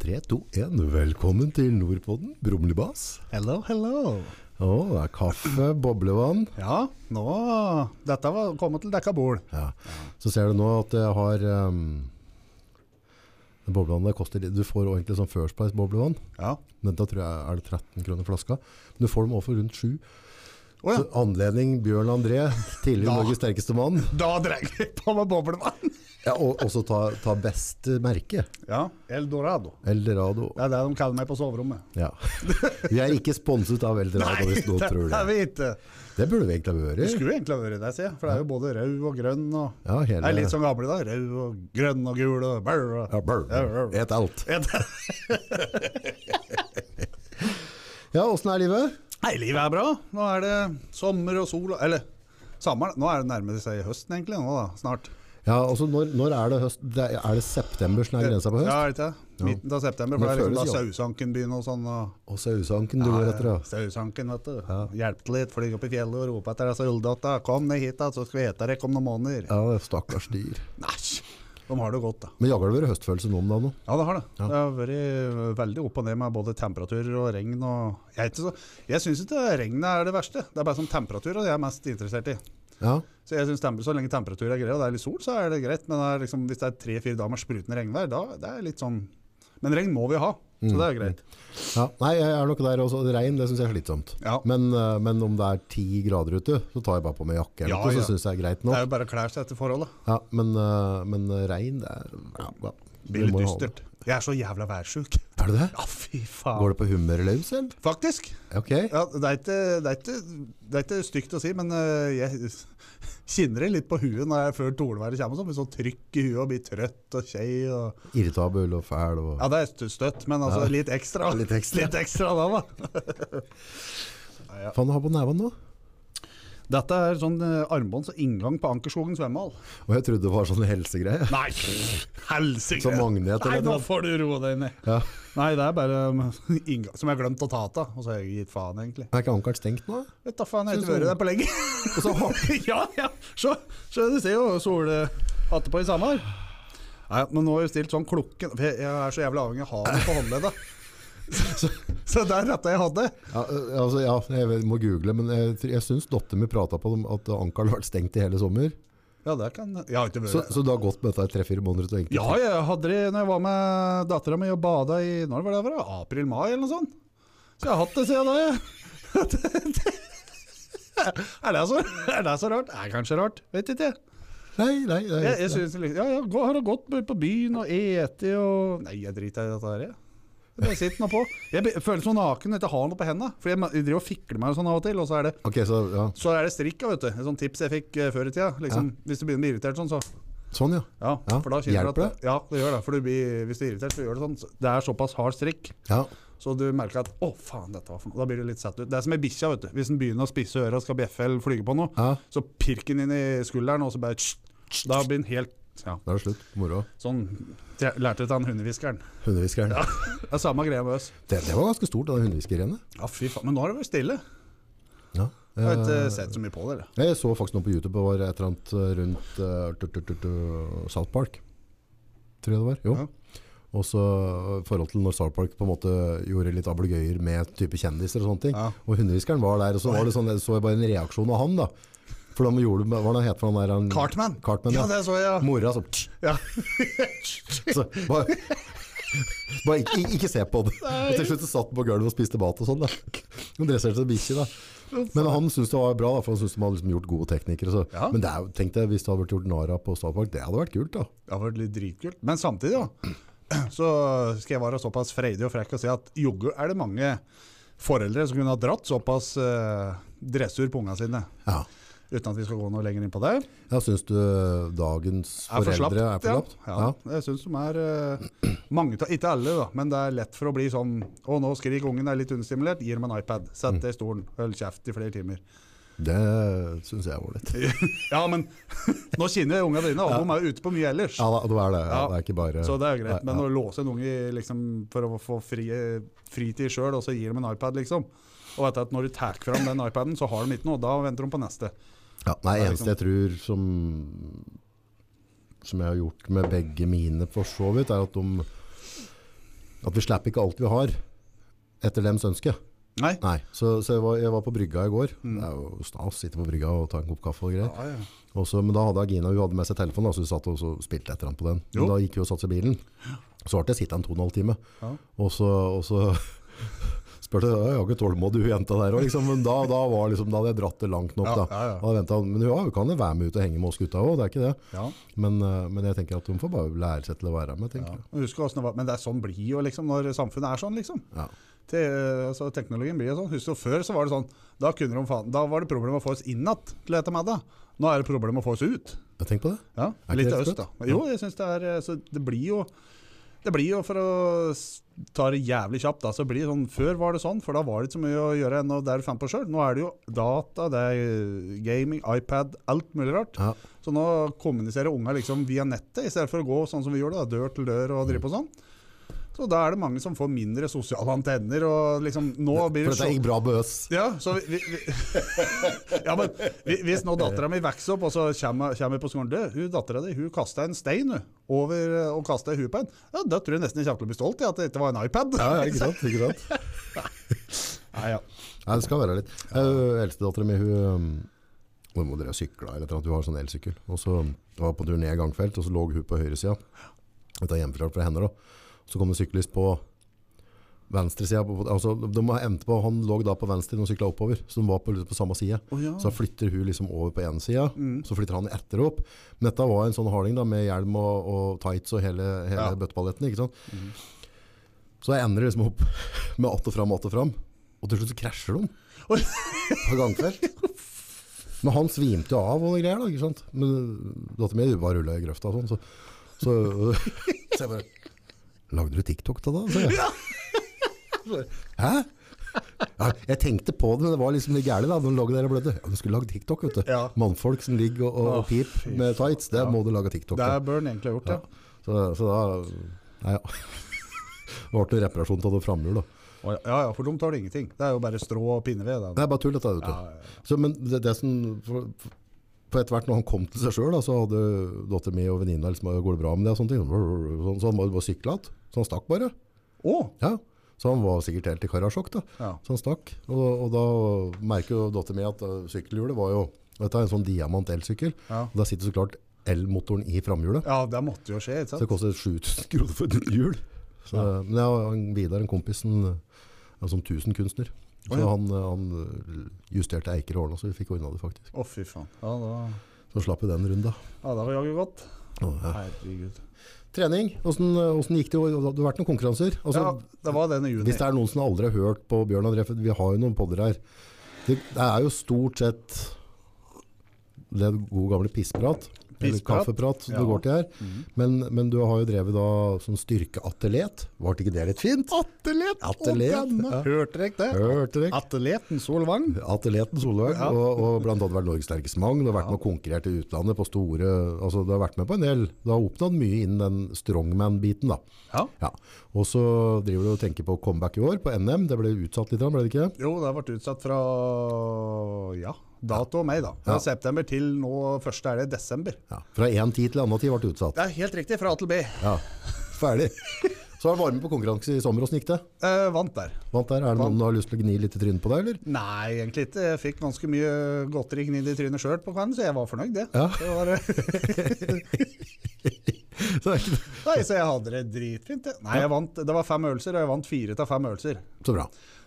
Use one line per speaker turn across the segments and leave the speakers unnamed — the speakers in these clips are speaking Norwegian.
3, 2, 1. Velkommen til Nordpodden, Brumlebass.
Hello, hello.
Å, det er kaffe, boblevann.
Ja, nå Dette var kommet til dekka bord.
Ja. Så ser du nå at jeg har um, Boblevannet koster litt. Du får egentlig sånn First Price boblevann.
Ja.
Den tror jeg er det 13 kroner flaska. Men du får dem også for rundt 7.
Å ja.
Så anledning Bjørn André, tidligere
Ja.
Norges sterkeste mann.
Da dreier vi på med boblevann.
Ja, og også ta, ta best merke.
Ja. Eldorado.
Eldorado.
Det er det de kaller meg på soverommet.
Ja. Vi er ikke sponset av Eldorado, hvis noen
det
tror
er
det.
vi ikke.
Det burde vi egentlig ha
Det
vært.
skulle egentlig vært det, sier jeg. For det er jo både rød og grønn og
Ja,
Jeg er
hele
litt sånn som gamle, da. Rød og grønn og gul og brr. og-
Ja, brr.
Ja, brr.
Et alt.
Et-
Ja, åssen er livet?
Nei, livet er bra. Nå er det sommer og sol og Eller sommer. Nå er det nærmere seg høsten, egentlig. Nå, da. Snart.
Ja, altså når, når er det høst? Det er, er det september som er grensa på høst?
Ja, er det ikke det? Midten av september. For
Men
det er liksom da
føles jo-
sausanken begynner og sånn. og...
Og sausanken du går etter, da.
Sausanken, vet du. Hjelp til litt, flyg opp i fjellet og rop etter disse ulldotta. Kom ned hit, da, så skal vi ete dere om noen måneder.
Ja, det er stakkars dyr.
Næsj! De har det godt, da.
Men jager det vært høstfølelse nå om dagen? nå?
Ja, det har det. Det har vært veldig opp og ned med både temperaturer og regn. Og jeg er ikke så, jeg syns ikke regnet er det verste. Det er bare sånn temperatur og det jeg er mest interessert i.
Ja.
Så jeg synes temper, Så lenge temperatur er grei og det er litt sol, så er det greit. Men det er liksom, hvis det er tre-fire dager med sprutende regnvær, da det er litt sånn Men regn må vi ha, så
Mm.
det er greit.
ja. Nei, jeg er nok der også. Regn det syns jeg er slitsomt.
Ja.
Men, eh, men om det er ti grader ute, så tar jeg bare på meg jakke, eller
Ja,
noe,
ja.
så syns jeg det er greit
Det
nå.
er jo bare å klær seg etter forholdet.
Ja, men, eh, men regn, det er ja, ja.
Det blir
Vi må
litt
jo ha det.
dystert. Jeg er så jævla værsjuk.
Er det det?
Ja, fy faen.
Går det på humøret løs, eller?
Faktisk.
Ok.
Ja, det, er ikke, det, er ikke, det er ikke stygt å si, men eh, jeg kjenner det litt på huet når jeg før tordenværet kommer. Sånn, med sånn trykk i huet og blir trøtt og kjei. Og,
Irritabel og fæl og
ja, det er st- støtt, men altså litt ekstra.
Litt ekstra.
Litt ekstra da, da.
Faen, du har på nevene nå?
Dette er sånn eh, armbånd som inngang på Ankerskogen svømmehall.
Og jeg trodde det var sånn helsegreie.
Nei, helsike!
Som magnet
Nei,
eller
nå
noe.
får du roe deg ned.
Ja.
Nei, det er bare um, inngang som jeg har glemt å ta av. Og så har jeg gitt faen, egentlig.
Er ikke ankeren stengt nå?
Vet da faen, jeg har
Synes
ikke vært
du-
der på lenge.
Og så har
ja, ja. Se, se, du ser jo solhatte på i sommer. Nei, men nå har jeg stilt sånn klokken For jeg, jeg er så jævlig avhengig av å ha den på håndleddet. Så, så der retta jeg hadde.
Ja, ø, altså, ja, jeg vet- må google, men jeg, tr- jeg syns datteren min prata på dem at Ankara har vært stengt i hele sommer.
Ja, der kan Jeg har ikke vært
Så, så det har gått med dette i tre-fire måneder? til egentlig.
Ja, jeg hadde det når jeg var med dattera mi og bada i Når var det? det var? April-mai, eller noe sånt. Så jeg har hatt det siden da, jeg. Er det, så, er det så rart? Er kanskje rart, vet ikke jeg.
Nei, nei, nei
Jeg, jeg synes, det liksom- ja, ja, gå, har du gått på byen og ete og Nei, jeg driter i dette her, jeg. Det bare sitter noe på. Jeg be- føler som naken og ikke har noe på hendene. Fordi jeg, ma- jeg driver og fikler meg og sånn av og til, og så er det,
Ok, så ja.
så er det strikka, vet du. Et sånt tips jeg fikk eh, før i tida. Liksom, Hvis du begynner å bli irritert sånn, så
Sånn, ja.
Ja,
Ja,
for da kjenner du
hjelper
at Ja, det gjør det. For du blir, hvis du er irritert, så gjør det sånn. Så Det er såpass hard strikk,
ja.
så du merker at 'Å, faen, dette var for noe'. Da blir du litt satt ut. Det er som ei bikkje, vet du. Hvis den begynner å spisse øra og skal bjeffe eller flyge på noe,
Ja,
så pirker den inn i skulderen, og så bare tss, tss, Da blir den helt ja.
Da er det slutt på moroa.
Sånn jeg lærte jeg av han hundehviskeren.
Hundehviskeren.
Det er samme greia med oss.
Det, det var ganske stort, det hundehviskergreiene.
Ja, fy faen. Men nå har det vært stille.
Ja.
Jeg har
Eh,
ikke sett så mye på dere.
Jeg så faktisk noe på YouTube, det var et eller annet eh, rundt eh, tut, tut, tut, tut, South Park. Tror jeg det var. Jo.
Ja.
Og så eh, forhold til når South Park på en måte gjorde litt ablegøyer med type kjendiser og sånne ting.
Ja.
Og hundehviskeren var der, og så var det sånn, jeg så jeg bare en reaksjon av han da. For de gjorde, hva var det han het for han der? Han,
Cartman.
Cartman,
Ja,
ja.
det så jeg.
Mora så, tsk,
Ja.
så bare, bare ikke, ikke se på det.
Nei.
Og til slutt så satt han på gulvet og spiste mat og sånn da. Og dresserte seg bikkje da. Men han syntes det var bra, da, for han syntes de hadde liksom gjort gode teknikere. Så.
Ja.
Men det er, jo- tenkte jeg, hvis det hadde vært gjort narr av på South Park, det hadde vært kult. da.
Det har vært litt dritkult. Men samtidig, ja, så skal jeg være såpass freidig og frekk og si at joggu er det mange foreldre som kunne ha dratt såpass eh, dressur på ungene sine.
Ja.
Uten at vi skal gå noe lenger inn på det.
Jeg syns du dagens
Er for
foreldre
slapt.
er for slapt?
Ja. Ja. Jeg syns de er eh, mange ta- Ikke alle, da, men det er lett for å bli sånn Å, nå skriker ungen, er litt understimulert. Gi dem en iPad. Sett deg i stolen. Hold kjeft i flere timer.
Det syns jeg er ålreit.
Ja, men nå kjenner jeg ungene dine, og de er jo ute på mye ellers.
Ja, da- det er det. Ja,
Ja.
det er ikke bare
Så det er jo greit,
Nei,
men
ja.
å låse en unge i, liksom, for å få fri, fritid sjøl, og så gir dem en iPad, liksom. Og vet at når du tar fram den iPaden, så har de ikke noe. Da venter de på neste.
ja, Nei,
det er liksom-
eneste jeg tror som Som jeg har gjort med begge mine, for så vidt, er at de At vi slipper ikke alt vi har etter dems ønske.
Nei.
Nei, så, så jeg, var, jeg var på brygga i går. Det er jo stas, sitte på brygga og ta en kopp kaffe og greier.
Mm. Ja, ja.
Og så- men da hadde Agina hun hadde med seg telefonen, da, så hun satt og så spilte et eller annet på den.
Jo.
Men da gikk vi og satte seg i bilen. Så ble jeg sittende en to og en halv time.
Ja.
Og så, og så spurte jeg, jeg har ikke tålmodig hun jenta der. Og liksom, men da, da, var liksom, da hadde jeg dratt det langt nok.
Ja,
Da.
ja, ja.
Og jeg ventet, men hun ja, hun kan jo være med ut og henge med oss gutta òg, det er ikke det.
Ja.
Men, eh, men jeg tenker at hun får bare lære seg til å være med, tenker
Ja.
jeg.
Og Husk hvordan det var, men det er sånn blir jo liksom når samfunnet er sånn, liksom.
Ja.
Te, altså, teknologien blir jo sånn. Husker du før så var det sånn, da, kunne de faen, da var det problem å få oss inn att til dette med det. Nå er det problem å få oss ut.
Jeg tenker på det.
Ja,
Er ikke
litt
det
øst,
sprøtt?
da. Jo, jeg syns det er eh, Så det blir jo det blir jo, for å s- ta det jævlig kjapt, da, så blir det sånn Før var det sånn, for da var det ikke så mye å gjøre enn å- det du fant på sjøl. Nå er det jo data, det er eh, gaming, iPad, alt mulig rart.
Ja.
Så nå kommuniserer unga liksom via nettet, i stedet for å gå sånn som vi gjorde, da, dør til dør og drive på sånn. Så da er det mange som får mindre sosiale antenner, og liksom Nå blir
For
det
dette gikk bra med oss.
ja, så vi, vi, vi, ja, men vi- hvis nå dattera mi vokser opp, og så kommer kommer jeg på skolen Du, hun dattera di hun kasta en stein hun, over eh, og kasta i huet på en. Ja, da tror jeg nesten jeg kommer til å bli stolt i at det ikke var en iPad.
Ja, ja, ikke sant? Ikke sant?
Ja, ja.
Nei, det skal være litt. Ja. Eldstedattera mi, hun øhm, hun må dere sykle eller et eller annet, hun har en sånn elsykkel. Og så var jeg på tur ned i gangfelt, og så lå hun på høyresida. Dette er hjemmefra fra henne da. Så kom det en syklist på venstresida. på- på- Altså, de endte på, han lå da på venstre når hun sykla oppover, så de var på, på samme side.
Å, ja. Mm.
Så da flytter hun liksom over på én side, så flytter han etter opp. Men dette var en sånn harding da, med hjelm og, og tights og hele, hele
Ja. Mm.
bøtteballetten, ikke sant? Så jeg ender liksom opp med att og fram, att og fram. Og til slutt så krasjer de
Oi.
på gangfelt. Men han svimte jo av og noe greier, da, ikke sant? Men datteren min bare rulla i grøfta og sånn. Så, så, så jeg bare Lagde du TikTok da, da? Så jeg. Hæ? Ja, jeg tenkte på det, men det var liksom litt gærent. da. De lå der og blødde. Ja, du skulle lagd TikTok, vet du.
Ja.
Mannfolk som ligger og, og,
Å,
og pip
fy
med tights, det må du lage TikTok
Det
av.
er bør den egentlig ha gjort, ja.
Så, så da Nei, ja. Det ble reparasjon av det framhjulet. da.
Å, ja. Ja, ja, for dem tar det ingenting. Det er jo bare strå og pinneved. da.
Det er bare tull, dette. Vet du.
Ja, ja, ja.
Så, men det, det som, for, for etter hvert når han kom til seg sjøl, så hadde datter mi og venninna liksom, går det bra med det og sånne ting. Sånn, så han bare bare sykla igjen. Så han stakk bare.
Å!
Ja. Så han var sikkert helt i karasjokk, da.
Ja.
Så han stakk. Og, og da merker jo datter mi at eh, sykkelhjulet var jo Dette er en sånn diamant elsykkel.
Ja.
Og Der sitter så klart elmotoren i framhjulet.
ja, det måtte jo skje, ikke
Så det
sant?
koster 7000 kroner for et nytt hjul. Så, Men jeg og han Vidar, en kompis, en, en sånn tusenkunstner. Så
Å, ja.
han, eh, han justerte eiker og ordna, så vi fikk ordna det faktisk.
Å, fy faen. Ja, det var,
Så slapp vi den runda.
ja, det var jaggu godt.
Å, ja.
Herregud.
Trening, hvordan, uh, hvordan gikk det? Det har vært noen konkurranser. Altså,
Ja, det var den i juni.
Hvis det er noen som aldri har hørt på Bjørn André, for vi har jo noen podder her. Det, det er jo stort sett det gode gamle pissprat, eller
Pissprat,
kaffeprat som
ja.
det går til her.
Mhm.
Men, men du har jo drevet da som styrkeatelet. Var det ikke det litt fint?
Attelet!
Attelet, ja.
Hørte dere ikke det?
Hørte dere?
Atleten Solvang.
Atleten Solveig,
Ja.
og, og blant annet vært Norges sterkeste mann. Du har vært med og konkurrert i utlandet på store altså Du har vært med på en del. Du har oppnådd mye innen den strongman-biten. da.
Ja.
Ja. Og så driver du og tenker på comeback i år, på NM. Det ble utsatt litt, ble det ikke?
Jo, det har vært utsatt fra ja, dato og meg, da. Fra
Ja.
september til nå, første er det desember.
Ja. Fra én tid til annen tid ble det utsatt.
Det er helt riktig, fra A til B.
Ja. Ferdig. Så har du vært med på konkurranse i sommer. Åssen gikk det?
Eh, vant der.
Vant der. Er det noen som har lyst til å gni litt i trynet på deg, eller?
Nei, egentlig ikke. Jeg fikk ganske mye godteri gnidd i trynet sjøl på kvelden, så jeg var fornøyd, det.
Ja.
det var,
Så det er ikke-
nei, så jeg hadde det dritfint, jeg. Nei, jeg vant, det var fem øvelser, og jeg vant fire av fem øvelser.
Så bra.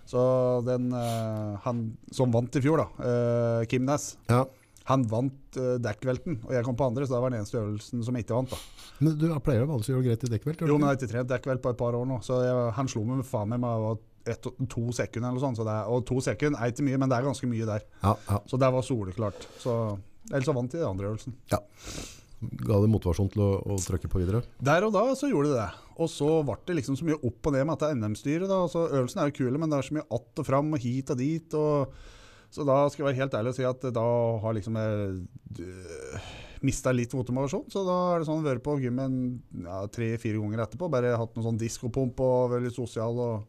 Så den eh, han som vant i fjor, da, eh, Kim Næss,
Ja.
han vant eh, dekkvelten, og jeg kom på andre, så det var den eneste øvelsen som jeg ikke vant, da.
Men du jeg pleier jo vanligvis å gjøre det greit i dekkvelt? gjør du
Jo, men
ikke?
jeg har ikke trent dekkvelt på et par år nå, så jeg, han slo meg med faen meg med jeg var ett og- to sekunder eller noe sånt. Så det er, og to sekunder er ikke mye, men det er ganske mye der.
Ja, ja.
Så det var soleklart. Så, ellers så vant de den andre øvelsen.
Ga det motivasjon til å, å trykke på videre?
Der og da så gjorde de det. Og så ble det liksom så mye opp og ned med dette NM-styret. da, og så Øvelsen er jo kule, men det er så mye att og fram og hit og dit. og så da skal jeg være helt ærlig og si at da har liksom jeg øh, mista litt motivasjon. Så da er det sånn vært på gymmen ja, tre-fire ganger etterpå. Bare hatt noe sånn diskopump og vært litt sosial og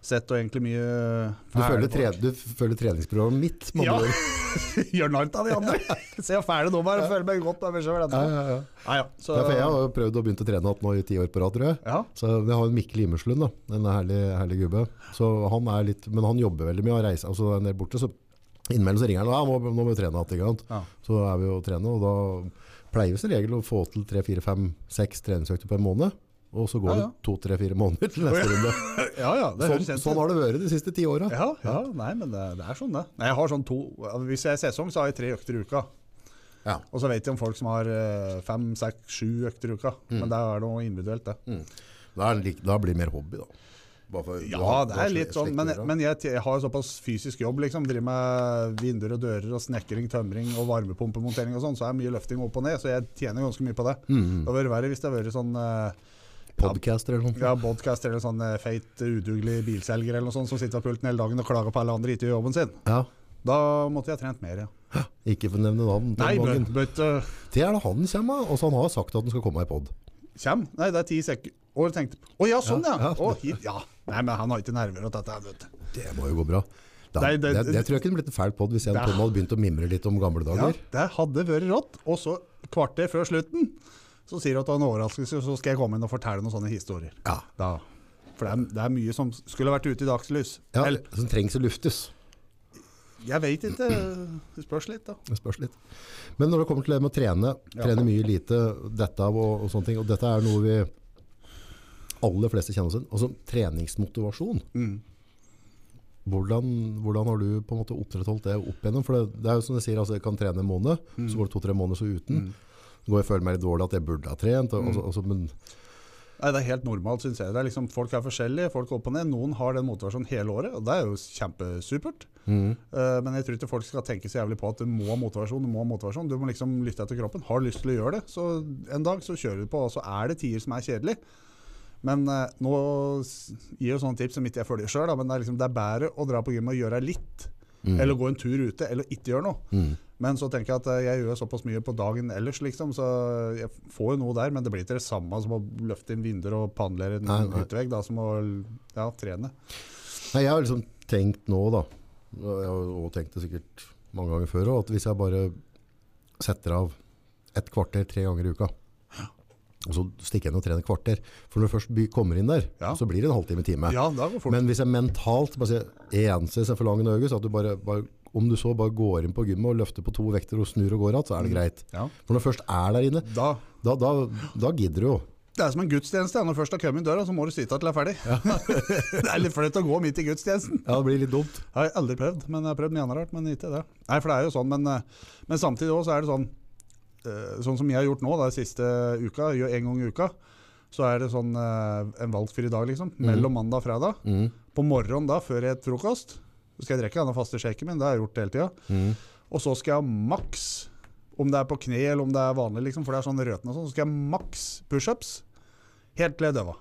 sett og egentlig mye
Du følger, tre, du følger treningsprogrammet mitt? med
Ja.
andre ord.
Gjør narr av de andre. Se hvor fæle de er, og føler meg godt av meg sjøl.
Ja, ja, ja.
Ja, ja. Så,
Derfor jeg har jo prøvd å begynne å trene igjen nå i ti år på rad, tror jeg.
ja.
Så jeg har en Mikkel Imerslund, da, en herlig, herlig gubbe. Så han er litt, men han jobber veldig mye og reiser. Altså der nede borte, så innimellom så ringer han og ja, nå, nå må vi trene igjen. ikke sant?
Ja.
Så er vi jo og trener, og da pleier vi som regel å få til tre, fire, fem, seks treningsøkter på en måned. Og så går
Ja, ja.
det to, tre, fire måneder til neste runde.
ja, ja, det
Sånn,
høres kjent ut.
sånn har det vært de siste ti åra.
Ja, ja, nei, men det, det er sånn, det. Nei, jeg har sånn to Hvis jeg er sesong, så har jeg tre økter i uka.
Ja.
Og så vet jeg om folk som har eh, fem, seks, sju økter i uka. Men det er noe individuelt, det.
Da, er det lik- da blir det mer hobby, da. Bare for-
Ja,
du har-
det
du har
er
slik-
litt sånn,
slik
men,
program.
men jeg, jeg har jo såpass fysisk jobb, liksom. Driver med vinduer og dører og snekring, tømring og varmepumpemontering og sånn, så er det mye løfting opp og ned. Så jeg tjener ganske mye på det. Det hadde vært verre hvis det hadde vært sånn eh,
Podcaster eller noe.
Ja, podcast eller sånn eh, feit, udugelig bilselger eller noe sånt som sitter ved pulten hele dagen og klager på alle andre ikke gjør jobben sin.
Ja.
Da måtte jeg ha trent mer, ja.
Ikke for å nevne navn. den
Nei,
gangen.
men, but, uh,
Det er det han kommer med, og så han har sagt at han skal komme i pod.
kjem. Nei, det er ti sekunder. Å, jeg tenkte Å ja, sånn ja!
Ja, ja.
Å, hit, ja. Nei, men han har ikke nerver til dette. her, Vet du.
Det må jo gå bra. Da,
Nei,
det,
det-
det, tror jeg kunne blitt en fæl podd hvis jeg og
Det-
Tom hadde begynt å mimre litt om gamle
Ja,
dager.
det hadde vært rått. Og så, kvarter før slutten, så sier du at du har en overraskelse, så skal jeg komme inn og fortelle noen sånne historier.
Ja,
Da. For det er, det er mye som skulle vært ute i dagslys.
ja,
Eller,
Som trengs å luftes.
jeg veit ikke. Det spørs litt, da.
Det spørs litt. Men når det kommer til det med å trene,
Ja.
trene mye lite, dette og, og sånne ting, og dette er noe vi aller fleste kjenner oss igjen, altså treningsmotivasjon.
Mm.
Hvordan, hvordan har du på en måte oppretholdt det opp igjennom? For det, det er jo som du sier, altså jeg kan trene en måned,
Mm.
så går det to-tre måneder så uten. Går jeg og føler meg litt dårlig at jeg burde ha trent, og, og, så- og, så- men
Nei, Det er helt normalt, syns jeg. Det er liksom, folk er forskjellige. folk går opp og ned. Noen har den motivasjonen hele året, og det er jo kjempesupert. Eh, men jeg tror ikke folk skal tenke så jævlig på at du må ha motivasjon. Du må ha motivasjon. Du må liksom lytte etter kroppen. Har du lyst til å gjøre det, så en dag så kjører du på, og så er det tider som er kjedelig. Men eh, nå s- gir jo sånne tips som ikke jeg følger sjøl, men det er, liksom, det er bedre å dra på gym og gjøre litt.
Mm.
Eller gå en tur ute, eller ikke gjøre noe. Men så tenker jeg at eh, jeg gjør såpass mye på dagen ellers, liksom, så jeg får jo noe der. Men det blir ikke det samme som å løfte inn vinduer og panelere en
Nei, nei.
utevegg, da, som å ja, trene.
Nei, jeg har liksom tenkt nå da, og jeg har også tenkt det sikkert mange ganger før, også, at hvis jeg bare setter av et kvarter tre ganger i uka, og så stikker jeg inn og trener et kvarter, for når du først by- kommer inn der,
Ja.
så blir det en halvtime time.
Ja, da går fort.
Men hvis jeg mentalt bare sier én seg for lang øye, så at du bare, bare, om du så bare går inn på gymmet og løfter på to vekter og snur og går igjen, så
Mm.
er det greit.
Ja.
For når du først er der inne,
Da,
da, da, da gidder du jo.
det er som en gudstjeneste. ja. Når du først har kommet inn døra, så må du sitte til det er ferdig. det er litt flaut å gå midt i gudstjenesten.
Ja, det blir litt dumt.
Jeg har jeg aldri prøvd, men jeg har prøvd mye annet rart. Men ikke det. Nei, for det er jo sånn, men, eh, men samtidig også er det sånn eh, Sånn som jeg har gjort nå da, siste uka, gjør en gang i uka, så er det sånn eh, en valgfri dag, liksom. Mellom mandag og fredag.
Mm.
På morgenen da, før jeg et frokost, så skal jeg drikke den faste shaken min. Det har jeg gjort hele tida.
Mm.
Og så skal jeg maks, om det er på kne eller om det er vanlig, liksom, for det er sånn røten og sånn, så skal jeg maks pushups helt til jeg døver.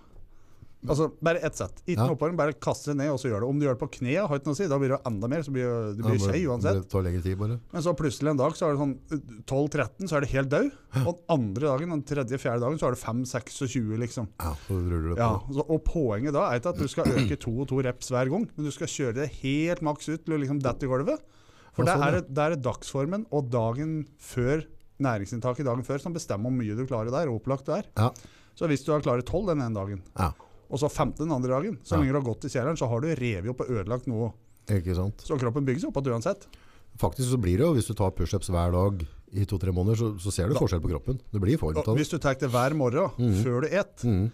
Altså bare ett sett. Ikke
Ja.
noe oppvarming, bare kaste det ned og så gjør det. Om du gjør det på kne, har ikke noe å si, da blir det enda mer, så blir det- det blir
Ja,
skei uansett.
Det tar lengre tid bare.
Men så plutselig en dag så er det sånn uh, 12-13, så er det helt død. Og den andre dagen, den tredje-fjerde dagen, så er det 5-26, liksom.
Ja, så ruller det på.
Ja, så, og poenget da er ikke at du skal øke to og to reps hver gang, men du skal kjøre det helt maks ut til du liksom detter i gulvet. For
Ja,
det
sånn,
er,
ja.
det er dagsformen og dagen før næringsinntaket dagen før som bestemmer hvor mye du klarer der, og opplagt du er.
Ja.
Så hvis du har klart 12 den ene dagen,
Ja,
og så 15 den andre dagen, så
Ja.
lenge du har gått i kjelleren, så har du revet opp og ødelagt noe.
ikke sant.
Så kroppen bygger seg opp igjen uansett.
Faktisk så blir det jo, hvis du tar pushups hver dag i to-tre måneder, så, så ser du forskjell på kroppen. Du blir i form
Og
av det.
hvis du tar det hver morgen før du et,
Mm,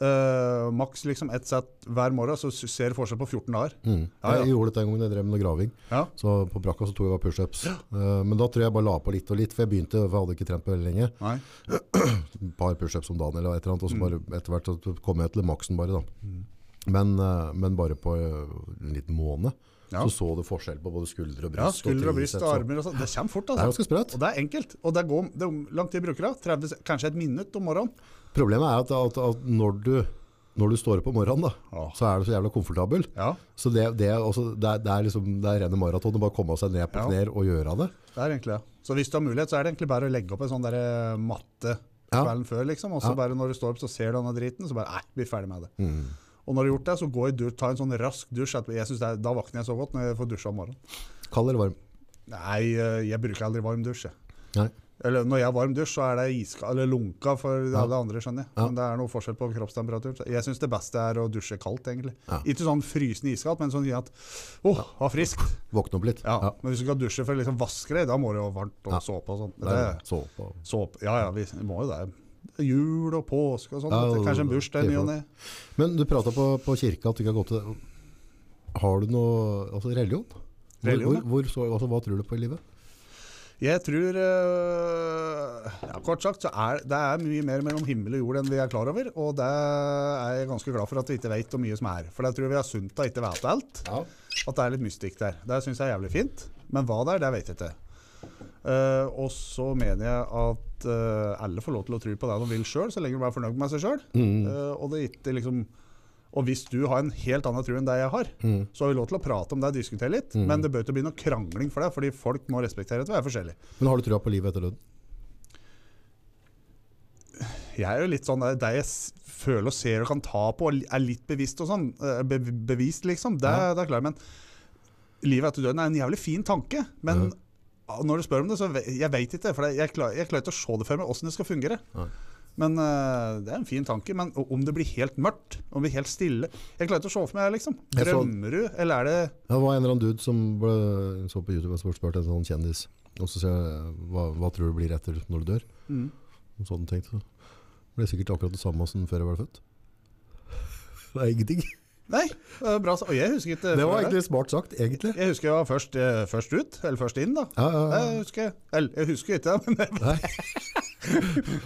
eh, maks liksom ett sett hver morgen, så ser du forskjell på 14 dager.
mm.
Ja, ja.
Jeg gjorde dette en gang jeg drev med noe graving.
Ja.
Så på brakka så tok jeg bare pushups. Eh, Men da tror jeg jeg bare la på litt og litt, for jeg begynte, for jeg hadde ikke trent på veldig lenge.
Nei.
Et par pushups om dagen eller et eller annet, og
Mm.
så bare etter hvert så kom jeg til maksen bare da. Men, eh, men bare på eh, en liten måned
Ja.
så så du forskjell på både skuldre og
Ja,
bryst.
skulder og bryst
triceps
og armer og sånn. Det kommer fort,
Det er
altså.
ganske sprøtt.
Og det er enkelt. Og det går det er lang tid bruker det. 30, sek- kanskje et minutt om morgenen.
Problemet er at, at, at når, du, når du står opp om morgenen da,
Ja.
så er du så jævla komfortabel.
Ja,
Så det, det, er også, det, er, det er liksom det er rene maraton å bare komme seg ned på
Ja.
knær og gjøre det.
det er egentlig det. Så hvis du har mulighet, så er det egentlig bare å legge opp en sånn der eh, matte
Ja.
kvelden før, liksom. Og så
Ja. Mm.
bare når du står opp, så ser du denne driten, så bare Nei, bli ferdig med det. Og når du har gjort det, så gå i dusj, ta en sånn rask dusj. etterpå. Jeg synes det er, da våkner jeg så godt når jeg får dusja om morgenen.
Kald eller varm?
Nei, eh, jeg bruker aldri varm dusj. jeg.
Nei.
Eller når jeg har varm dusj, så er det iska, eller lunka for alle andre, skjønner jeg.
Ja.
Men det er noe forskjell på kroppstemperatur. Så Jeg syns det beste er å dusje kaldt, egentlig.
Ja.
Ikke sånn frysende iskaldt, men sånn at åh, ha friskt.
Våkne opp litt?
Ja. Men hvis du skal dusje for å liksom vaske deg, da må du jo ha varmt og
Ja.
såpe og sånn.
Det er
Det-
såpe og-
Såpe Ja ja, vi må jo det. Jul og påske og sånn.
Ja,
vet du. Kanskje en bursdag i ny og ne.
Men du prata på, på kirka at du ikke har gått til det. Har du noe altså religion? Hvor,
Religion,
hvor, hvor, så, altså, hva tror du på i livet?
Jeg tror eh, ja, Kort sagt så er det er mye mer mellom himmel og jord enn vi er klar over. Og det er jeg ganske glad for at vi ikke vet hvor mye som er. For jeg tror vi har sunt av ikke å vite alt.
Ja.
At det er litt mystikk der. Det syns jeg er jævlig fint. Men hva det er, det vet jeg ikke. Eh, og så mener jeg at eh, alle får lov til å tro på det de vil sjøl, så lenge de er fornøyd med seg sjøl. og det ikke liksom Og hvis du har en helt annen tro enn det jeg har, så har vi lov til å prate om det og diskutere litt, men det bør ikke bli noe krangling for det, fordi folk må respektere at vi er forskjellige.
Men har du trua på livet etter døden?
Jeg er jo litt sånn Det jeg s- føler og ser og kan ta på, og er litt bevisst og sånn, eh, be bevist, liksom, det,
Ja.
det er klart. Men livet etter døden er en jævlig fin tanke. Men ah, når du spør om det, så ve- jeg veit ikke. For jeg klar- jeg klarer ikke å se det for meg åssen det skal fungere.
Nei.
Men eh, det er en fin tanke. Men o- om det blir helt mørkt, om det blir helt stille Jeg klarer ikke å se for meg det, liksom.
Jeg så-
Drømmer du, eller er det
Ja, det var en eller annen dude som ble, så på YouTube og spurte en sånn kjendis. Og så sier jeg hva, hva tror du blir etter når du dør?
mm.
Og sånn tenkt, så ble det sikkert akkurat det samme som før jeg ble født. Det er ingenting.
Nei, det er bra sa- Og jeg husker ikke
Det var
før
egentlig smart sagt, egentlig.
Jeg husker jeg var først, eh, først ut, eller først inn, da.
Ja, ja,
Jeg
ja.
husker, eller, jeg husker ikke, men
Nei.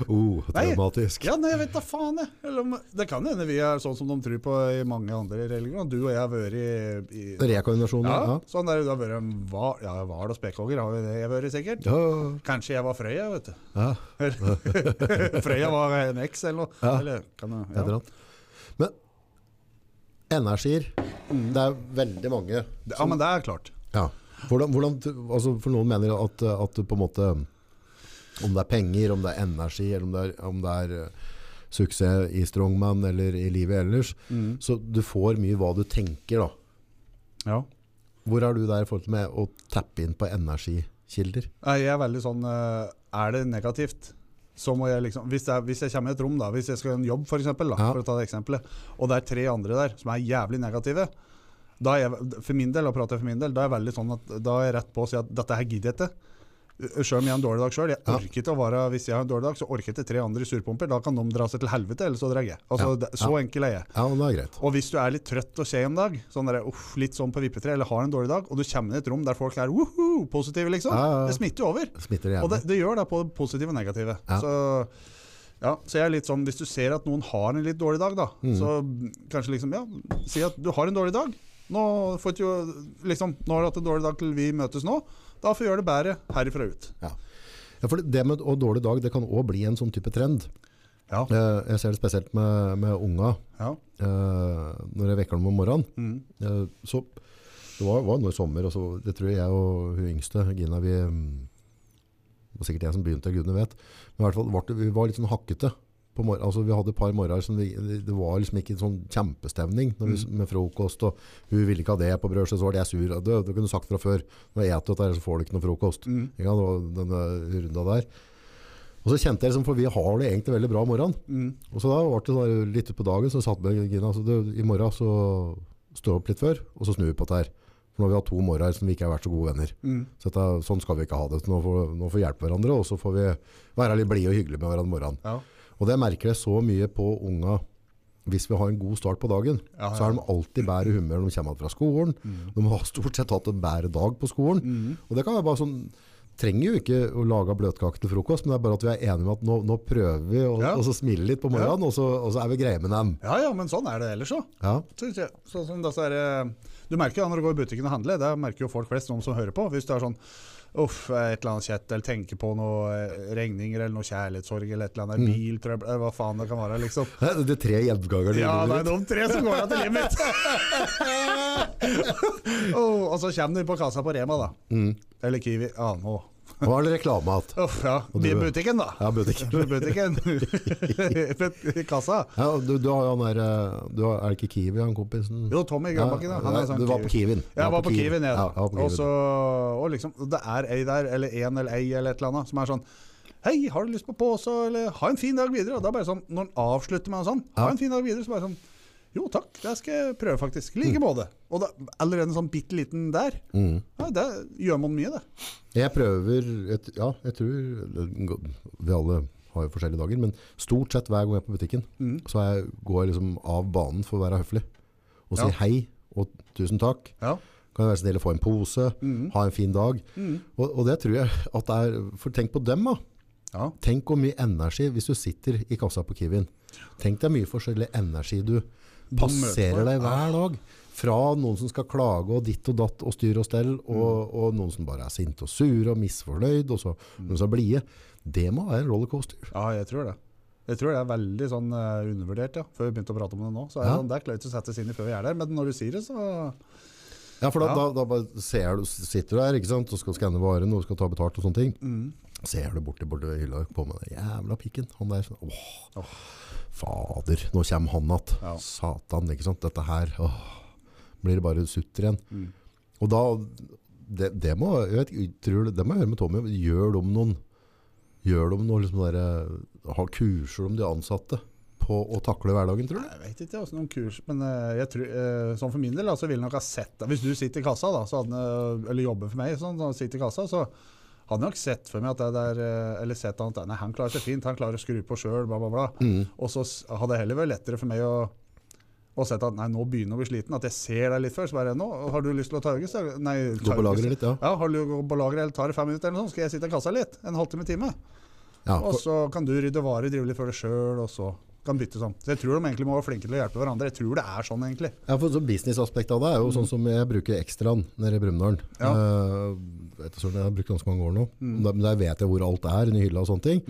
Oh, traumatisk.
Ja, nei, jeg vet da faen, jeg. Eller om, det kan hende vi er sånn som de tror på i mange andre religioner. Du og jeg har vært i, i
Rekoordinasjon,
ja,
ja.
Sånn der, du har vært en hval ja, hval og spekkhogger, har jo det jeg vært sikkert.
Ja,
Kanskje jeg var Frøya, vet du.
ja.
Frøya var en eks eller noe.
Ja.
Eller, kan jeg,
Et eller
ja.
annet. Men energier, det er veldig mange.
Det- ja, men det er klart.
Ja. Hvordan, hvordan, altså for noen mener at, at på en måte, om det er penger, om det er energi, eller om det er, om det er eh, suksess i Strongman eller i livet ellers, så du får mye hva du tenker da.
Ja.
Hvor er du der i forhold til med å tappe inn på energikilder?
Nei, jeg er veldig sånn eh, Er det negativt? Så må jeg liksom, hvis, jeg, hvis jeg kommer i et rom, da, hvis jeg skal gjøre en jobb for, eksempel, da,
Ja.
for å ta det eksempelet, og det er tre andre der som er jævlig negative da er jeg, For min del, da prater jeg for min del, da er jeg veldig sånn at da er jeg rett på å si at dette her gidder jeg ikke. Sjøl om jeg har en dårlig dag sjøl. Jeg
Ja.
orker ikke å være Hvis jeg har en dårlig dag, så orker ikke tre andre surpomper. Da kan de dra seg til helvete, eller så drar jeg. Altså,
Ja.
det- Så enkel er jeg.
Ja, men det er greit.
Og hvis du er litt trøtt og skje en dag, sånn der, uff, litt sånn på vippetre, eller har en dårlig dag, og du kommer inn i et rom der folk er «Woohoo!» positive, liksom,
Ja, ja, ja.
det smitter jo over.
Smitter det
Og det,
gjerne.
det gjør det på det positive og negative.
Ja.
Så, ja, så jeg er litt sånn, hvis du ser at noen har en litt dårlig dag, da,
Mm.
så kanskje liksom, ja, si at du har en dårlig dag. Nå, får du, jo- liksom, nå har du hatt en dårlig dag til vi møtes nå. Da får vi gjøre det bedre herifra ut.
Ja. Ja, for det med å dårlig dag, det kan også bli en sånn type trend.
Ja.
Eh, Jeg ser det spesielt med, med unga,
Ja.
eh, når jeg vekker dem om morgenen.
Mm.
Eh, Så det var, var noe i sommer, og så, det tror jeg og hun yngste, Gina, vi mm, det var sikkert jeg som begynte, gudene vet, men i hvert fall var det, vi var litt sånn hakkete. På morgen, altså vi hadde et par morgener som vi, det var liksom ikke en sånn kjempestemning når vi, med frokost, og hun ville ikke ha det på brødskje, så var det jeg sur. Det, det kunne du sagt fra før, når jeg eter dette her, så får du ikke noe frokost.
Mm.
Ikke sant, og denne runda der. Og så kjente jeg liksom, for vi har det egentlig veldig bra om morgenen,
Mm.
og så da var det sånn der, litt ut på dagen, så satt med Gina, så du, i morgen så står vi opp litt før, og så snur vi på det her. For nå har vi hatt to morgener som vi ikke har vært så gode venner.
Mm.
Så dette, sånn skal vi ikke ha det. Nå får, nå får vi hjelpe hverandre, og så får vi være litt blide og hyggelige med hverandre om morgenen.
Ja.
Og det merker jeg så mye på unga. Hvis vi har en god start på dagen,
Ja, Mm. ja.
så er de alltid bedre i humør når de kommer fra skolen. De har stort sett hatt en bedre dag på skolen.
Mm.
Og det kan være bare sånn, trenger jo ikke å lage bløtkake til frokost, men det er bare at vi er enige med at nå, nå prøver vi å
Ja.
og så smile litt på morgenen, og, så, og så er vi greie med dem.
ja, ja, men sånn er det ellers òg.
Ja,
synes jeg. Sånn som disse her, eh, du merker jo når du går i butikken og handler, det merker jo folk flest, noen som hører på. Hvis du er sånn uff, eh, et eller annet kjett, eller tenker på noe eh, regninger eller noe kjærlighetssorg eller et eller annet, biltrøbbel, eller hva faen det kan være, liksom.
det Mm. er de tre gjengangerne.
Ja, det
det
er de tre som går av til livet mitt!
Mm.
og, og så kommer du på kassa på Rema, da. Eller Kiwi. Ja, nå
Nå er det reklame igjen.
Uff, ja.
Og du-
I butikken, da.
Ja, butikken.
I butikken. But- I kassa.
Ja, du, du har jo han der eh, du har, Er det ikke Kiwi, han kompisen?
Jo, Tommy Grønbakken, ja. Han er
Nei,
sånn
du var på Kiwin.
Ja, Jeg var på Kiwin,
Ja, jeg
jeg.
var på
og,
Kiwin.
så, og liksom, det er ei der, eller en eller ei, eller et eller annet, som er sånn Hei, har du lyst på pose, eller ha en fin dag videre? Og da bare sånn, når han avslutter med en sånn, ha
Ja.
en fin dag videre, så bare sånn Jo takk, det skal jeg prøve, faktisk. I like måte. Og da, allerede en sånn bitte liten der.
Mm.
Ja, det gjør man mye, det.
Jeg prøver jeg t- Ja, jeg tror Vi alle har jo forskjellige dager, men stort sett hver gang jeg er på butikken,
Mm.
så jeg, går jeg liksom av banen for å være høflig. Og si
Ja.
hei og tusen takk.
Ja.
Kan jeg være så snill å få en pose?
Mhm.
Ha en fin dag?
Mhm.
Og, og det tror jeg at det er For tenk på dem, da.
ja.
Tenk hvor mye energi hvis du sitter i kassa på Kiwien. Tenk deg mye forskjellig energi du passerer
møter
deg
deg.
hver dag. Fra noen som skal klage og ditt og datt og styr og stell, og, og noen som bare er sinte og sure og misfornøyd, og så noen som er blide. Det må være en rollercoaster.
Ja, jeg tror det. Jeg tror det er veldig sånn eh, undervurdert, ja. Før vi begynte å prate om det nå. Så er det
Ja.
sånn, det er klart å sette seg inn i før vi er der, men når du sier det, så
Ja, for da,
Ja.
da, da bare ser du, sitter du der ikke sant? og skal skanne varene og skal ta betalt og sånne ting.
Mhm.
Ser du borti borti hylla på med den jævla pikken. Han der sånn Åh,
Åh.
fader, nå kommer han att.
Ja.
Satan, ikke sant. Dette her åh, blir det bare sutter igjen.
Mm.
Og da det, det må jeg, vet, ikke, jeg tror det, det må jeg høre med Tommy. Gjør de noen Gjør de noe liksom der, Har kurser om de ansatte på å takle hverdagen, tror du?
Jeg vet ikke, altså, noen kurs, men eh, jeg tror, eh, sånn for min del da, så ville jeg nok ha sett deg. Hvis du sitter i kassa, da, så hadde, han, eh, eller jobber for meg, sånn, og sitter i kassa, så hadde jeg nok sett for meg at det der, eh, eller sett han, at nei, han klarer seg fint, han klarer å skru på sjøl, bla, bla, bla.
Mm.
Og så s- hadde det heller vært lettere for meg å, å sett at nei, nå begynner jeg å bli sliten, at jeg ser deg litt før, så bare nå, har du lyst til å ta øyes? Nei,
Gå på lageret litt, ja.
Ja, har du gå på lageret, eller tar det fem minutter eller noe sånt, skal jeg sitte i kassa litt, en halvtime, time.
ja
Og
for,
så kan du rydde varer, drive litt for deg sjøl, og så kan bytte sånn. Så jeg tror de egentlig må være flinke til å hjelpe hverandre. Jeg tror det er sånn, egentlig.
ja, for så Businessaspektet av det er jo sånn som jeg bruker ekstraen nede i Brumunddal.
Mm. Ja. Mm.
Eh, vet du, søren, jeg har brukt ganske mange år nå. Der, men der vet jeg hvor alt er, inni hylla og sånne ting.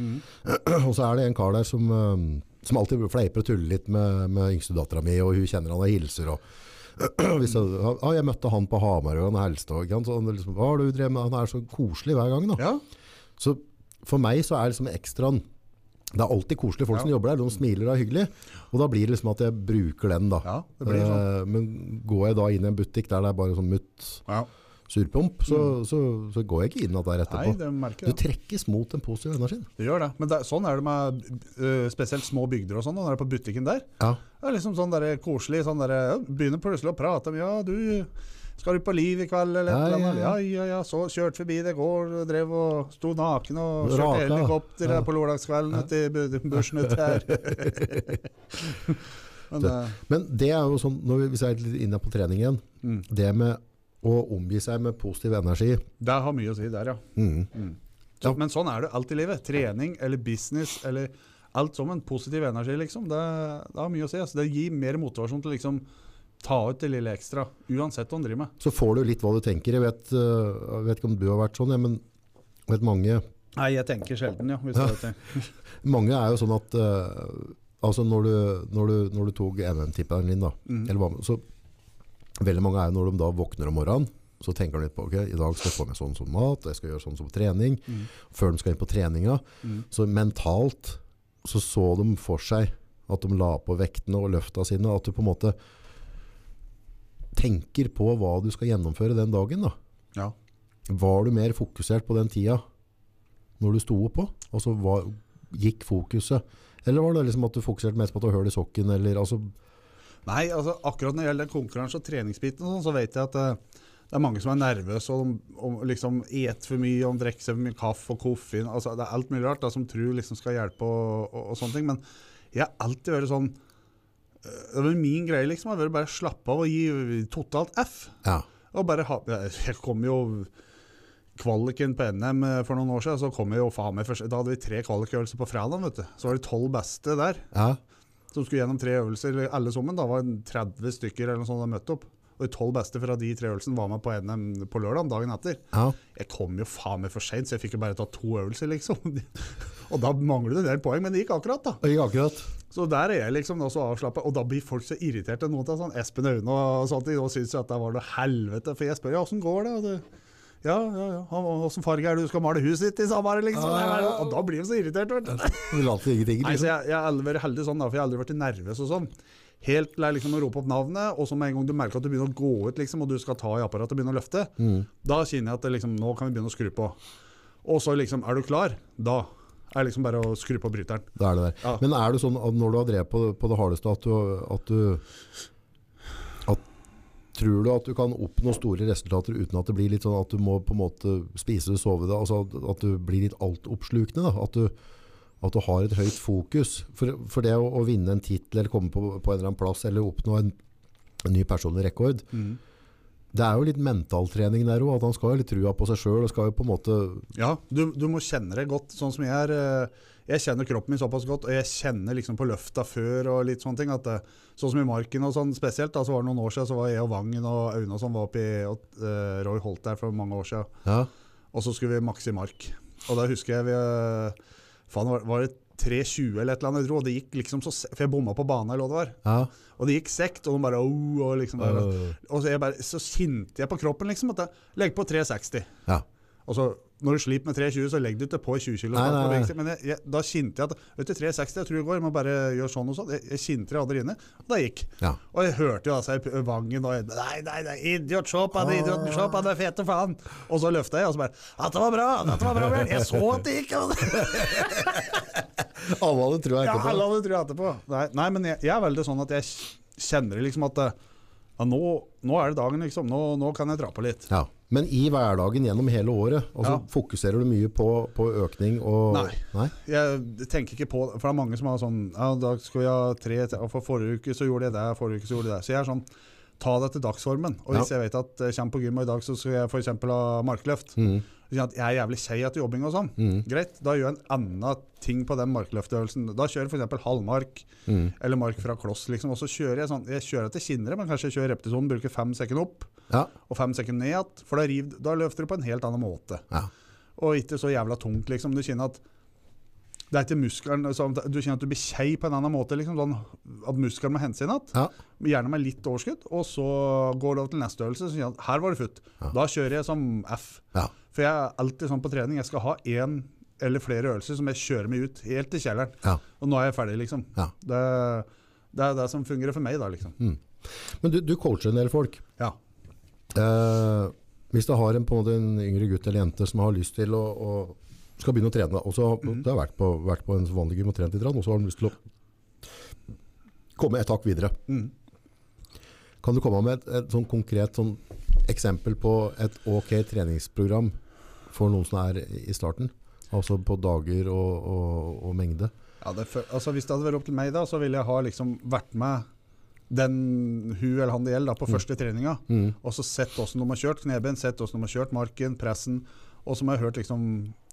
Og så er det en kar der som, eh, som alltid fleiper og tuller litt med, med yngste dattera mi, og hun kjenner han og hilser. Og, hvis jeg, ja, jeg møtte han på Hamarøy, han helste. Og, ikke sant? så han, er liksom, hva har du drevet med? han er så koselig hver gang. Da.
Ja.
Så for meg så er liksom ekstraen Det er alltid koselige folk
Ja.
som jobber der. De smiler og er hyggelige. Og da blir det liksom at jeg bruker den, da.
ja, det blir sånn.
Eh, Men går jeg da inn i en butikk der det er bare sånn mutt
Ja.
surpomp, så, så, så går jeg ikke inn at det er
Mm. Nei,
etterpå.
det merker
Du
jeg.
trekkes mot den positive energien.
Det gjør det. Men det, er- sånn er det med øh, spesielt små bygder og sånn, når det er på butikken der.
Ja.
Det er liksom sånn der koselig, sånn der ja, Begynner plutselig å prate om Ja, du skal du på Liv i kveld, eller et
Ja,
eller annet?
ja,
Ja, ja, ja. Så kjørte forbi det i går, og drev og sto naken og kjørte
Raka.
helikopter
Ja.
på lørdagskvelden ute i bu- bushen ute her. Men
Det-
eh,
Men det er jo sånn, når vi, hvis jeg er litt inne på trening igjen,
Mm.
det med å omgi seg med positiv energi
det har mye å si der, ja.
mm.
Så,
Ja.
Men sånn er det alt i livet. Trening eller business eller alt som en positiv energi, liksom. Det, det har mye å si. Altså. Det gir mer motivasjon til å liksom ta ut det lille ekstra, uansett hva en driver med.
Så får du litt hva du tenker. Jeg vet, øh, jeg vet ikke om du har vært sånn, ja, men jeg vet mange,
Nei, jeg tenker sjelden, ja. Hvis
Ja.
det er det.
mange er jo sånn at øh, altså når, du, når, du, når du tok NM-tipperen din, da,
Mm.
eller hva, så veldig mange er jo når de da våkner om morgenen, så tenker de litt på ok, i dag skal jeg få med sånn som mat, jeg skal gjøre sånn som trening,
Mm.
før de skal inn på treninga.
Mm.
Så mentalt så så de for seg at de la på vektene og løfta sine, at du på en måte tenker på hva du skal gjennomføre den dagen. Da.
Ja.
Var du mer fokusert på den tida når du sto opp på? Altså, hva, gikk fokuset? Eller var det liksom at du fokuserte mest på at du har høl i sokken? Eller, altså,
Nei, altså akkurat når det gjelder konkurranse og treningsbiten, og sånn, så vet jeg at eh, det er mange som er nervøse og, de- og liksom et for mye og de drikker seg for mye kaffe og koffein. Altså, det er alt mulig rart da, som tror liksom skal hjelpe og, og, og sånne ting. Men jeg har alltid vært sånn eh, det var Min greie liksom har vært bare å slappe av og gi totalt F.
ja.
Og bare ha, jeg kom jo kvaliken på NM for noen år siden, så kom jeg jo faen meg først. Da hadde vi tre kvalikøvelser på fredag, vet du. Så var det tolv beste der
ja.
som skulle gjennom tre øvelser, eller alle sammen. Da var det 30 stykker eller noe sånt som møtte opp. Og de tolv beste fra de tre øvelsene var med på NM på lørdag dagen etter.
ja.
Jeg kom jo faen meg for seint, så jeg fikk jo bare ta to øvelser, liksom. Og da mangler det en del poeng, men det gikk akkurat, da.
Og ikke akkurat.
Så der er jeg liksom da så avslappa, og da blir folk så irriterte. Noen av sånn Espen Aune og sånt, de syns jo at det var noe helvete. For jeg spør ja, åssen går det? Og det Ja, ja, ja. Han, Åssen farge er det du skal male huset ditt i, sa han bare, liksom.
Ja, ja, ja.
Og da blir han så irritert, vet du.
Vil alltid ingenting.
Nei, så
Liksom.
jeg, jeg har aldri vært heldig sånn, da, for jeg har aldri vært nervøs og sånn. Helt til jeg liksom roper opp navnet, og så med en gang du merker at du begynner å gå ut, liksom, og du skal ta i apparatet og begynne å løfte, da kjenner jeg at det, liksom, nå kan vi begynne å skru på. Og så liksom Er du klar? Da er det liksom bare å skru på bryteren.
Det er det der.
Ja.
Men er det sånn at når du har drevet på, på det hardeste, at du, at du at, Tror du at du kan oppnå store resultater uten at det blir litt sånn at du må på en måte spise og sove deg? Altså at, at du blir litt altoppslukende? da? At du, at du har et høyt fokus? For, for det å, å vinne en tittel eller komme på, på en eller annen plass eller oppnå en, en ny personlig rekord, det er jo litt mentaltrening der òg. At han skal ha litt trua på seg sjøl og skal jo på en måte
Ja, du, du må kjenne det godt, sånn som jeg er. eh, Jeg kjenner kroppen min såpass godt, og jeg kjenner liksom på løfta før og litt sånne ting. At, eh, sånn som i marken og sånn spesielt, da, så var det noen år siden, så var jeg og Vangen og Aune og sånn var oppe i og, eh, Roy Holt der for mange år siden.
ja.
Og så skulle vi makse i mark. Og da husker jeg vi eh, Faen, var, var det 3.20 eller et eller annet jeg dro, og det gikk liksom så se- For jeg bomma på banen eller hva det var.
Ja.
Og det gikk sekt, og de bare oh, og liksom bare, Og så, jeg bare, så kjente jeg på kroppen liksom at jeg, Legg på 360.
ja.
Og så, når du sliter med 3,20, så legger du ikke på 20 kilo.
Nei, nei, nei.
Men jeg, jeg, da kjente jeg at Vet du, 3,60 jeg tror det går, jeg må bare gjøre sånn og sånn. Jeg, jeg kjente det allerede inne, og det gikk.
Ja.
Og jeg hørte jo altså i Vangen og jeg, Nei, nei, nei, idiot, se på han, idiot, se på han, det er fete faen. Og så løfta jeg, og så bare Dette var bra, dette var bra, Bjørn. Jeg så at det gikk. og-
Alle hadde trua
Ja,
etterpå.
alle hadde trua etterpå. Nei, nei men jeg, jeg er veldig sånn at jeg kjenner det liksom at eh, ja, nå, nå er det dagen, liksom. Nå, nå kan jeg dra på litt.
Ja. Men i hverdagen gjennom hele året, altså,
Ja.
fokuserer du mye på, på økning og
Nei. Jeg tenker ikke på For det er mange som har sånn ja, da skal vi ha tre, og For forrige uke så gjorde jeg det, forrige uke så gjorde jeg det. Så jeg er sånn Ta det etter dagsformen. Og hvis jeg vet at jeg kommer på gym, og i dag så skal jeg f.eks. ha markløft
Mm,
Så sier jeg at Jeg er jævlig kjei etter jobbing og sånn. Greit, da gjør jeg en annen ting på den markløftøvelsen. Da kjører jeg f.eks. halvmark,
mm.
eller mark fra kloss, liksom. Og så kjører jeg sånn Jeg kjører etter kinnere, men kanskje jeg kjører repetisjonen, bruker fem sekunder opp
Ja.
og fem sekunder ned igjen. For da, riv, da løfter du på en helt annen måte
Ja.
og ikke så jævla tungt, liksom. Du kjenner at det er ikke muskelen som- Du kjenner at du blir kjei på en annen måte, liksom. Sånn at muskelen må hensyn igjen.
Ja.
Gjerne med litt overskudd. Og så går det over til neste øvelse, så kjenner jeg at her var det futt. Da kjører jeg som F.
Ja.
For jeg er alltid sånn på trening. Jeg skal ha én eller flere øvelser som jeg kjører meg ut, helt til kjelleren.
Ja.
Og nå er jeg ferdig, liksom.
Ja.
Det, det er det som fungerer for meg, da, liksom.
Men du, du coacher en del folk.
Ja.
Eh, hvis du har en, på en, måte, en yngre gutt eller jente som har lyst til å, å skal begynne å trene, og så
Mhm.
det har vært på, vært på en vanlig gym og trent litt, og så har han lyst til å komme et hakk videre.
Mhm.
Kan du komme med et, et sånn konkret sånn eksempel på et ok treningsprogram for noen som er i starten? Altså på dager og, og, og mengde?
Ja, det, fø- altså Hvis det hadde vært opp til meg, da, så ville jeg ha liksom vært med den hun eller han det gjelder, da,
Mm.
på første treninga. Og så sett åssen de har kjørt kneben, sett åssen de har kjørt marken, pressen. Og så må jeg hørt liksom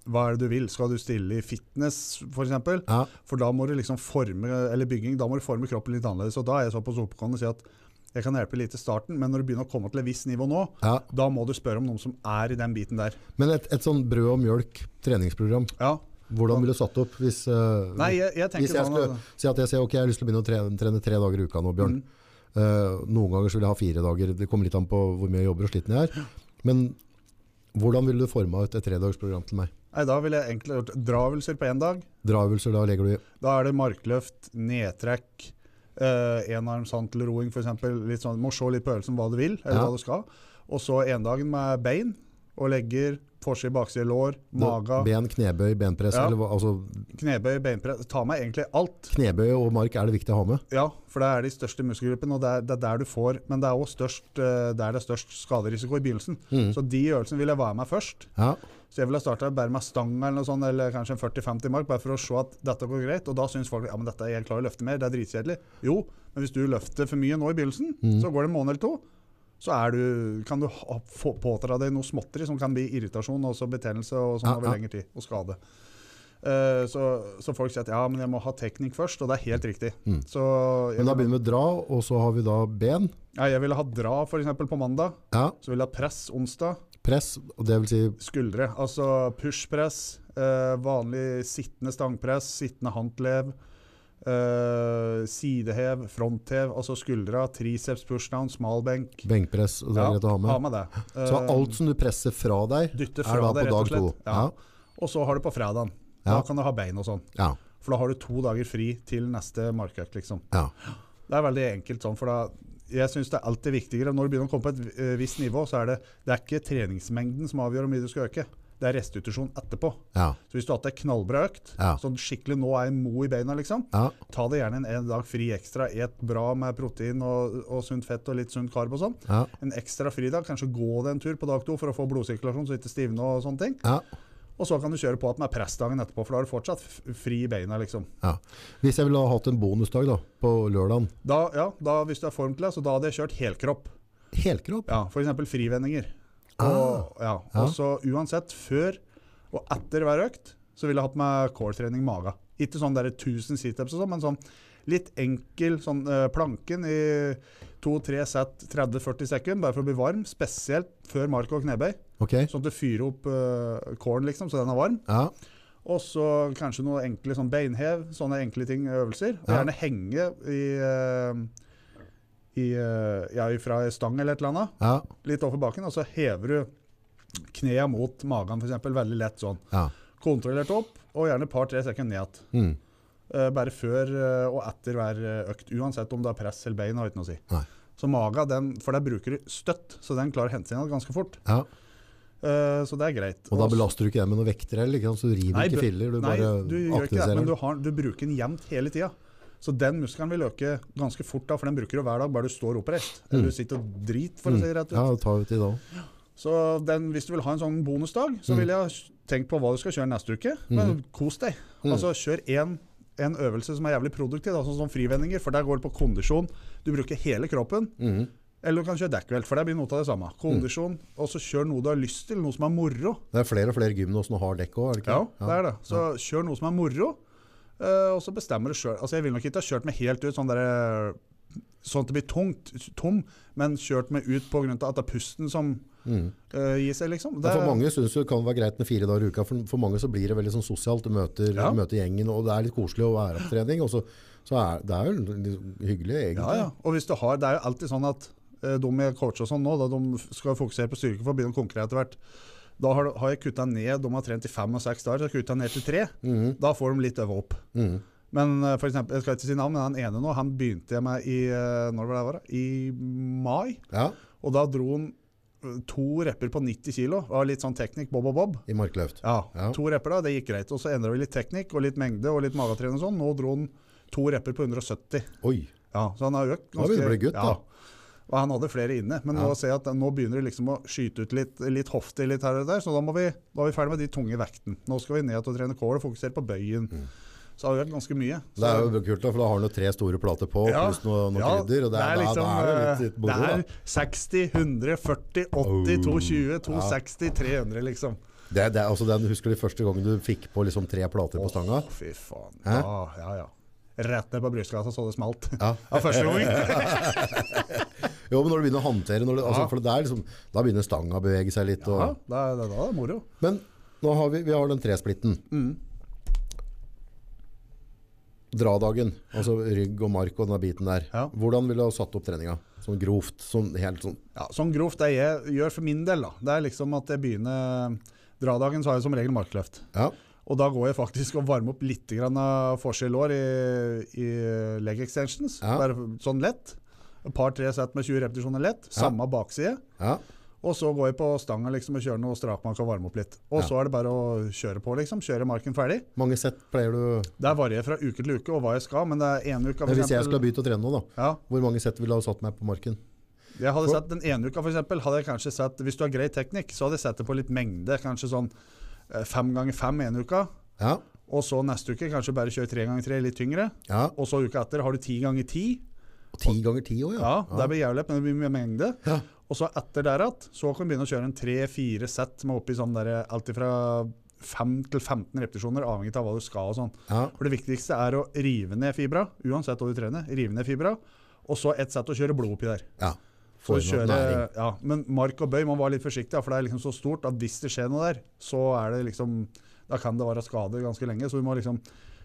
hva er det du vil? Skal du stille i fitness, f.eks.? For, eksempel?
Ja.
for da må du liksom forme eller bygging, da må du forme kroppen litt annerledes. Og da er jeg såpass oppegående å si at jeg kan hjelpe litt i starten, men når du begynner å komme til et visst nivå nå,
Ja,
da må du spørre om noen som er i den biten der.
Men et, et sånn brød og mjølk treningsprogram,
Ja.
hvordan ville du satt opp hvis, eh,
Nei, jeg, jeg
hvis
tenker
jeg
sånn
skulle
at,
si at jeg, sier, ok, jeg har lyst til å begynne å trene, trene tre dager i uka nå,
Mm.
Bjørn. Eh, noen ganger så vil jeg ha fire dager, det kommer litt an på hvor mye jeg jobber og sliten jeg er. Men hvordan ville du forma ut et tredagersprogram til meg?
Nei, da ville jeg egentlig gjort dravelser på én dag.
Dravelser da legger du i?
Da er det markløft, nedtrekk, eh, enarms hantelroing f.eks. Sånn, må se litt på øvelsen hva du vil, eller
Ja.
hva du skal. Og så endagen med bein og legger, forside, bakside, lår, mage,
Ben, knebøy, benpress,
Ja.
eller hva- altså
knebøy, beinpress. Ta med egentlig alt.
knebøy og mark er det viktig å ha med.
Ja, for det er de største muskelgruppene, og det er, det er der du får Men det er også størst, eh, der det er størst skaderisiko i begynnelsen.
Mm.
Så de øvelsene vil jeg være med først.
Ja,
Så jeg ville starta bare med stanga eller noe sånt, eller kanskje en 40-50 mark, bare for å se at dette går greit. Og da syns folk ja, men dette er jeg klar å løfte mer, det er dritkjedelig. Jo, men hvis du løfter for mye nå i begynnelsen,
Mm.
så går det en måned eller to, så er du, kan du ha- få pådra deg noe småtteri som kan bli irritasjon og også betennelse og sånn
Ja,
over
ja.
lengre tid, og skade. Eh, så, så folk sier at ja, men jeg må ha teknikk først, og det er helt riktig. Så jeg,
Mm. Men da begynner vi å dra, og så har vi da ben.
ja, jeg ville ha dra f.eks. på mandag,
Ja,
så ville jeg ha press onsdag.
press, og det vil si
skuldre. Altså pushpress, eh, vanlig sittende stangpress, sittende håndlev, eh, sidehev, fronthev, altså skuldra, triceps pushdown, smal benk.
Benkpress, det er
Ja,
greit å ha med.
Ha med det.
Så
Eh,
alt som du presser fra deg,
Dytte
er
fra
da på
deg, rett
dag
og
to.
slett. Ja. Og så har du på fredagen. Da
Ja.
kan du ha bein og sånn.
ja.
For da har du to dager fri til neste markøkt, liksom.
ja.
Det er veldig enkelt sånn, for da jeg syns det er alltid viktigere. Når du begynner å komme på et vi- eh, visst nivå, så er det, det er ikke treningsmengden som avgjør hvor mye du skal øke. Det er restitusjon etterpå.
ja.
Så hvis du har hatt ei knallbra økt,
Ja.
sånn skikkelig nå er jeg mo i beina, liksom,
ja.
ta det gjerne en, en dag fri ekstra. Et bra med protein og, og sunt fett og litt sunt karb og sånn.
Ja.
En ekstra fridag, kanskje gå deg en tur på dag to for å få blodsirkulasjon så ikke stivne og sånne ting.
Ja.
Og så kan du kjøre på at med pressdagen etterpå, for da har du fortsatt f- fri i beina, liksom.
ja. Hvis jeg ville ha hatt en bonusdag da, på lørdagen,
Da, ja, da, hvis du er form til det, så da hadde jeg kjørt helkropp.
helkropp,
Ja, for eksempel frivendinger.
Ah.
Og, ja.
Ja.
og så uansett, før og etter hver økt, så ville jeg hatt med core-trening i maga. Ikke sånn der 1000 situps og sånn, men sånn litt enkel sånn eh, planken i to-tre sett 30-40 sekunder, bare for å bli varm, spesielt før mark og knebøy,
ok?
sånn at du fyrer opp uh, coren liksom, så den er varm.
Ja,
Og så kanskje noe enkle sånn beinhev, sånne enkle ting, øvelser. Og
Ja.
gjerne henge i, eh, i eh, ja, fra stang eller et eller annet
ja,
litt over baken, og så hever du knea mot magen, f.eks. Veldig lett sånn.
ja.
Kontrollert opp, og gjerne et par-tre sekunder ned igjen.
Mm.
Eh, Bare før eh, og etter hver eh, økt, uansett om det er press eller bein. har ikke noe å si.
Nei.
Så magen, den, for der bruker du støtt, så den klarer å hente seg igjen ganske fort.
ja.
Eh, Så det er greit.
Og da
Og-
belaster du ikke den med noen vekter heller, ikke sant? Så du river
Nei,
ikke
bø-
filler, du
Nei,
bare
du gjør ikke det,
aktiviserer
men du,
den.
har, du bruker den jevnt hele tida. Så den muskelen vil øke ganske fort, da, for den bruker du hver dag, bare du står oppreist. Eller du sitter og driter, for å si det rett ut.
Mm. Ja, det tar jo tid da.
Så den, hvis du vil ha en sånn bonusdag, så
Mm.
vil jeg tenkt på hva du skal kjøre neste uke. Men kos deg.
Mm.
Altså Kjør en, en øvelse som er jævlig produktiv, da, sånn som frivendinger. For der går det på kondisjon. Du bruker hele kroppen.
Mhm.
Eller du kan kjøre dekkvelt, for det blir noe av det samme. Kondisjon.
Mm.
Og så kjør noe du har lyst til, noe som er moro.
Det er flere og flere gym nå som har dekk også, er det ikke?
Ja, det er det. Så kjør noe som er moro, eh, og så bestemmer du sjøl. Altså, jeg vil nok ikke ha kjørt meg helt ut sånn derre Sånn at det blir tungt, tom, men kjørt meg ut pga. at det er pusten som
Mm.
eh, gir seg, liksom.
Ja, For mange synes jo det kan være greit med fire dager i uka, for, for mange så blir det veldig sånn sosialt, du møter,
Ja.
møter gjengen, og det er litt koselig å være på trening, og så, så er det er jo litt hyggelig
Ja,
egentlig.
ja. Og hvis du har, det er jo alltid sånn at eh, de jeg coacher og sånn nå, da, de f- skal fokusere på styrke for å begynne å konkurrere etter hvert. Da har, har jeg kutta ned, de har trent i fem og seks dager, så jeg har kutta ned til tre.
Mhm.
Da får de litt øve opp.
Mhm.
Men eh, for eksempel, jeg skal ikke si navn, men han ene nå, han begynte jeg med i eh, når var det var, i mai.
ja.
Og da dro han eh, to repper på 90 kilo. Det var litt sånn teknikk, bob og bob.
I markløft.
Ja,
Ja.
to repper da, det gikk greit. Og så endra vi litt teknikk og litt mengde og litt magetrening og sånn. Nå dro han to repper på 170.
Oi,
Ja, så han har økt
Da begynner det å bli gutt, da.
ja. Og han hadde flere inne, men nå
Ja.
ser jeg at nå begynner det liksom å skyte ut litt, litt hofte litt her og der, så da, må vi, da er vi ferdig med de tunge vekten. Nå skal vi ned og trene kål og fokusere på bøyen. Så har vi økt ganske mye. Så,
Mm. det er jo kult da, for da har du tre store plater på,
Ja.
pluss noe, noe
Ja, liksom,
krydder, og det er, da, da er det litt, litt
eh,
moro
det
da.
er 60, 100, 40, 80, 220, 260, 300 liksom.
Det, er- det, er- altså, den, husker du første gangen du fikk på liksom, tre plater på stanga?
Å, fy faen.
Hæ?
Ja, ja, ja. Rett ned på brystkassa så det smalt.
Ja.
Ja, første gang.
Jo, men når du begynner å håndtere, når du, altså,
Ja.
for det er liksom, da begynner stanga å bevege seg litt. Og,
Ja, da, da, da er det moro.
Men nå har vi, vi har den tresplitten.
Mm.
Dradagen, altså rygg og mark og den biten der.
Ja.
Hvordan ville du ha satt opp treninga? Sånn grovt, sånn helt sånn.
Ja, sånn grovt det jeg gjør for min del, da. Det er liksom at jeg begynner Dradagen så har jeg som regel markløft.
Ja,
Og da går jeg faktisk og varmer opp litt grann av forskjell lår i, i leg extensions.
Ja.
Bare sånn lett. Et par-tre sett med 20 repetisjoner lett.
Ja.
Samme bakside.
ja,
Og så går jeg på stanga liksom og kjører noe strakmark og varme opp litt. Og
Ja.
så er det bare å kjøre på, liksom. Kjøre marken ferdig.
mange sett pleier du...
Der varierer jeg fra uke til uke og hva jeg skal, men det er ene uka for
Men hvis jeg
eksempel-
skulle ha begynt å trene nå da,
ja,
hvor mange sett ville du ha satt meg på marken?
Jeg hadde sett den ene uka, for eksempel, hadde jeg kanskje sett Hvis du har grei teknikk, så hadde jeg sett det på litt mengde. Kanskje sånn eh, fem ganger fem ene uka.
Ja,
Og så neste uke kanskje bare kjøre tre ganger tre, litt tyngre.
ja,
Og så uka etter har du ti ganger ti.
og ti ganger ti også, ja.
Ja, det blir jævlig, men det blir mye mengde.
Ja.
Og så etter der igjen, så kan du begynne å kjøre en tre-fire sett med oppi sånn der alt ifra 5 til 15 repetisjoner, avhengig av hva du skal og sånn.
Ja,
For det viktigste er å rive ned fibra, uansett hva du trener. Rive ned fibra, og så ett sett å kjøre blod oppi der.
ja.
Så
Få inn noe
kjøre,
næring.
ja, men mark og bøy, man var litt forsiktig, da, for det er liksom så stort at hvis det skjer noe der, så er det liksom Da kan det være skader ganske lenge. Så vi må liksom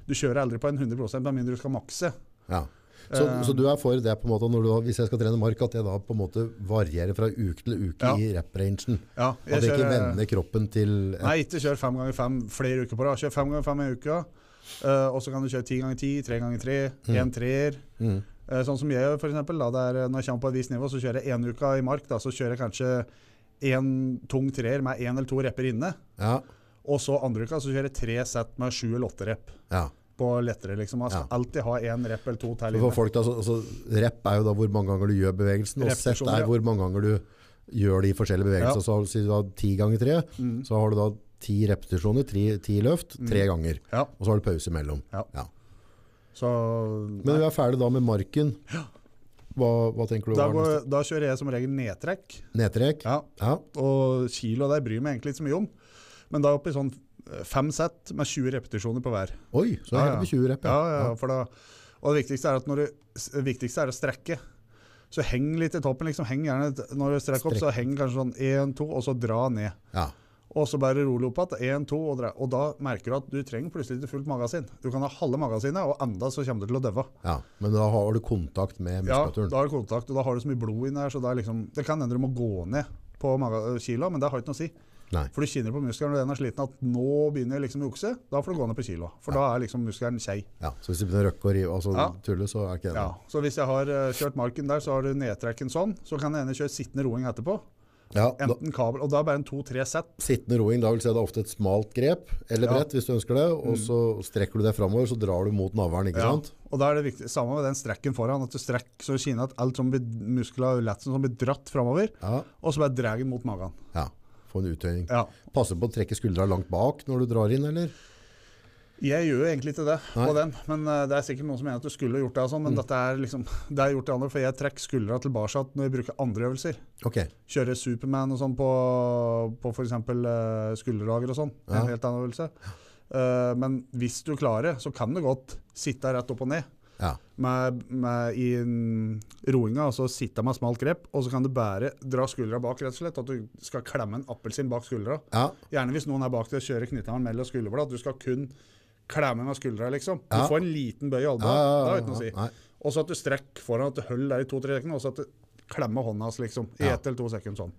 Du kjører aldri på en 100 med mindre du skal makse.
Ja. Så,
Eh.
så du er for det på en måte når du, da- hvis jeg skal trene mark, at jeg da på en måte varierer fra uke til uke
Ja.
i rep-rangen?
Ja, jeg
At jeg ikke
kjører-
vender kroppen til et,
Nei, ikke kjør fem ganger fem flere uker på rad. Kjør fem ganger fem i uka. eh, og så kan du kjøre ti ganger ti, tre ganger tre,
Mm.
én treer.
mm,
Eh, sånn som jeg gjør, for eksempel. Da, det er, eh, når jeg kommer på et visst nivå, så kjører jeg én uka i mark. Da, så kjører jeg kanskje én tung treer med én eller to repper inne.
Ja.
Og så andre uka så kjører jeg tre sett med sju eller åtte rep.
ja.
På lettere, liksom. Altså
Ja.
alltid ha én rep eller to til
Så for
inne.
folk da, så, så Rep er jo da hvor mange ganger du gjør bevegelsen, og sett
Repetisjoner,
er
ja.
hvor mange ganger du gjør de forskjellige
Ja.
bevegelsene. Så har du- sier du da ti ganger tre,
Mm.
så har du da ti repetisjoner, tre, ti løft, tre ganger.
Ja.
Og så har du pause imellom.
Ja.
Ja.
Så
Men vi er ferdig da med marken. Hva, hva tenker du?
da,
var
går,
neste?
da kjører jeg som regel nedtrekk.
Nedtrekk?
Ja,
Ja.
Og kilo der bryr jeg meg egentlig ikke så mye om. Men da opp i sånn eh, fem sett med 20 repetisjoner på hver.
Oi, så er
Ja, ja.
det på 20 rep.
Ja, ja, for da, og det viktigste er, at når du, s- det viktigste er å strekke. Så heng litt i toppen. liksom, heng gjerne, t- Når du strekker opp, så heng kanskje sånn én, to, og så dra ned.
Ja.
Og så bare rolig opp igjen. Én, to, og dra. Og da merker du at du trenger plutselig ikke fullt magasin. Du kan ha halve magasinet, og enda så kommer du til å døve.
ja. Men da har du kontakt med
Ja, da
muskulaturen.
har du kontakt, og da har du så mye blod inni her, så det, er liksom, det kan hende du må gå ned på maga- kilo, men det har ikke noe å si.
Nei.
For du kjenner på muskelen når den er sliten at nå begynner jeg liksom å jukse. Da får du gå ned på kilo. For da er liksom muskelen kjei.
Ja. Så hvis du begynner å røkke og rive, altså
Ja.
tulle, så er ikke det
Ja. Så hvis jeg har eh, kjørt marken der, så har du nedtrekken sånn. Så kan jeg gjerne kjøre sittende roing etterpå.
Ja, da,
Enten kabel Og da er det bare en to-tre sett.
Sittende roing, da vil si det er ofte et smalt grep, eller
Ja. Mm.
brett hvis du ønsker det, og så strekker du det framover, så drar du mot navlen, ikke
Ja.
sant?
Og da er det viktig, Samme med den strekken foran. At du strekker så du kjenner at alt som blir muskler og lett som blir dratt framover.
Ja.
Og så bare drar den mot magen.
ja. Få en uttøyning.
Ja.
Passer på å trekke skuldra langt bak når du drar inn, eller?
Jeg gjør jo egentlig ikke det på
Nei. Mm.
den, men eh, det er sikkert noen som mener at du skulle gjort det og sånn, men dette er liksom, det er gjort det andre, for jeg trekker skuldra tilbake når jeg bruker andre øvelser.
Ok.
kjøre Superman og sånn på, på f.eks. Uh, skulderlager og sånn. Det
Ja.
er En helt annen øvelse. Eh, men hvis du klarer, så kan du godt sitte rett opp og ned
Ja.
med, med i mm, roinga, altså sitte med smalt grep, og så kan du bare dra skuldra bak, rett og slett. At du skal klemme en appelsin bak skuldra.
Ja.
Gjerne hvis noen er bak deg og kjører knyttneven mellom skulderblad. At du skal kun klemme med skuldra, liksom. Du
Ja.
får en liten bøy i
Ja,
albuen.
ja,
Det
ja,
har ikke noe å si.
Nei.
Og så at du strekker foran, at du holder der i to-tre sekunder, og så at du klemmer hånda hans, liksom. I
Ja.
ett eller to sekunder sånn.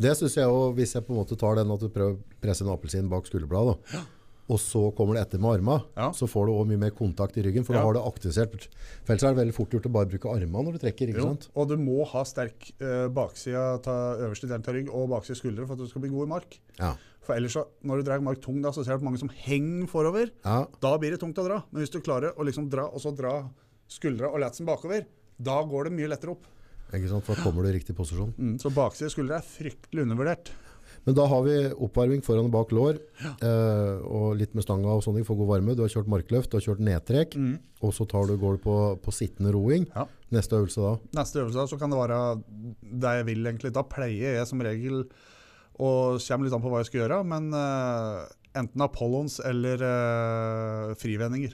Det syns jeg òg, hvis jeg på en måte tar den at du prøver å presse en appelsin bak skulderbladet, da. og så kommer det etter med arma,
Ja.
så får du òg mye mer kontakt i ryggen, for
Ja.
da har du aktivisert. For ellers er det veldig fort gjort å bare bruke armene når du trekker, ikke
Jo,
sant?
og du må ha sterk eh, baksida ta, øverste delen av rygg og baksida skuldre for at du skal bli god i mark.
Ja.
For ellers, så, når du drar mark tung, da, så ser du at mange som henger forover.
ja.
Da blir det tungt å dra. Men hvis du klarer å liksom dra, og så dra skuldra og latsen bakover, da går det mye lettere opp.
Ikke sant? For da kommer du i riktig posisjon.
Så baksida skuldre er fryktelig undervurdert.
Men da har vi oppvarming foran og bak lår, eh, og litt med stanga og sånne for god varme. Du har kjørt markløft, du har kjørt nedtrekk, og så tar du går du på, på sittende roing.
Mm. Ja.
Neste øvelse da.
Neste øvelse da, så kan det være det jeg vil egentlig. Da pleier jeg som regel å kommer litt an på hva jeg skal gjøre, men eh, enten Apollons eller eh, frivendinger.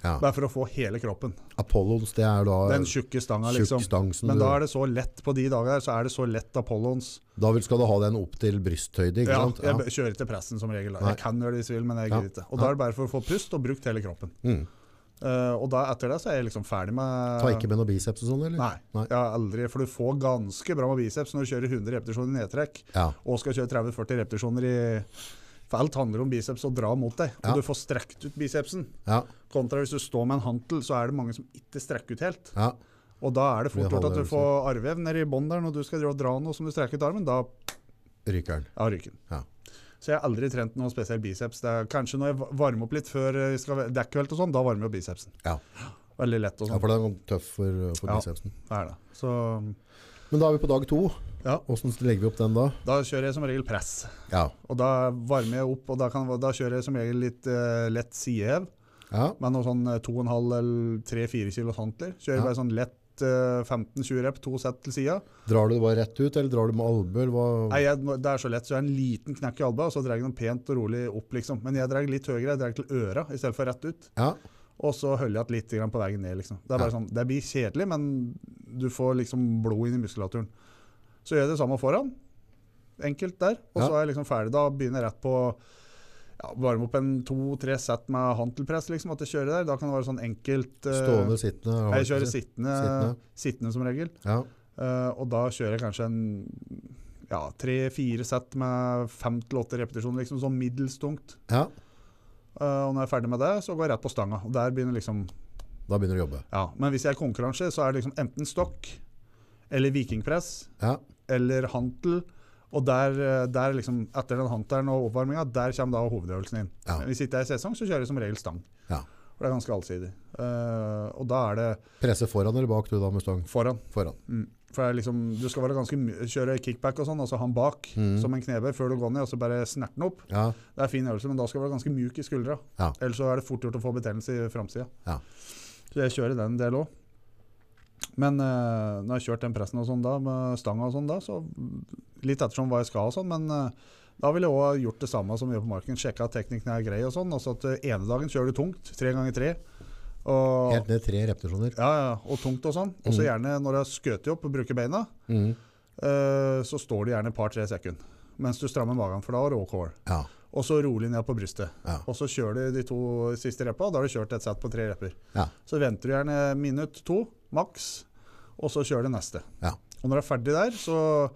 Det
Ja.
er for å få hele kroppen.
Apollons, det er da
Den tjukke stanga, liksom.
tjukkstansen.
Men
du-
da er det så lett på de dager her, så er det så lett Apollons.
Da vil- skal du ha den opp til brysthøyde, ikke
Ja,
sant?
jeg b- kjører til pressen som regel. Da.
Nei.
Jeg kan gjøre det hvis jeg vil, men jeg
Ja.
gidder ikke. Og da er det bare for å få pust og brukt hele kroppen.
Mm.
Eh, og da etter det så er jeg liksom ferdig med
Ta ikke med noe biceps og sånn, eller?
Nei.
Nei.
Jeg har aldri, for du får ganske bra med biceps når du kjører 100 repetisjoner i nedtrekk
Ja.
og skal kjøre 30-40 repetisjoner i For alt handler om biceps og dra mot deg. Og
Ja.
du får strekt ut bicepsen.
Ja.
Kontra hvis du står med en hantel, så er det mange som ikke strekker ut helt.
ja.
Og da er det fort
Blir
gjort at du
halvøvelser.
får arrvev nedi bånn der når du skal drive og dra noe som du streker ut armen. Da
Ryker den.
er ryken.
Ja.
Så jeg har aldri trent noe spesiell biceps. Det er kanskje når jeg va- varmer opp litt før jeg skal dekkvelt og sånn, da varmer jo bicepsen.
Ja.
Veldig lett og
ja,
sånn.
for den er tøff for, for
Ja.
bicepsen.
Det er det. Så mm,
Men da er vi på dag to.
Ja.
Hvordan legger vi opp den da?
da kjører jeg som regel press.
Ja.
Og da varmer jeg opp, og da, kan, da kjører jeg som regel litt eh, lett sidehev
Ja.
med noe sånn eh, 2,5 eller 3-4 kilo hantler. Kjører
Ja.
bare sånn lett eh, 15-20 rep, to sett til sida.
Drar du det bare rett ut, eller drar du med albuer? Hva-
Nei, jeg, det er så lett, så jeg har en liten knekk i albua, og så drar jeg den pent og rolig opp, liksom. Men jeg drar litt høyere, jeg drar til øra i stedet for rett ut.
Ja.
Og så holder jeg igjen litt grann på veien ned, liksom. Det er bare
Ja.
sånn, det blir kjedelig, men du får liksom blod inn i muskulaturen. Så gjør jeg det samme foran. Enkelt der. Og
Ja.
så er jeg liksom ferdig. Da begynner jeg rett på ja, varme opp en to-tre sett med hantelpress, liksom, at jeg kjører der. Da kan det være sånn enkelt eh,
Stående, sittende eller hva
Jeg
skal
kjører
si.
sittende,
Sittende.
sittende. som regel.
Ja.
Eh, og da kjører jeg kanskje en ja, tre-fire sett med fem til åtte repetisjoner, liksom sånn middels tungt.
ja,
Eh, og når jeg er ferdig med det, så går jeg rett på stanga. Og der begynner liksom
da begynner du å jobbe.
Ja, men hvis jeg er i konkurranse, så er det liksom enten stokk eller vikingpress
Ja,
eller hantel. Og der, eh, der liksom, etter den hantelen og oppvarminga, der kommer da hovedøvelsen inn.
Ja.
Men hvis ikke det er sesong, så kjører jeg som regel stang.
Ja.
For det er ganske allsidig. Eh, og da er det
Presse foran eller bak du da, Mustang?
foran.
Foran.
For det er liksom, du skal være ganske my- kjøre kickback og sånn, altså han bak
Mm.
som en knebøy før du går ned, og så bare snerte den opp.
Ja,
Det er fin øvelse, men da skal du være ganske mjuk i skuldra.
Ja.
Ellers så er det fort gjort å få betennelse i framsida.
Ja.
Så jeg kjører den del òg. Men eh, når jeg har kjørt den pressen og sånn da, med stanga og sånn da, så litt ettersom hva jeg skal og sånn, men eh, da ville jeg òg gjort det samme som vi gjør på marken. Sjekka at teknikken er grei og sånn. Altså at eh, ene dagen kjører du tungt, tre ganger tre. Og,
Helt Mm. ned tre repetisjoner.
ja, ja, og tungt og sånn. Og så gjerne når jeg skjøter opp og bruker beina,
Mm.
eh, så står det gjerne et par-tre sekunder. Mens du strammer magen, for da har du råkål.
Ja,
Og så rolig ned på brystet.
ja,
Og så kjører du de to siste reppa, og da har du kjørt et sett på tre repper.
Ja.
Så venter du gjerne minutt to, maks, og så kjører du neste.
Ja.
Og når du er ferdig der, så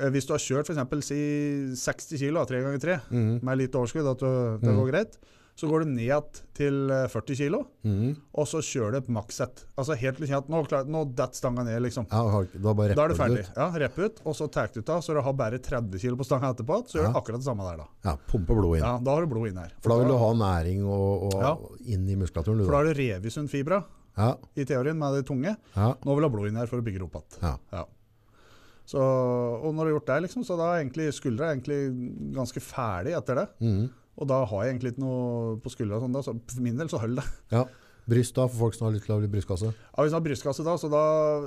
eh, hvis du har kjørt f.eks. Si 60 kg, da, tre ganger tre,
mm.
med litt overskudd, at du, det
Mm.
går greit, så går du ned igjen til eh, 40 kg,
Mm.
og så kjører du et makssett. Altså helt til du kjenner at nå, klar- nå detter stanga ned, liksom.
ja har- da bare
Da er du
repper du
ferdig.
ut.
Ja, Rep ut, og så tar du ut av, så du har bare 30 kg på stanga etterpå. Så gjør
Ja.
du akkurat det samme der, da.
Ja, pumpe blodet inn.
Ja, Da har du blod inne her.
For da vil du ha næring og, og
Ja.
inn i muskulaturen. Du,
For
da.
da har du revisundfibra
Ja,
i teorien med det tunge.
ja,
Nå vil du ha blod inn her for å bygge det opp igjen.
ja.
Så, og når du har gjort det, liksom, så da er egentlig skuldra er egentlig ganske ferdig etter det.
Mm.
Og da har jeg egentlig ikke noe på skuldra, og sånn da, så for min del så holder det.
Bryst da, for folk som har lyst til å bli brystkasse.
Ja, hvis du har brystkasse da, så da,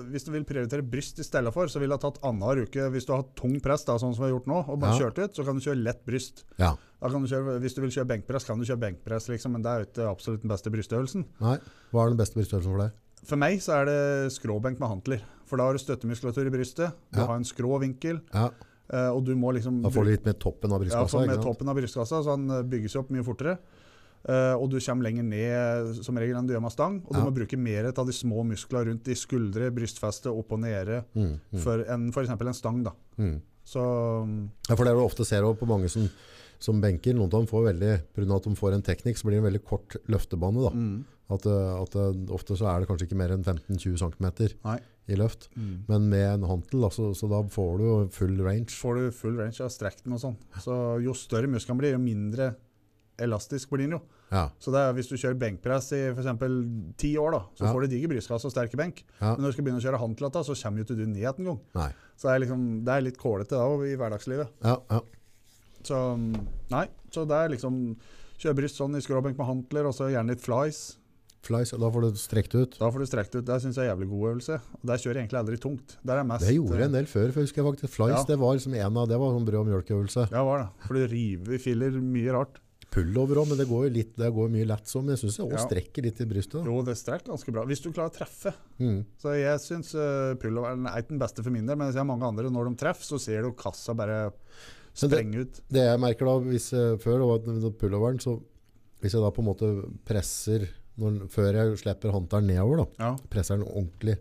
hvis du vil prioritere bryst i stedet for, så vil jeg ha tatt annenhver uke. Hvis du har hatt tung press, da, sånn som vi har gjort nå, og bare
Ja.
kjørt ut, så kan du kjøre lett bryst.
Ja.
Da kan du kjøre, hvis du vil kjøre benkpress, kan du kjøre benkpress, liksom, men det er jo ikke absolutt den beste brystøvelsen.
Nei, hva er den beste bryststørrelsen for deg?
For meg så er det skråbenk med hantler. For da har du støttemuskulatur i brystet, du
Ja.
har en skrå vinkel,
Ja,
eh, og du må liksom
da får du litt mer toppen av
ja,
brystkassa.
for med
ikke sant?
toppen av brystkassa, så han eh, bygger seg opp mye fortere. Eh, og du kommer lenger ned som regel enn du gjør med stang, og du
Ja.
må bruke mer av de små musklene rundt i skuldre, brystfeste, opp og nede,
Mm, mm,
for enn f.eks. en stang. da.
mm.
Så
Ja, for det er det du ofte ser også på mange som, som benker. Noen av dem får veldig, på grunn av at de får en teknikk, så blir det en veldig kort løftebane. Da.
mm,
At, eh, at eh, ofte så er det kanskje ikke mer enn 15-20 cm
Nei.
i løft.
mm.
Men med en hantel, da, så, så da får du jo full range.
får du full range av strekten og sånn. Så jo større muskelen blir, jo mindre elastisk blir den jo.
Ja,
Så det er, hvis du kjører benkpress i for eksempel ti år, da, så
Ja.
får du diger brystkasse og sterke benk.
Ja.
Men når du skal begynne å kjøre hantelata, så kommer jo ikke du ned en gang.
nei.
Så det er, liksom, det er litt kålete da, i hverdagslivet.
Ja, ja.
Så mm, nei, så det er liksom Kjøre bryst sånn i skråbenk med hantler, og så gjerne litt flies.
Flies, og da får du strekt ut.
Da får du strekt ut. Det syns jeg er jævlig god øvelse. Og der kjører jeg egentlig aldri tungt. Der er mest
Det gjorde jeg en del før, for jeg husker jeg faktisk. Flies,
Ja.
det var liksom en av, det var sånn brød og mjølkeøvelse.
eh, Ja, var det. For du river i filler mye rart.
Pullover også, men det går jo litt, det går mye lett som, men jeg synes jeg også
Ja.
strekker litt i brystet. da.
Jo, det strekk ganske bra. Hvis du klarer å treffe.
Mm.
Så jeg syns uh, pulloveren er ikke den beste for min del, men jeg ser mange andre når de treffer, så ser du kassa bare
Men det-
sprenge ut.
Det jeg merker da, hvis, eh, før da, at med pulloveren, så hvis jeg da på en måte presser, når, før jeg slipper håndteren nedover da,
Ja,
presser den ordentlig,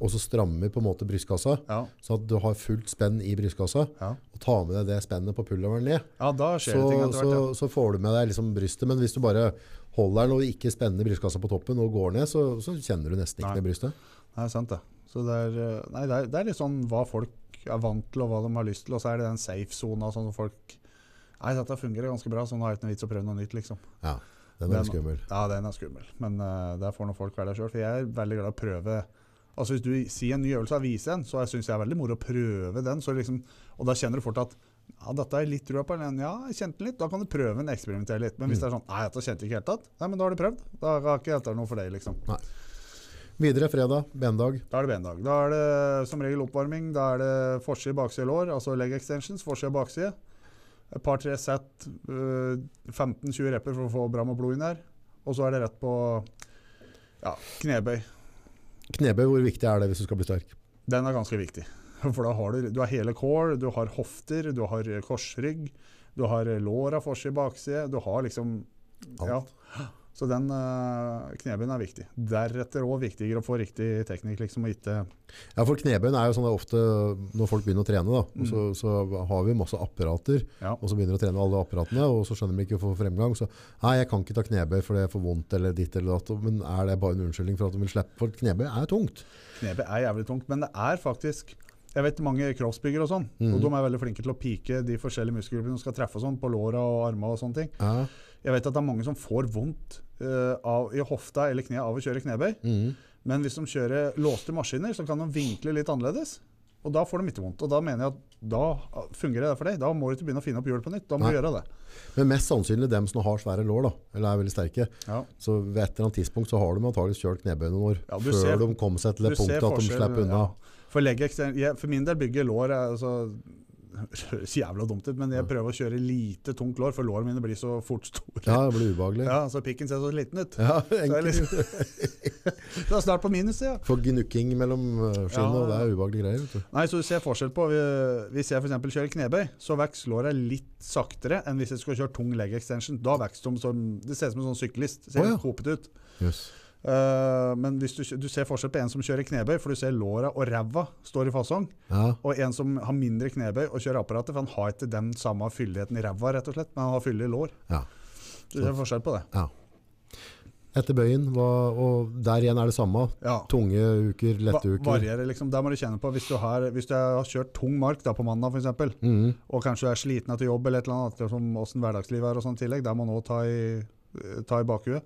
og så strammer på en måte brystkassa,
ja,
så at du har fullt spenn i brystkassa,
ja.
og tar med deg det spennet på pulloveren ned,
ja da skjer
så,
det ting etter
så,
hvert. Ja.
så får du med deg liksom brystet, men hvis du bare holder den og ikke spenner brystkassa på toppen og går ned, så, så kjenner du nesten
Nei.
ikke med brystet.
Nei, sant det. Så det er, uh, nei, det, er, det er litt sånn hva folk er vant til, og hva de har lyst til, og så er det den safe-sona sånn som folk Nei, dette fungerer ganske bra, så nå er det ikke noe vits å prøve noe nytt, liksom.
Ja, den er
Den-
litt skummel.
Ja, den er skummel, men uh, der får nå folk være der sjøl. For jeg er veldig glad i å prøve Altså Hvis du sier en ny øvelse og viser en, så syns jeg synes det er veldig moro å prøve den. Så liksom, og da kjenner du fort at ja, dette er litt trua på, eller ja, jeg kjente den litt. Da kan du prøve den, eksperimentere litt. Men hvis det er sånn nei, dette kjente jeg ikke helt tatt, nei, men da har du prøvd. Da har ikke dette noe for deg, liksom.
Videre fredag, bendag.
Da er det bendag. Da er det som regel oppvarming. Da er det forside, bakside lår, altså leg extensions, forside og bakside. Et par-tre sett, øh, 15-20 repper for å få bra med blod inn her. Og så er det rett på ja, knebøy.
Knebøy, hvor viktig er det hvis du skal bli sterk?
Den er ganske viktig. For da har du, du har hele core, du har hofter, du har korsrygg, Du har låra fors i bakside. Du har liksom
Alt.
Ja. Så den uh, knebøyen er viktig. Deretter òg viktigere å få riktig teknikk, liksom, og ikke
Ja, for knebøyen er jo sånn det er ofte når folk begynner å trene, da, og så, så har vi masse apparater,
Mm. Ja.
og så begynner de å trene alle apparatene, og så skjønner de ikke å få fremgang, så nei, jeg kan ikke ta knebøy for det er for vondt, eller ditt eller datt, men er det bare en unnskyldning for at de vil slippe, for knebøy er tungt.
Knebøy er jævlig tungt, men det er faktisk Jeg vet mange kroppsbyggere og sånn, og de er veldig flinke til å pike de forskjellige muskelgruppene som skal treffe og sånn, på låra og arma og sånne ting.
Ja.
Jeg vet at det er mange som får vondt eh, av, i hofta eller kneet av å kjøre knebøy,
Mhm.
men hvis de kjører låste maskiner, så kan de vinkle litt annerledes. Og da får de ikke vondt. Og da mener jeg at da ah, fungerer det for deg. Da må du ikke begynne å finne opp hjul på nytt. Da må
Nei.
du gjøre det.
Men mest sannsynlig dem som har svære lår, da, eller er veldig sterke,
Ja.
så ved et eller annet tidspunkt så har de antageligvis kjørt knebøy noen år,
Ja, du
før
ser-
de kom seg til det
du ser
punktet at de
forskjell,
slipper unna.
ja. For, legge ekstern- jeg, for min del bygger lår er, altså, Det høres jævla dumt ut, men jeg prøver å kjøre lite tungt lår, for lårene mine blir så fort store.
Ja, det blir ubehagelig.
Ja, Så pikken ser så liten ut.
Ja,
Så jeg
enkelt.
liksom, det er snart på minus, ja.
For gnukking mellom eh, skinnene, og det er ubehagelige greier. Vet du.
Nei, så du ser forskjell på eh, Hvis jeg for eksempel kjører knebøy, så vokser låra litt saktere enn hvis jeg skulle kjøre tung leg extension. Da vokser de som Det ser ut som en sånn syklist. Ser
Å, ja.
hopet ut.
Yes.
Eh, men hvis du, kjø- du ser forskjell på en som kjører knebøy, for du ser låra og ræva står i fasong.
Ja.
Og en som har mindre knebøy og kjører apparatet, for han har ikke den samme fyldigheten i ræva, rett og slett, men han har fyldig lår.
Ja.
Du ser forskjell på det.
Ja. Etter bøyen, hva, og der igjen er det samme.
Ja.
Tunge uker,
Va-
lette uker.
Varierer, liksom. Der må du kjenne på. Hvis du har, hvis du har kjørt tung mark da, på mandag, for eksempel,
Mhm.
og kanskje du er sliten etter jobb eller et eller annet, som åssen hverdagslivet er og sånn i tillegg, der må du nå ta i, ta i bakhuet.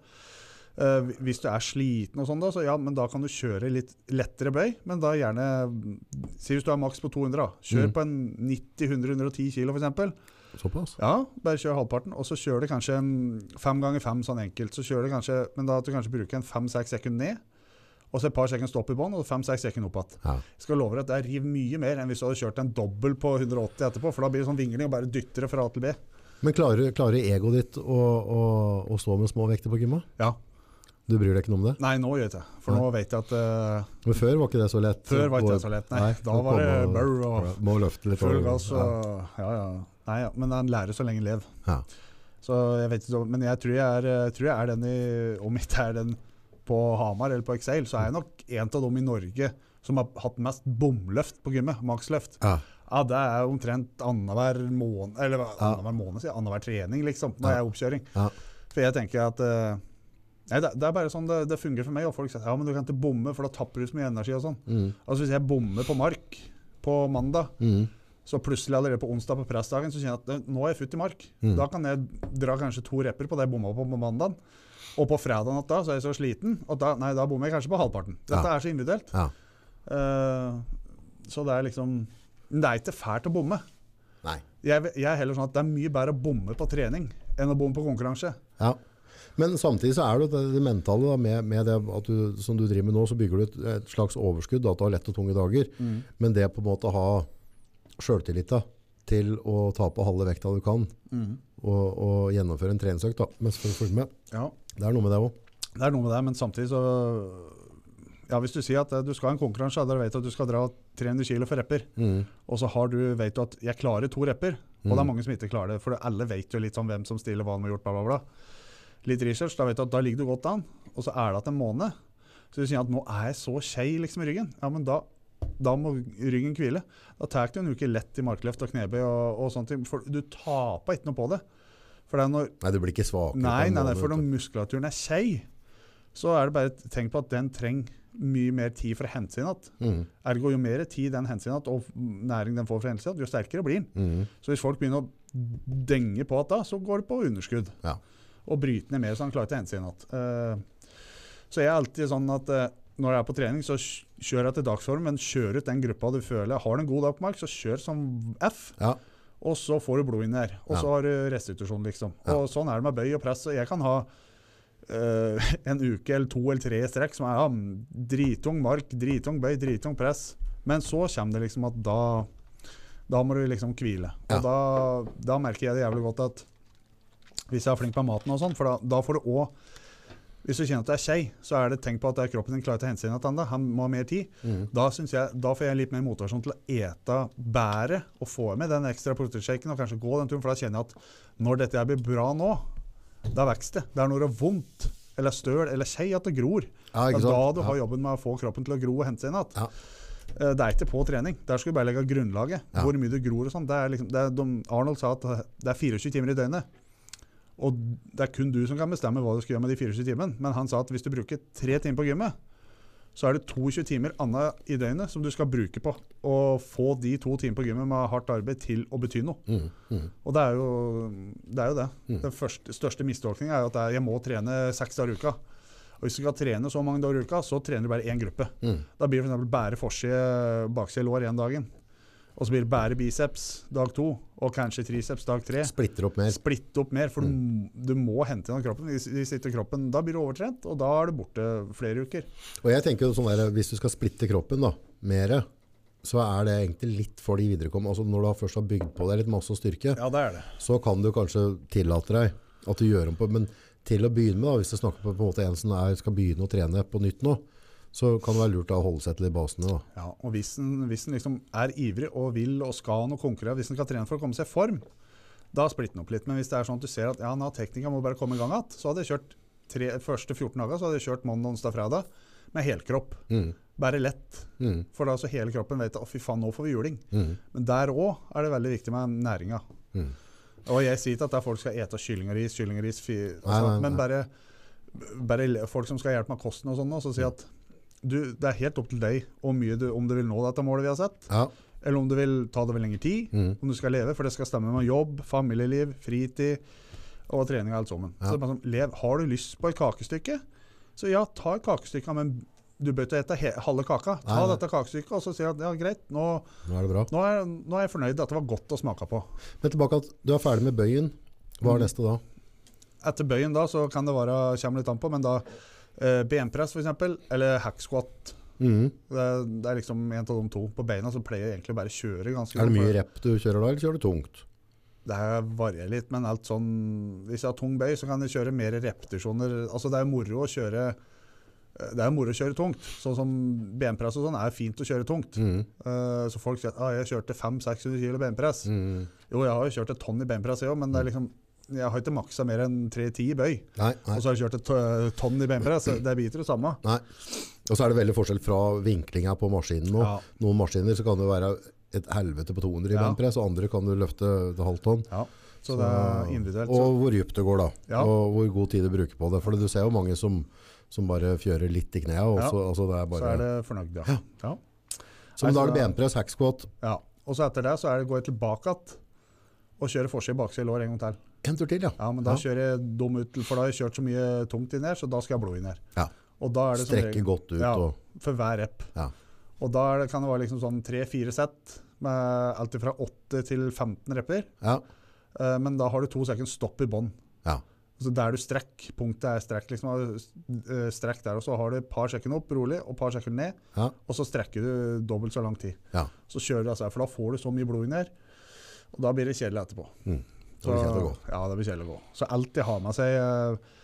Eh, hvis du er sliten og sånn, da, så ja, men da kan du kjøre litt lettere bøy, men da gjerne Si hvis du er maks på 200, da. Kjør
Mm.
på en 90-110 kilo, for eksempel.
Såpass.
Ja, bare kjør halvparten, og så kjører du kanskje en fem ganger fem sånn enkelt. Så kjører du kanskje, men da at du kanskje bruker en fem-seks sekunder ned, og så et par sekunder stopp i bånn, og fem-seks sekunder opp igjen.
Ja.
Jeg skal love deg at det river mye mer enn hvis du hadde kjørt en dobbel på 180 etterpå, for da blir det sånn vingling og bare dytter det fra A til B.
Men klarer, klarer egoet ditt å, å, å stå med små vekter på gymma?
Ja.
Du bryr deg ikke noe om det?
Nei, nå gjør jeg det. For nå vet jeg at eh,
Men før var ikke det så lett.
før var ikke det så lett. Nei, da
nå
var det
kommer-
brr og
Må løfte litt.
full
og-
gass
ja.
og Ja, ja. Nei, ja. Men han lærer så lenge lev.
Ja.
Så jeg vet ikke, om- men jeg tror jeg er, eh, tror jeg er den i Om ikke jeg er den på Hamar eller på Excel, så er jeg nok en av dem i Norge som har hatt mest bomløft på gymmet. Maksløft.
Ja.
Ja, det er omtrent annenhver måned Eller hva-
Ja.
annenhver måned, sier jeg. Annenhver trening, liksom. Når jeg er oppkjøring.
Ja.
For jeg tenker at eh, Nei, det, det er bare sånn det, det fungerer for meg. Og folk sier ja, men du kan ikke bomme, for da tapper du så mye energi og sånn.
Mm.
Altså hvis jeg bommer på mark på mandag,
Mm.
så plutselig allerede på onsdag på pressdagen så kjenner jeg at eh, nå er jeg futt i mark.
Mm.
Da kan jeg dra kanskje to repper på det jeg bomma på på mandagen. Og på fredag natt da så er jeg så sliten at da, nei, da bommer jeg kanskje på halvparten. Dette
Ja.
er så individuelt.
ja.
Eh, så det er liksom Men Det er ikke fælt å bomme.
Nei.
Jeg, jeg er heller sånn at det er mye bedre å bomme på trening enn å bomme på konkurranse.
Ja. Men samtidig så er det jo det, det mentale da, med, med det at du, som du driver med nå, så bygger du et, et slags overskudd, da, at du har lett og tunge dager. Men det på en måte å ha sjøltillita til å ta på halve vekta du kan, og, og gjennomføre en treningsøkt, da, mens folk følger med.
Ja.
Det er noe med det òg.
Det er noe med det, men samtidig så Ja, hvis du sier at eh, du skal ha en konkurranse, der du vet at du skal dra 300 kilo for repper, og så har du, vet du at jeg klarer to repper, og
Mm.
det er mange som ikke klarer det, for alle vet jo litt sånn hvem som stiller hva de har gjort, bla, bla, bla. Litt research, da vet du at da ligger du godt an, og så er det at en måned. Så du sier at nå er jeg så skei liksom i ryggen. Ja, men da, da må ryggen hvile. Da tar du en uke lett i markløft og knebøy og, og sånne ting, for du taper ikke noe på det. For det er når
Nei, du blir ikke svakere. på
Nei,
en
nei, nei,
måte,
for
vet
når
du.
muskulaturen er skei, så er det bare et- tenk på at den trenger mye mer tid for å hente seg inn igjen.
Mhm,
Ergo jo mer tid den henter seg inn igjen, og næring den får fra helse, jo sterkere blir den.
mhm.
Så hvis folk begynner å denge på at da, så går det på underskudd.
Ja.
Og bryter ned mer, så han klarer ikke å hente seg inn igjen. Eh, så jeg er alltid sånn at eh, når jeg er på trening, så kj- kjør etter dagsform, men kjør ut den gruppa du føler. Har du en god dag på mark, så kjør som F.
Ja.
Og så får du blod inn der. Og
Ja.
så har du restitusjon, liksom.
Ja.
Og sånn er det med bøy og press. Og jeg kan ha eh, en uke eller to eller tre i strekk som er ja, dritung mark, dritung bøy, dritung press. Men så kommer det liksom at da Da må du liksom hvile. Og
Ja.
da, da merker jeg det jævlig godt at hvis jeg er flink med maten og sånn, for da, da får du òg Hvis du kjenner at det er skei, så er det tenk på at det er kroppen din klarer til å hente seg inn igjen. Han må ha mer tid.
mm.
Da, synes jeg, da får jeg litt mer motivasjon til å ete bæret og få i meg den ekstra proteinshaken og kanskje gå den turen, for da kjenner jeg at når dette her blir bra nå, da vokser det. Det er når det er vondt eller støl eller skei at det gror.
Ja, ikke
det er da
sant?
du
Ja.
har jobben med å få kroppen til å gro og hente seg inn igjen.
Ja.
Eh, Det er ikke på trening. Der skal du bare legge grunnlaget.
Ja.
Hvor mye du gror og sånn. Det er liksom, det er, de, Arnold sa at det er 24 timer i døgnet. Og det er kun du som kan bestemme hva du skal gjøre med de 24 timene. Men han sa at hvis du bruker tre timer på gymmet, så er det 22 timer annet i døgnet som du skal bruke på å få de to timene på gymmet med hardt arbeid til å bety noe.
Mm, mm.
Og det er jo det. Er jo det.
Mm.
Den første, største mistolkninga er jo at det er, jeg må trene seks dager i uka. Og hvis du skal trene så mange dager i uka, så trener du bare én gruppe.
Mm.
Da blir det for eksempel bære forside, bakside lår én dagen. Og så blir det bære biceps dag to, og kanskje triceps dag tre.
Splitter opp mer.
Splitte opp mer, for du, du må hente gjennom kroppen. Hvis- hvis ikke kroppen. Da blir du overtrent, og da er du borte flere uker.
Og jeg tenker jo sånn der, hvis du skal splitte kroppen da, mer, så er det egentlig litt for de viderekommende. Altså når du har først har bygd på deg litt masse styrke,
Ja, det er det.
så kan du kanskje tillate deg at du gjør om på, men til å begynne med da, hvis du snakker på, på en måte en som er, skal begynne å trene på nytt nå, så kan det være lurt da å holde seg til de basene da.
Ja, og hvis en, hvis en liksom er ivrig og vil og skal han og konkurrere, hvis en skal trene for å komme seg i form, da splitter den opp litt. Men hvis det er sånn at du ser at ja, nå har teknika må bare komme i gang igjen, så hadde jeg kjørt tre, første 14 dager så hadde jeg kjørt mandag, onsdag, fredag med helkropp.
Mm.
Bare lett.
Mm.
For da så hele kroppen vet at å fy faen, nå får vi juling.
Mm.
Men der òg er det veldig viktig med næringa.
Mm.
Og jeg sier ikke at det er folk som skal ete kylling og ris, kylling og ris, fi, altså,
nei, nei.
men bare, bare le- folk som skal hjelpe med kosten og sånn, og så
Mm.
sier at du, det er helt opp til deg hvor mye du, om du vil nå dette målet vi har sett,
Ja.
eller om du vil ta det over lengre tid,
Mm.
om du skal leve, for det skal stemme med jobb, familieliv, fritid og trening og alt sammen.
Ja.
Så det er bare sånn, lev, har du lyst på et kakestykke, så ja, ta et kakestykke, men du bør ikke ete he- halve kaka.
Nei,
Ta
nei.
dette kakestykket og så si at ja, greit, nå,
Nå er det bra.
nå, er, nå er jeg fornøyd, dette var godt å smake på.
Men tilbake at du er ferdig med bøyen. Hva er neste da?
Etter bøyen da, så kan det være, kommer litt an på, men da eh, benpress for eksempel, eller hack squat,
Mm.
det er, det er liksom en av de to på beina, så pleier jeg egentlig bare å kjøre ganske
Er det
mye.
mye rep du kjører da, eller kjører du tungt?
Det her varierer litt, men alt sånn Hvis jeg har tung bøy, så kan jeg kjøre mer repetisjoner. Altså, det er moro å kjøre eh, Det er moro å kjøre tungt. Sånn som benpress og sånn er fint å kjøre tungt.
Mm.
Eh, så folk sier at ah, 'jeg kjørte 500-600 kilo benpress'.
Mm.
Jo, jeg har jo kjørt et tonn i benpress, jeg òg, men det er liksom jeg har ikke maksa mer enn 3-10 i bøy.
Nei, nei.
Og så har jeg kjørt et eh, tonn i benpress. så Det biter det samme.
Nei. Og så er det veldig forskjell fra vinklinga på maskinen nå.
Ja.
Noen maskiner så kan det være et helvete på 200 i
Ja.
benpress, og andre kan du løfte til halvt tonn.
ja. Så det er individuelt. Så.
Og hvor dypt det går, da.
Ja.
Og hvor god tid du bruker på det. For du ser jo mange som, som bare fjører litt i knærne. og
Ja.
så- Altså, det er
så
bare-
er det fornøyd, ja. ja.
så men da er det
Nei, så da-
benpress, hack squat,
ja. Og så etter det så er det går jeg tilbake igjen og kjører forside bakside lår en gang til.
en tur til, ja.
Ja, men da
Ja.
kjører jeg dum ut, for da har jeg kjørt så mye tungt inn her, så da skal jeg ha blod inn her.
Ja.
Og da er det som
Strekke
regel-
godt ut
Ja.
og
for hver rep.
Ja.
Og da er det, kan det være liksom sånn tre-fire sett med alt fra 8 til 15 repper,
Ja.
eh, men da har du to sekunder stopp i bånn.
Ja.
Så der du strekk, punktet er strekk, liksom, og, eh, strekk der, og så har du et par sekunder opp, rolig, og et par sekunder ned,
Ja.
og så strekker du dobbelt så lang tid.
Ja.
Så kjører du altså, her, for da får du så mye blod inn her, og da blir det kjedelig etterpå.
Mm.
Så,
Da blir det kjedelig å
ja, det blir kjedelig å gå. Så alltid ha med seg eh,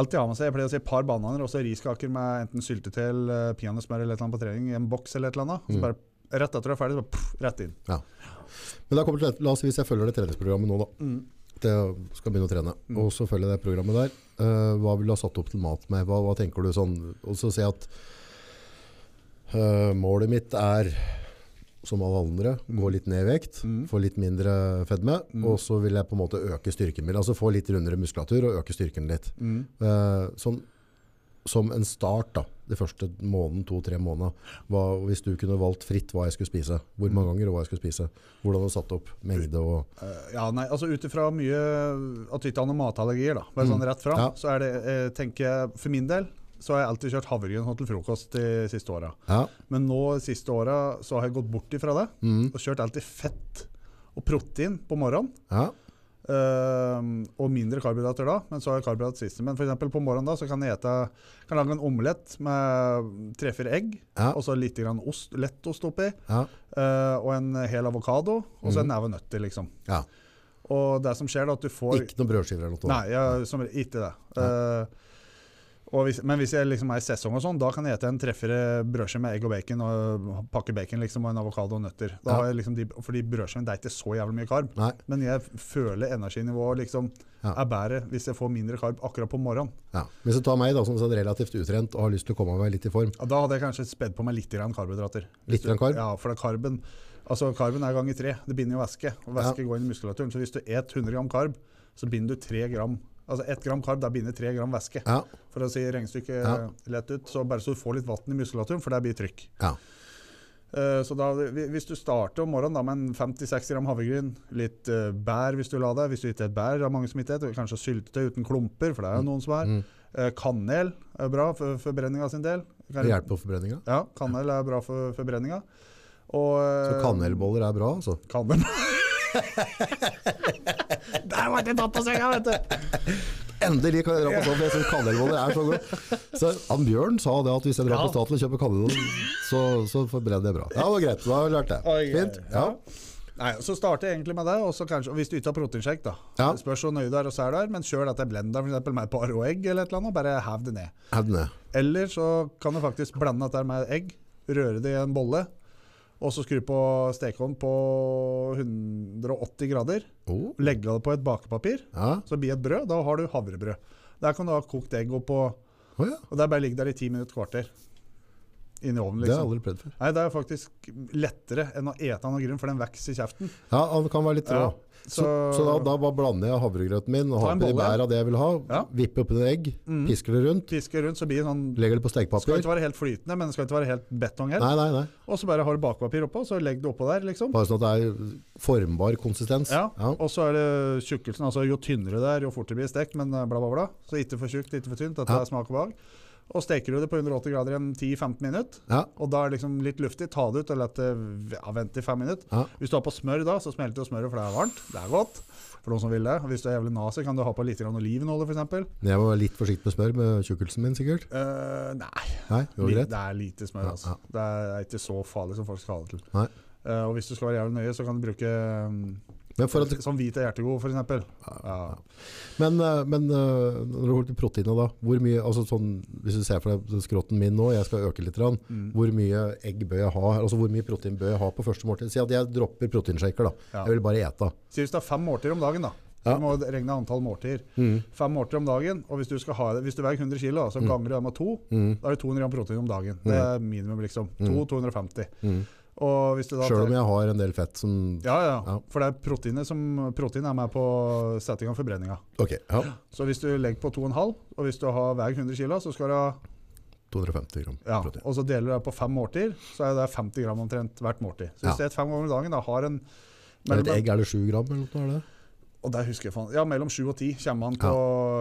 Alltid ha med seg, Jeg pleier å si et par bananer og så riskaker med enten syltetøy, eh, peanøttsmør eller et eller annet på trening i en boks eller et eller annet. Og
Mm.
Så bare rett etter du er ferdig, så bare pff, rett inn.
Men da kommer det til, la oss si hvis jeg følger det treningsprogrammet nå, da. At jeg skal begynne å trene.
Mm.
Og så følger jeg det programmet der. Eh, hva vil du ha satt opp til mat med? Hva, hva tenker du sånn? Og så ser jeg at eh, målet mitt er, som alle andre, gå litt ned i vekt.
Mm.
Få litt mindre fedme.
Mm.
Og så vil jeg på en måte øke styrken min. Altså få litt rundere muskulatur og øke styrken litt.
Mm.
Eh, sånn, som en start da, de første måneden, to-tre måneder, hva, hvis du kunne valgt fritt hva jeg skulle spise, hvor mange ganger og hva jeg skulle spise, hvordan du satt opp mengde og...
Eh, ja, nei, altså ut ifra mye At du ikke har noen matallergier, da, bare sånn rett fram,
Mm. Ja.
så er det, eh, tenker jeg, for min del, så har jeg alltid kjørt havregryn sånn til frokost de siste åra.
Ja,
Men nå de siste åra så har jeg gått bort ifra det,
mm,
og kjørt alltid fett og protein på morgenen.
ja,
Ehm, og mindre karbohydrater da, men så har jeg karbohydrater sist. Men for eksempel på morgenen da, så kan jeg ete, kan lage en omelett med tre-fire egg,
ja,
og så litt grann ost, lettost oppi,
ja,
eh, og en hel avokado, og så en
Mhm.
neve nøtter, liksom.
ja.
Og det som skjer da, at du får
Ikke noen brødskiver eller noe.
Nei, jeg, som, ikke det.
Nei.
Eh, Og hvis, men hvis jeg liksom er i sesong, og sånn, da kan jeg ete en treffere brødskive med egg og bacon og pakke bacon liksom, og en avokado og nøtter. Da
Ja.
har jeg liksom de, fordi brødskiven det er ikke så jævlig mye karb.
Nei.
Men jeg føler energinivået liksom
Ja.
er bedre hvis jeg får mindre karb akkurat på morgenen.
Ja. Hvis du tar meg da, som sånn relativt utrent og har lyst til å komme meg litt i form,
Ja, da hadde jeg kanskje spedd på meg litt grann karbohydrater. Hvis
Litt
du-
grann karb?
Ja, for det er karben. Altså, Karben er ganger tre. Det binder jo væske. Og væske går inn i muskulaturen. Så hvis du et 100 gram karb, så binder du 3 gram Altså 1 gram karb, da binder 3 gram væske.
ja.
For å si regnestykket
Ja.
lett ut. Så bare så du får litt vann i muskulaturen, for der blir trykk.
Ja.
Eh, Så da, hvi- Hvis du starter om morgenen da med en 50-60 gram havregryn, litt eh, bær hvis du la deg, hvis du ikke et bær, det er mange som ikke et, og kanskje syltetøy uten klumper, for det er jo noen som er.
Mm.
Eh, Kanel er bra for forbrenninga sin del. Kan-
Det hjelper på forbrenninga.
Ja, kanel er bra for forbrenninga. Og, eh,
Så kanelboller er bra, altså.
Kanel. Der ble jeg tatt på senga, vet du!
Endelig kan jeg dra på sånn, for jeg synes kanelboller er så gode. Så han Bjørn sa det at hvis jeg drar
Ja.
på Statoil og kjøper kanelboller, så, så forbrenner jeg bra. Ja, det var greit. Da lærte jeg. Fint. Ja.
Nei, så starter jeg egentlig med det, og så kanskje, og hvis du ikke har proteinshake, da.
Ja.
Det Spørs hvor nøye du er og sær der, men kjør dette i blenderen for eksempel med et par og egg, eller et eller annet, og bare hev det ned.
Evne.
Eller så kan du faktisk blande dette med egg, røre det i en bolle, og så skru på stekeovn på 180 grader,
Oh.
legge det på et bakepapir,
Ja.
så blir det et brød, da har du havrebrød. Der kan du ha kokt egg opp på,
Å ja.
og der bare ligger der i 10 minutter kvarter. Inn i ovnen,
Det har jeg
liksom.
aldri prøvd før.
Nei, det er faktisk lettere enn å ete av noe grunn, for den vokser i kjeften.
Ja, han kan være litt rå.
Ja,
Så, så da, da bare blander jeg havregrøten min og
Ta
har
en
oppi de
bolle.
bæra det jeg vil ha.
Ja.
Vipper oppi noen egg,
Mm.
pisker det rundt,
pisker rundt, så blir det sånn
legger det på
Skal
stekepapir.
ikke være helt flytende, men det skal ikke være helt betong helt.
Nei, nei, nei.
Og så bare har du bakepapir oppå, så legger du oppå der, liksom.
Bare sånn at det er formbar konsistens.
Ja.
Ja.
Og så er det tjukkelsen. Altså jo tynnere det er, jo fortere blir det stekt, men eh, bla, bla, bla. Så ikke for tjukt, ikke for tynt. Dette
Ja.
er smak og behag. Og steker du det på 180 grader i en 10-15 minutter,
Ja.
og da er det liksom litt luftig, ta det ut og la det ja, vente i 5 minutter.
Ja.
Hvis du har på smør da, så smelter jo smøret, for det er varmt. Det er godt. For noen som vil det. Og Hvis du er jævlig nazi, kan du ha på litt grann olivenolje, f.eks.
Men jeg må være litt forsiktig med smør med tjukkelsen min, sikkert.
Uh, nei,
Nei, går det
Li-
greit?
Det er lite smør,
Ja,
altså. Det er ikke så farlig som folk skal ha det til.
Nei.
Eh, og hvis du skal være jævlig nøye, så kan du bruke um,
Men, for at,
sånn hvit er hjertegod, f.eks. Ja.
men, eh, men eh, når det holder til proteinet, da, hvor mye, altså sånn, hvis du ser for deg skrotten min nå, jeg skal øke litt, grann,
Mm.
hvor mye egg bør jeg ha, altså hvor mye protein bør jeg ha på første måltid? Si at jeg dropper proteinshaker, da.
Ja.
Jeg vil bare ete.
Si hvis du har fem måltider om dagen, da.
Ja.
Du må regne antall måltider.
Mm.
Fem måltider om dagen, og hvis du, skal ha, det- hvis du veier 100 kg, så ganger du det med to.
Mm.
Da er det 200 gram protein om dagen. Det er minimum, liksom. To, 250.
Mm.
Og hvis du da
Selv om jeg har en del fett som
ja, ja, ja.
Ja.
For det er proteinet som Protein er med på å sette i gang forbrenninga.
Ok, ja.
Så hvis du legger på 2,5, og hvis du har veier 100 kg, så skal du ha
250 gram
Ja,
protein.
og så deler du det på fem måltider, så er det 50 gram omtrent hvert måltid. Så hvis
Ja.
du spiser fem ganger om dagen, da har en
Men et
mellom,
egg, er det 7 gram eller noe? Er det?
og der husker jeg faen, ja, mellom sju og ti kommer man på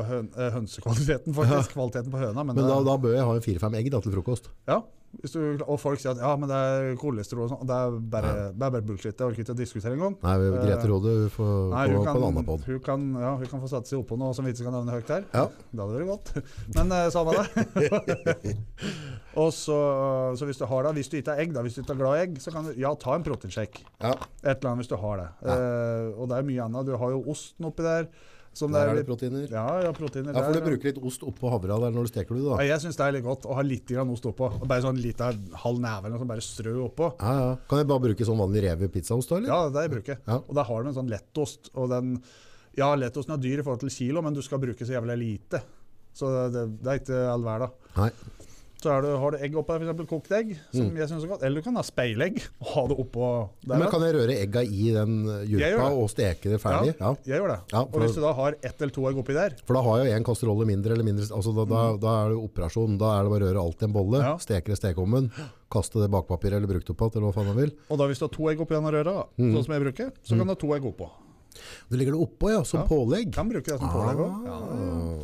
høn, eh, hønsekvaliteten, faktisk. Kvaliteten på høna. Men,
Men da,
det,
da bør jeg ha en 4-5 egg da, til frokost.
Hvis du, og folk sier at ja, men det er kolesterol og sånn. og Det er bare,
Ja.
det er bare bullshit. Det orker jeg ikke å diskutere engang.
Nei,
Eh,
Grete Rode hun får
Nei,
på, på
hun
en
kan,
annen podd.
hun, kan, ja, hun kan få sette seg oppå noe som vi ikke skal nevne høyt her.
Ja.
Det hadde vært godt. Men eh, samme det. og så, eh, så hvis du har det, hvis du ikke har egg, da, hvis du ikke er glad i egg, så kan du ja, ta en proteinsjekk.
Ja,
Et eller annet hvis du har det.
Ja.
Eh, og det er mye annet. Du har jo osten oppi der. Som
der er det
litt-
proteiner.
Ja, ja, proteiner
Ja, for
der,
du bruker litt ost oppå havra der når du steker det,
Ja,
da.
jeg syns det er litt godt å ha litt grann ost oppå. Og Bare sånn lita halv neve eller noe sånt, bare strø oppå.
Ja, ja. Kan jeg bare bruke sånn vanlig rev-pizzaost da, eller?
Ja, det er i bruket.
Ja.
Og da har du en sånn lettost. Og den, ja, lettosten er dyr i forhold til kilo, men du skal bruke så jævlig lite. Så det, det, det er ikke all verden.
Nei.
Så er det, har du egg oppå der, f.eks. kokt egg, som
Mm.
jeg synes er godt. Eller du kan ha speilegg og ha det oppå der.
Men
da.
kan jeg røre egga i den eh,
Jeg gjør
jurpa
det.
og steke det ferdig? Ja.
Jeg gjør det.
Ja,
Og hvis
for,
du da har ett eller to egg oppi der,
for da har jeg jo en kasserolle mindre eller mindre. Altså da, da, da er det operasjon. Da er det bare å røre alt i en bolle,
Ja.
steke det i stekeovnen, kaste det bakpapiret eller brukt opp igjen, eller hva faen man vil.
og da hvis du har to egg oppi denne røra,
Mm.
sånn som jeg bruker, så kan du ha to egg oppå.
Du ligger det oppå, ja, som
Ja.
pålegg.
Kan bruke det som pålegg òg. Ja.
Ah,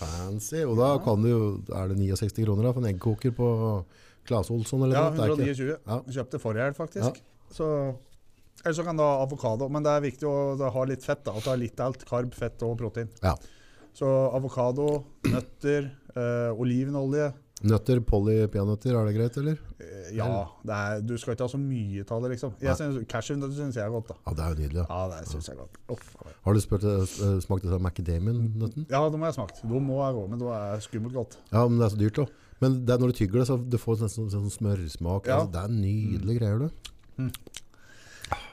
Fancy. Og da kan du, jo- er det 69 kroner da, for en eggkoker på Claes Olsson eller noe?
ja,
Det er ikke-
129.
Ja.
Kjøpte forrige helg, faktisk. Så, eller så kan du ha avokado, men det er viktig å da ha litt fett. da, At du har litt av alt. Karb, fett og protein.
Ja.
Så avokado, nøtter, eh, olivenolje,
Nøtter, Polly, peanøtter, er det greit, eller?
Eh, Ja, det er, du skal ikke ha så mye av det, liksom. Jeg synes, cashew det syns jeg er godt, da.
Ja, det er jo nydelig. Ja.
Ja, det syns jeg er godt. Uff.
Har du spurt, eh, smakt disse macadamian-nøtten?
Ja, det må jeg smakt. De må jeg rå, men det er skummelt godt.
Ja, men det er så dyrt, da. Men det er når du tygger det, så du får nesten sånn, sånn smørsmak.
Ja.
Altså, det er nydelige greier, du.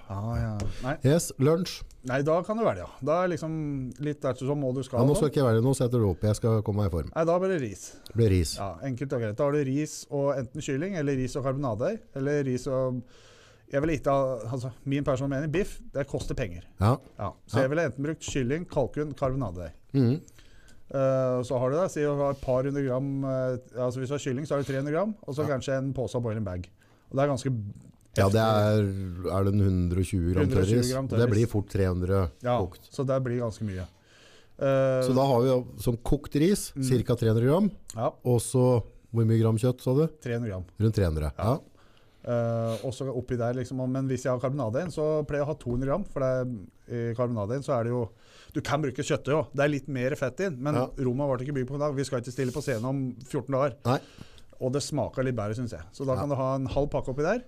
Ah, ja. Nei.
Yes, lunsj.
Nei, da kan du velge, ja. Da er liksom litt der som må du skal.
Ja, nå
da.
skal jeg ikke være noe, så jeg tror opp. Jeg skal komme meg i form.
Nei, da blir det ris.
Det blir ris.
Ja, enkelt og greit. Da har du ris og enten kylling, eller ris og karbonader, eller ris og Jeg ville ikke ha altså, Min personlige mening, biff, det koster penger.
Ja.
Ja, så jeg ville enten brukt kylling, kalkun, karbonader.
Mhm.
Eh, så har du det. Si du har et par hundre gram eh, altså Hvis du har kylling, så har du 300 gram, og så kanskje en pose av boiling bag. Og det er ganske
ja, det er, er den 120 gram
120
tørris.
gram
og Det
tørris.
blir fort 300
ja,
kokt.
Så det blir ganske mye. Eh,
Så da har vi som kokt ris, ca. 300 gram.
Ja,
Og så hvor mye gram kjøtt, sa du?
300 gram.
Rundt 300. Ja.
Eh, og så oppi der liksom, og- Men hvis jeg har karbonadein, så pleier jeg å ha 200 gram. For det, er- i karbonadein så er det jo Du kan bruke kjøttøy òg. Det er litt mer fett inn. Men
Ja.
Roma ble ikke bygd på en dag. Vi skal ikke stille på scenen om 14 dager.
Nei.
Og det smaker litt bedre, syns jeg. Så da
Ja.
kan du ha en halv pakke oppi der.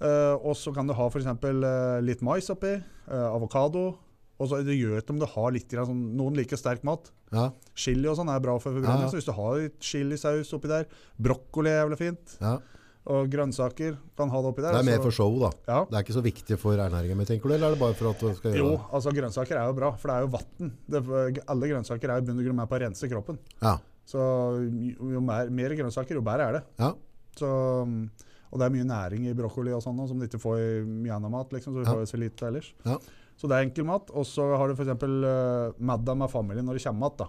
Eh, og så kan du ha f.eks. Uh, litt mais oppi. eh, avokado. Og så Det gjør ikke om du har litt grann, sånn, Noen liker sterk mat.
Ja.
Chili og sånn er bra for forbrenning.
Ja, ja.
Så hvis du har litt chilisaus oppi der, brokkoli er jævlig fint.
ja.
Og grønnsaker kan ha det oppi der.
Det er mer
så-
for show, da.
ja.
Det er ikke så viktig for ernæringen min, tenker du? Eller er det bare for at du skal gjøre
Jo,
det?
altså grønnsaker er jo bra, for det er jo vann. Det- Alle grønnsaker er i bunn og grunn med på å rense kroppen.
Ja.
Så jo jo mer, mer grønnsaker, jo bedre er det.
ja.
Så, mm, og det er mye næring i brokkoli og sånn nå, som du ikke får i mye annen mat, liksom, så du
Ja.
får jo så lite ellers.
Ja.
Så det er enkel mat. Og så har du f.eks. Uh, madda med familien når det kommer igjen.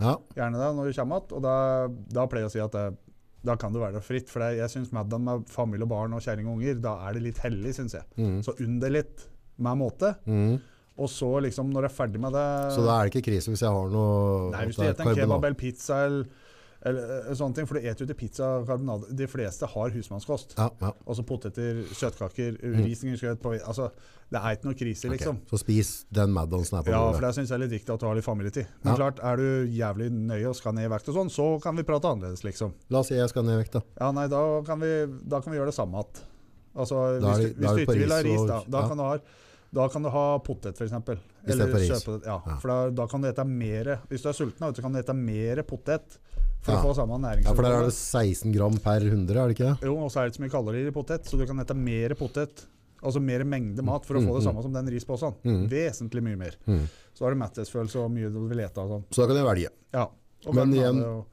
ja.
Gjerne det når det kommer igjen. Og da, da pleier jeg å si at det, da kan det være det fritt. For det, jeg syns madda med familie og barn og kjerring og unger, da er det litt hellig, syns jeg.
Mhm.
Så unn det litt med måte.
Mhm.
Og så liksom når jeg er ferdig med det
Så da er det ikke krise hvis jeg har noe
Nei,
at
hvis du
det er
spiser en
karbonat.
kebab eller pizza eller, eller, eh, sånne ting, for du eter jo ikke pizza og karbonade. De fleste har husmannskost.
Ja, ja.
Altså poteter, søtkaker, risengrynsgrøt på Altså, det er ikke noe krise,
Mm. Ok.
liksom.
Så spis den Maddonsen her på
Ja, for
bordet.
det syns jeg er litt viktig at du har litt familietid. Men
Ja.
klart, er du jævlig nøye og skal ned i vekt og sånn, så kan vi prate annerledes, liksom.
La oss si jeg skal ned i vekt, da.
Ja, nei, da kan vi, da kan vi gjøre det samme igjen. Altså,
Da er
hvis,
det-
du-
da er
hvis du
det på
ikke vil ha
ris
ris,
og-
da, da,
ja.
kan du ha, da kan du ha potet, f.eks.
stedet for ris.
Ja,
Ja.
for da, da kan du ete mer Hvis du er sulten, da, vet du, kan du ete mer potet for
Ja.
å få samme
Ja, For der er det
næringsutvalg.
16 gram per 100, er det ikke det?
jo, og så er det ikke så mye kalorier i potet, så du kan ete mer potet. Altså mer mengde mat for å få det samme som den risposen.
Mm.
Vesentlig mye mer.
Mm.
Så har du metthetsfølelse og hvor mye du vil ete og sånn.
Så da kan jeg velge.
Ja. Og
Men
karbonade
igjen-
og-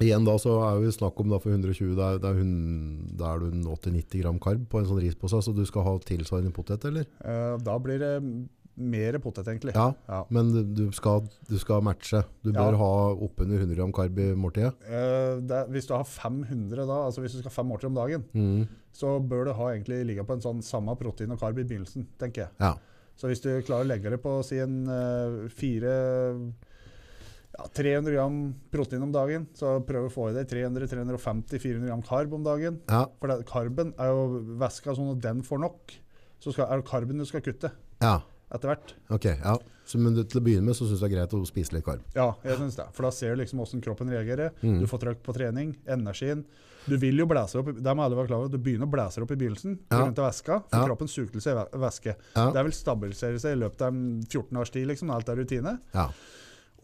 Igjen da så er vi snakk om da for 120, da er, da er, hun- da er du en 80-90 gram karb på en sånn rispose, så du skal ha tilsvarende potet, eller?
eh, da blir det mer potet, egentlig.
Ja,
Ja.
men du, du, skal, du skal matche. Du
Ja.
bør ha oppunder 100 gram karb i måltidet.
Eh, det, hvis du har 500 da, altså hvis du skal ha fem måltider om dagen,
Mm.
så bør du ha egentlig ligge på en sånn samme protein og karb i begynnelsen, tenker jeg.
Ja.
Så hvis du klarer å legge det på si en eh, fire ja, 300 gram protein om dagen, så prøv å få i deg 300-350-400 gram karb om dagen.
Ja,
For det, karben er jo væska sånn at den får nok. Så skal, er det karben du skal kutte
ja.
etter hvert.
Ok, ja. Så, men du, til å begynne med så synes jeg det er greit å spise litt karb.
Ja, jeg synes det. For da ser du liksom hvordan kroppen reagerer.
Mm.
Du får trøkk på trening, energien. Du vil jo blæse opp, i- det må alle være klar over, du begynner å blæse opp i begynnelsen
Ja.
rundt av væska, for
Ja.
kroppen suger til seg væ- væske.
Ja.
Det vil stabilisere seg i løpet av en 14 års tid, liksom, alt er rutine.
Ja.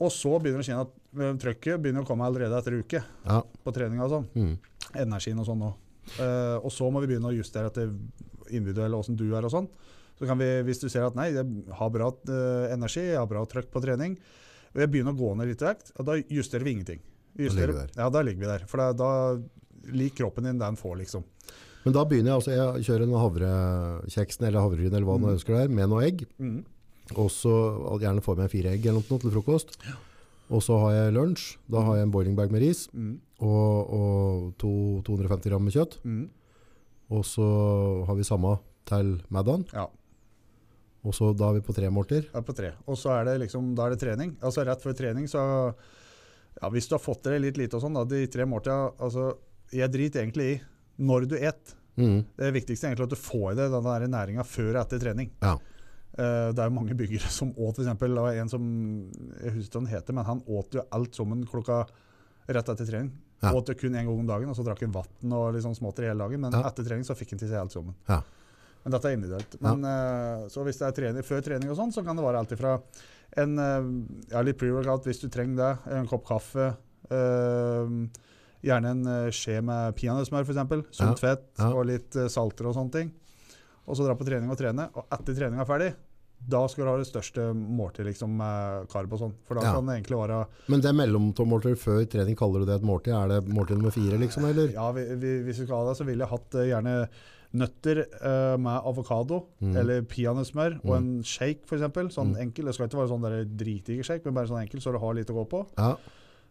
Og så begynner du å kjenne at ø, trøkket begynner å komme allerede etter en uke
Ja.
på treninga og sånn.
Mm.
Energien og sånn òg. og så må vi begynne å justere etter individuell åssen du er og sånn. Så kan vi, hvis du ser at nei, jeg har bra ø, energi, jeg har bra trøkk på trening, og jeg begynner å gå ned litt i vekt, og da justerer vi ingenting. Justerer,
ligger vi
ja, da ligger vi der. For da, da liker kroppen din det den får, liksom.
Men da begynner jeg, altså jeg kjører en havrekjeksen eller havregryn eller hva du ønsker der, med noe egg,
Mm.
og så gjerne får jeg meg fire egg eller noe til frokost. Og så har jeg lunsj, da har jeg en boiling bag med ris,
Mm.
og, og to, 250 gram med kjøtt.
Mm.
Og så har vi samme til middagen.
Ja.
Og så da er vi på tre måltider.
Ja, på tre. Og så er det liksom, da er det trening. Altså rett før trening, så ja, Hvis du har fått deg litt lite og sånn, da, de tre måltida Altså, jeg driter egentlig i når du et.
Mm.
Det viktigste er egentlig at du får i deg den der næringa før og etter trening.
Ja.
Eh, det er jo mange byggere som åt f.eks. Det var en som jeg husker ikke hva han heter, men han åt jo alt sammen klokka rett etter trening.
Ja.
Åt det kun én gang om dagen, og så drakk han vann og liksom småter hele dagen. Men
Ja.
etter trening så fikk han til seg alt sammen.
Ja.
Men dette er individuelt. Men, eh, så hvis det er trening, før trening og sånn, så kan det være alt ifra en eh, ja, litt pre-workout hvis du trenger det, en kopp kaffe, eh, gjerne en eh, skje med peanøttsmør f.eks.,
Ja.
sunt fett
Ja.
og litt eh, salter og sånne ting. Og så dra på trening og trene, og etter treninga er ferdig, da skal du ha det største måltid liksom, med karb og sånn. For da
Ja.
kan det egentlig være
Men det er mellommåltid før trening, kaller du det et måltid? Er det måltid nummer fire, liksom? Eller?
Ja, vi, vi, hvis vi skal ha det, så ville jeg hatt eh, gjerne nøtter eh, med avokado
Mm.
eller peanøttsmør og
Mm.
en shake, f.eks. Sånn
Mm.
enkel. Det skal ikke være sånn der dritdiger shake, men bare sånn enkel, så du har litt å gå på.
Ja.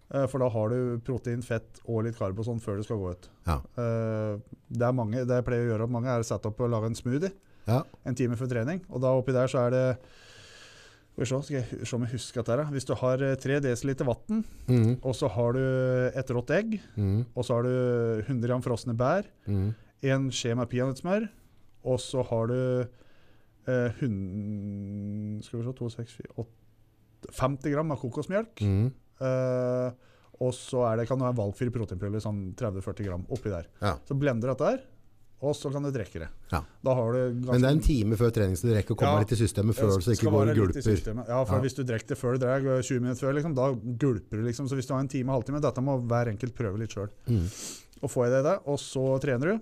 Eh, for da har du protein, fett og litt karbo sånn før du skal gå ut.
Ja.
Eh, det er mange, det jeg pleier å gjøre opp mange, er å sette opp og lage en smoothie
Ja.
en time før trening. Og da oppi der så er det skal vi se, skal jeg hu- se om jeg husker dette. her, da. Hvis du har eh, 3 dl vann,
Mhm,
og så har du et rått egg,
mhm,
og så har du 100 gram frosne bær,
mhm.
en skje med peanøttsmør, og så har du eh, hun, skal vi se, 2, 6, 4, 8, 50 gram av kokosmjølk.
Mhm.
Eh, og så er det, kan du ha en valgfri proteinpulver, sånn 30-40 gram oppi der.
Ja.
Så blender du dette her, og så kan du drikke det.
Ja.
Da har du ganske,
Men det er en time før trening, så du rekker å komme
Ja.
litt i systemet før, så du ikke
Skal
går
være
og
litt i
gulper.
systemet. Ja, for
Ja.
hvis du drikker det før du drar, 20 minutter før, liksom, da gulper du liksom. Så hvis du har en time, halvtime, dette må hver enkelt prøve litt sjøl.
Mhm.
og får i deg det, og så trener du.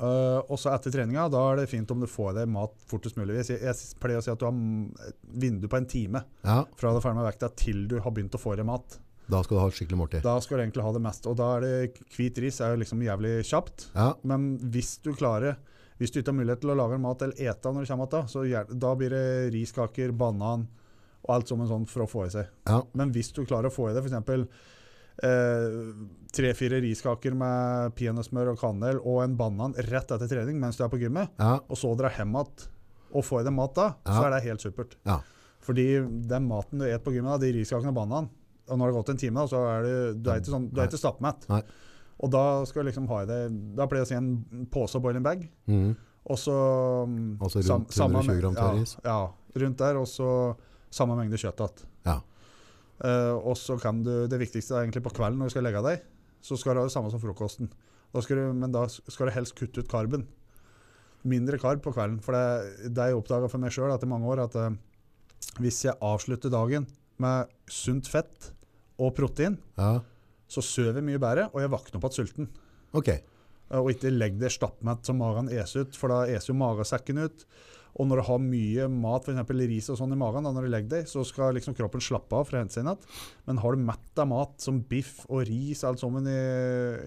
Eh, og så etter treninga, da er det fint om du får i deg mat fortest mulig. Jeg, sier- jeg s- pleier å si at du har mm, et vindu på en time
Ja,
fra du er ferdig med vekta til du har begynt å få i deg mat.
da skal du ha et skikkelig måltid.
Da skal du egentlig ha det meste. Og da er det hvit ris er jo liksom jævlig kjapt.
Ja,
Men hvis du klarer hvis du ikke har mulighet til å lage en mat eller ete når du kommer tilbake, så gjer- da blir det riskaker, banan og alt som en sånn for å få i seg.
ja,
Men hvis du klarer å få i deg f.eks. tre-fire riskaker med peanøttsmør og kanel og en banan rett etter trening mens du er på gymmet,
ja,
og så dra hjem igjen og få i deg mat da, så
Ja.
er det helt supert.
Ja.
Fordi den maten du et på gymmet, da, de riskakene og bananen og når det har gått en time, da, så er du, du er ikke, sånn, du er ikke stappmett.
Nei.
Og da skal du liksom ha i deg Da pleier jeg å si en pose boiling bag.
mhm.
Og så mm,
Altså rundt
sam- samme
120 gram
meng- ja,
tørris.
Ja, rundt der, og så samme mengde kjøtt igjen.
Ja.
Eh, og så kan du, det viktigste er egentlig på kvelden når du skal legge deg, så skal du ha det samme som frokosten. Da skal du, men da skal du helst kutte ut karben. Mindre karb på kvelden. For det, det jeg oppdaga for meg sjøl etter mange år, at eh, hvis jeg avslutter dagen med sunt fett og protein,
ja.
så sover jeg mye bedre, og jeg våkner opp igjen sulten.
Ok,
eh, Og ikke legg det stappmett som magen eser ut, for da eser jo magesekken ut. Og når du har mye mat, f.eks. ris og sånn i magen, da, når du legger deg, så skal liksom kroppen slappe av for å hente seg inn igjen. Men har du mett av mat, som biff og ris alt sammen i,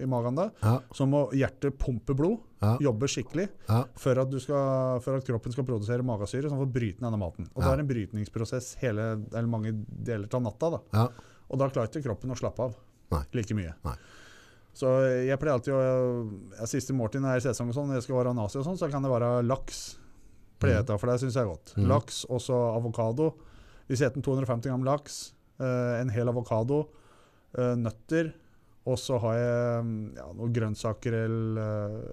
i magen da,
ja,
så må hjertet pumpe blod,
ja,
jobbe skikkelig,
ja,
for at, du skal, for at kroppen skal produsere magasyre, sånn for å bryte ned denne maten. Og det
Ja.
er en brytningsprosess hele, eller mange deler av natta, da.
ja.
Og da klarer ikke kroppen å slappe av
Nei.
like mye.
Nei.
Så jeg pleier alltid å ja, Siste måltid når jeg er i sesong og sånn, når jeg skal være nazi og sånn, så kan det være laks. Pleier jeg til, for det syns jeg er godt.
Mhm.
Laks, og så avokado. Vi setter en 250 gram laks, eh, en hel avokado, eh, nøtter, og så har jeg mm, ja, noen grønnsaker eller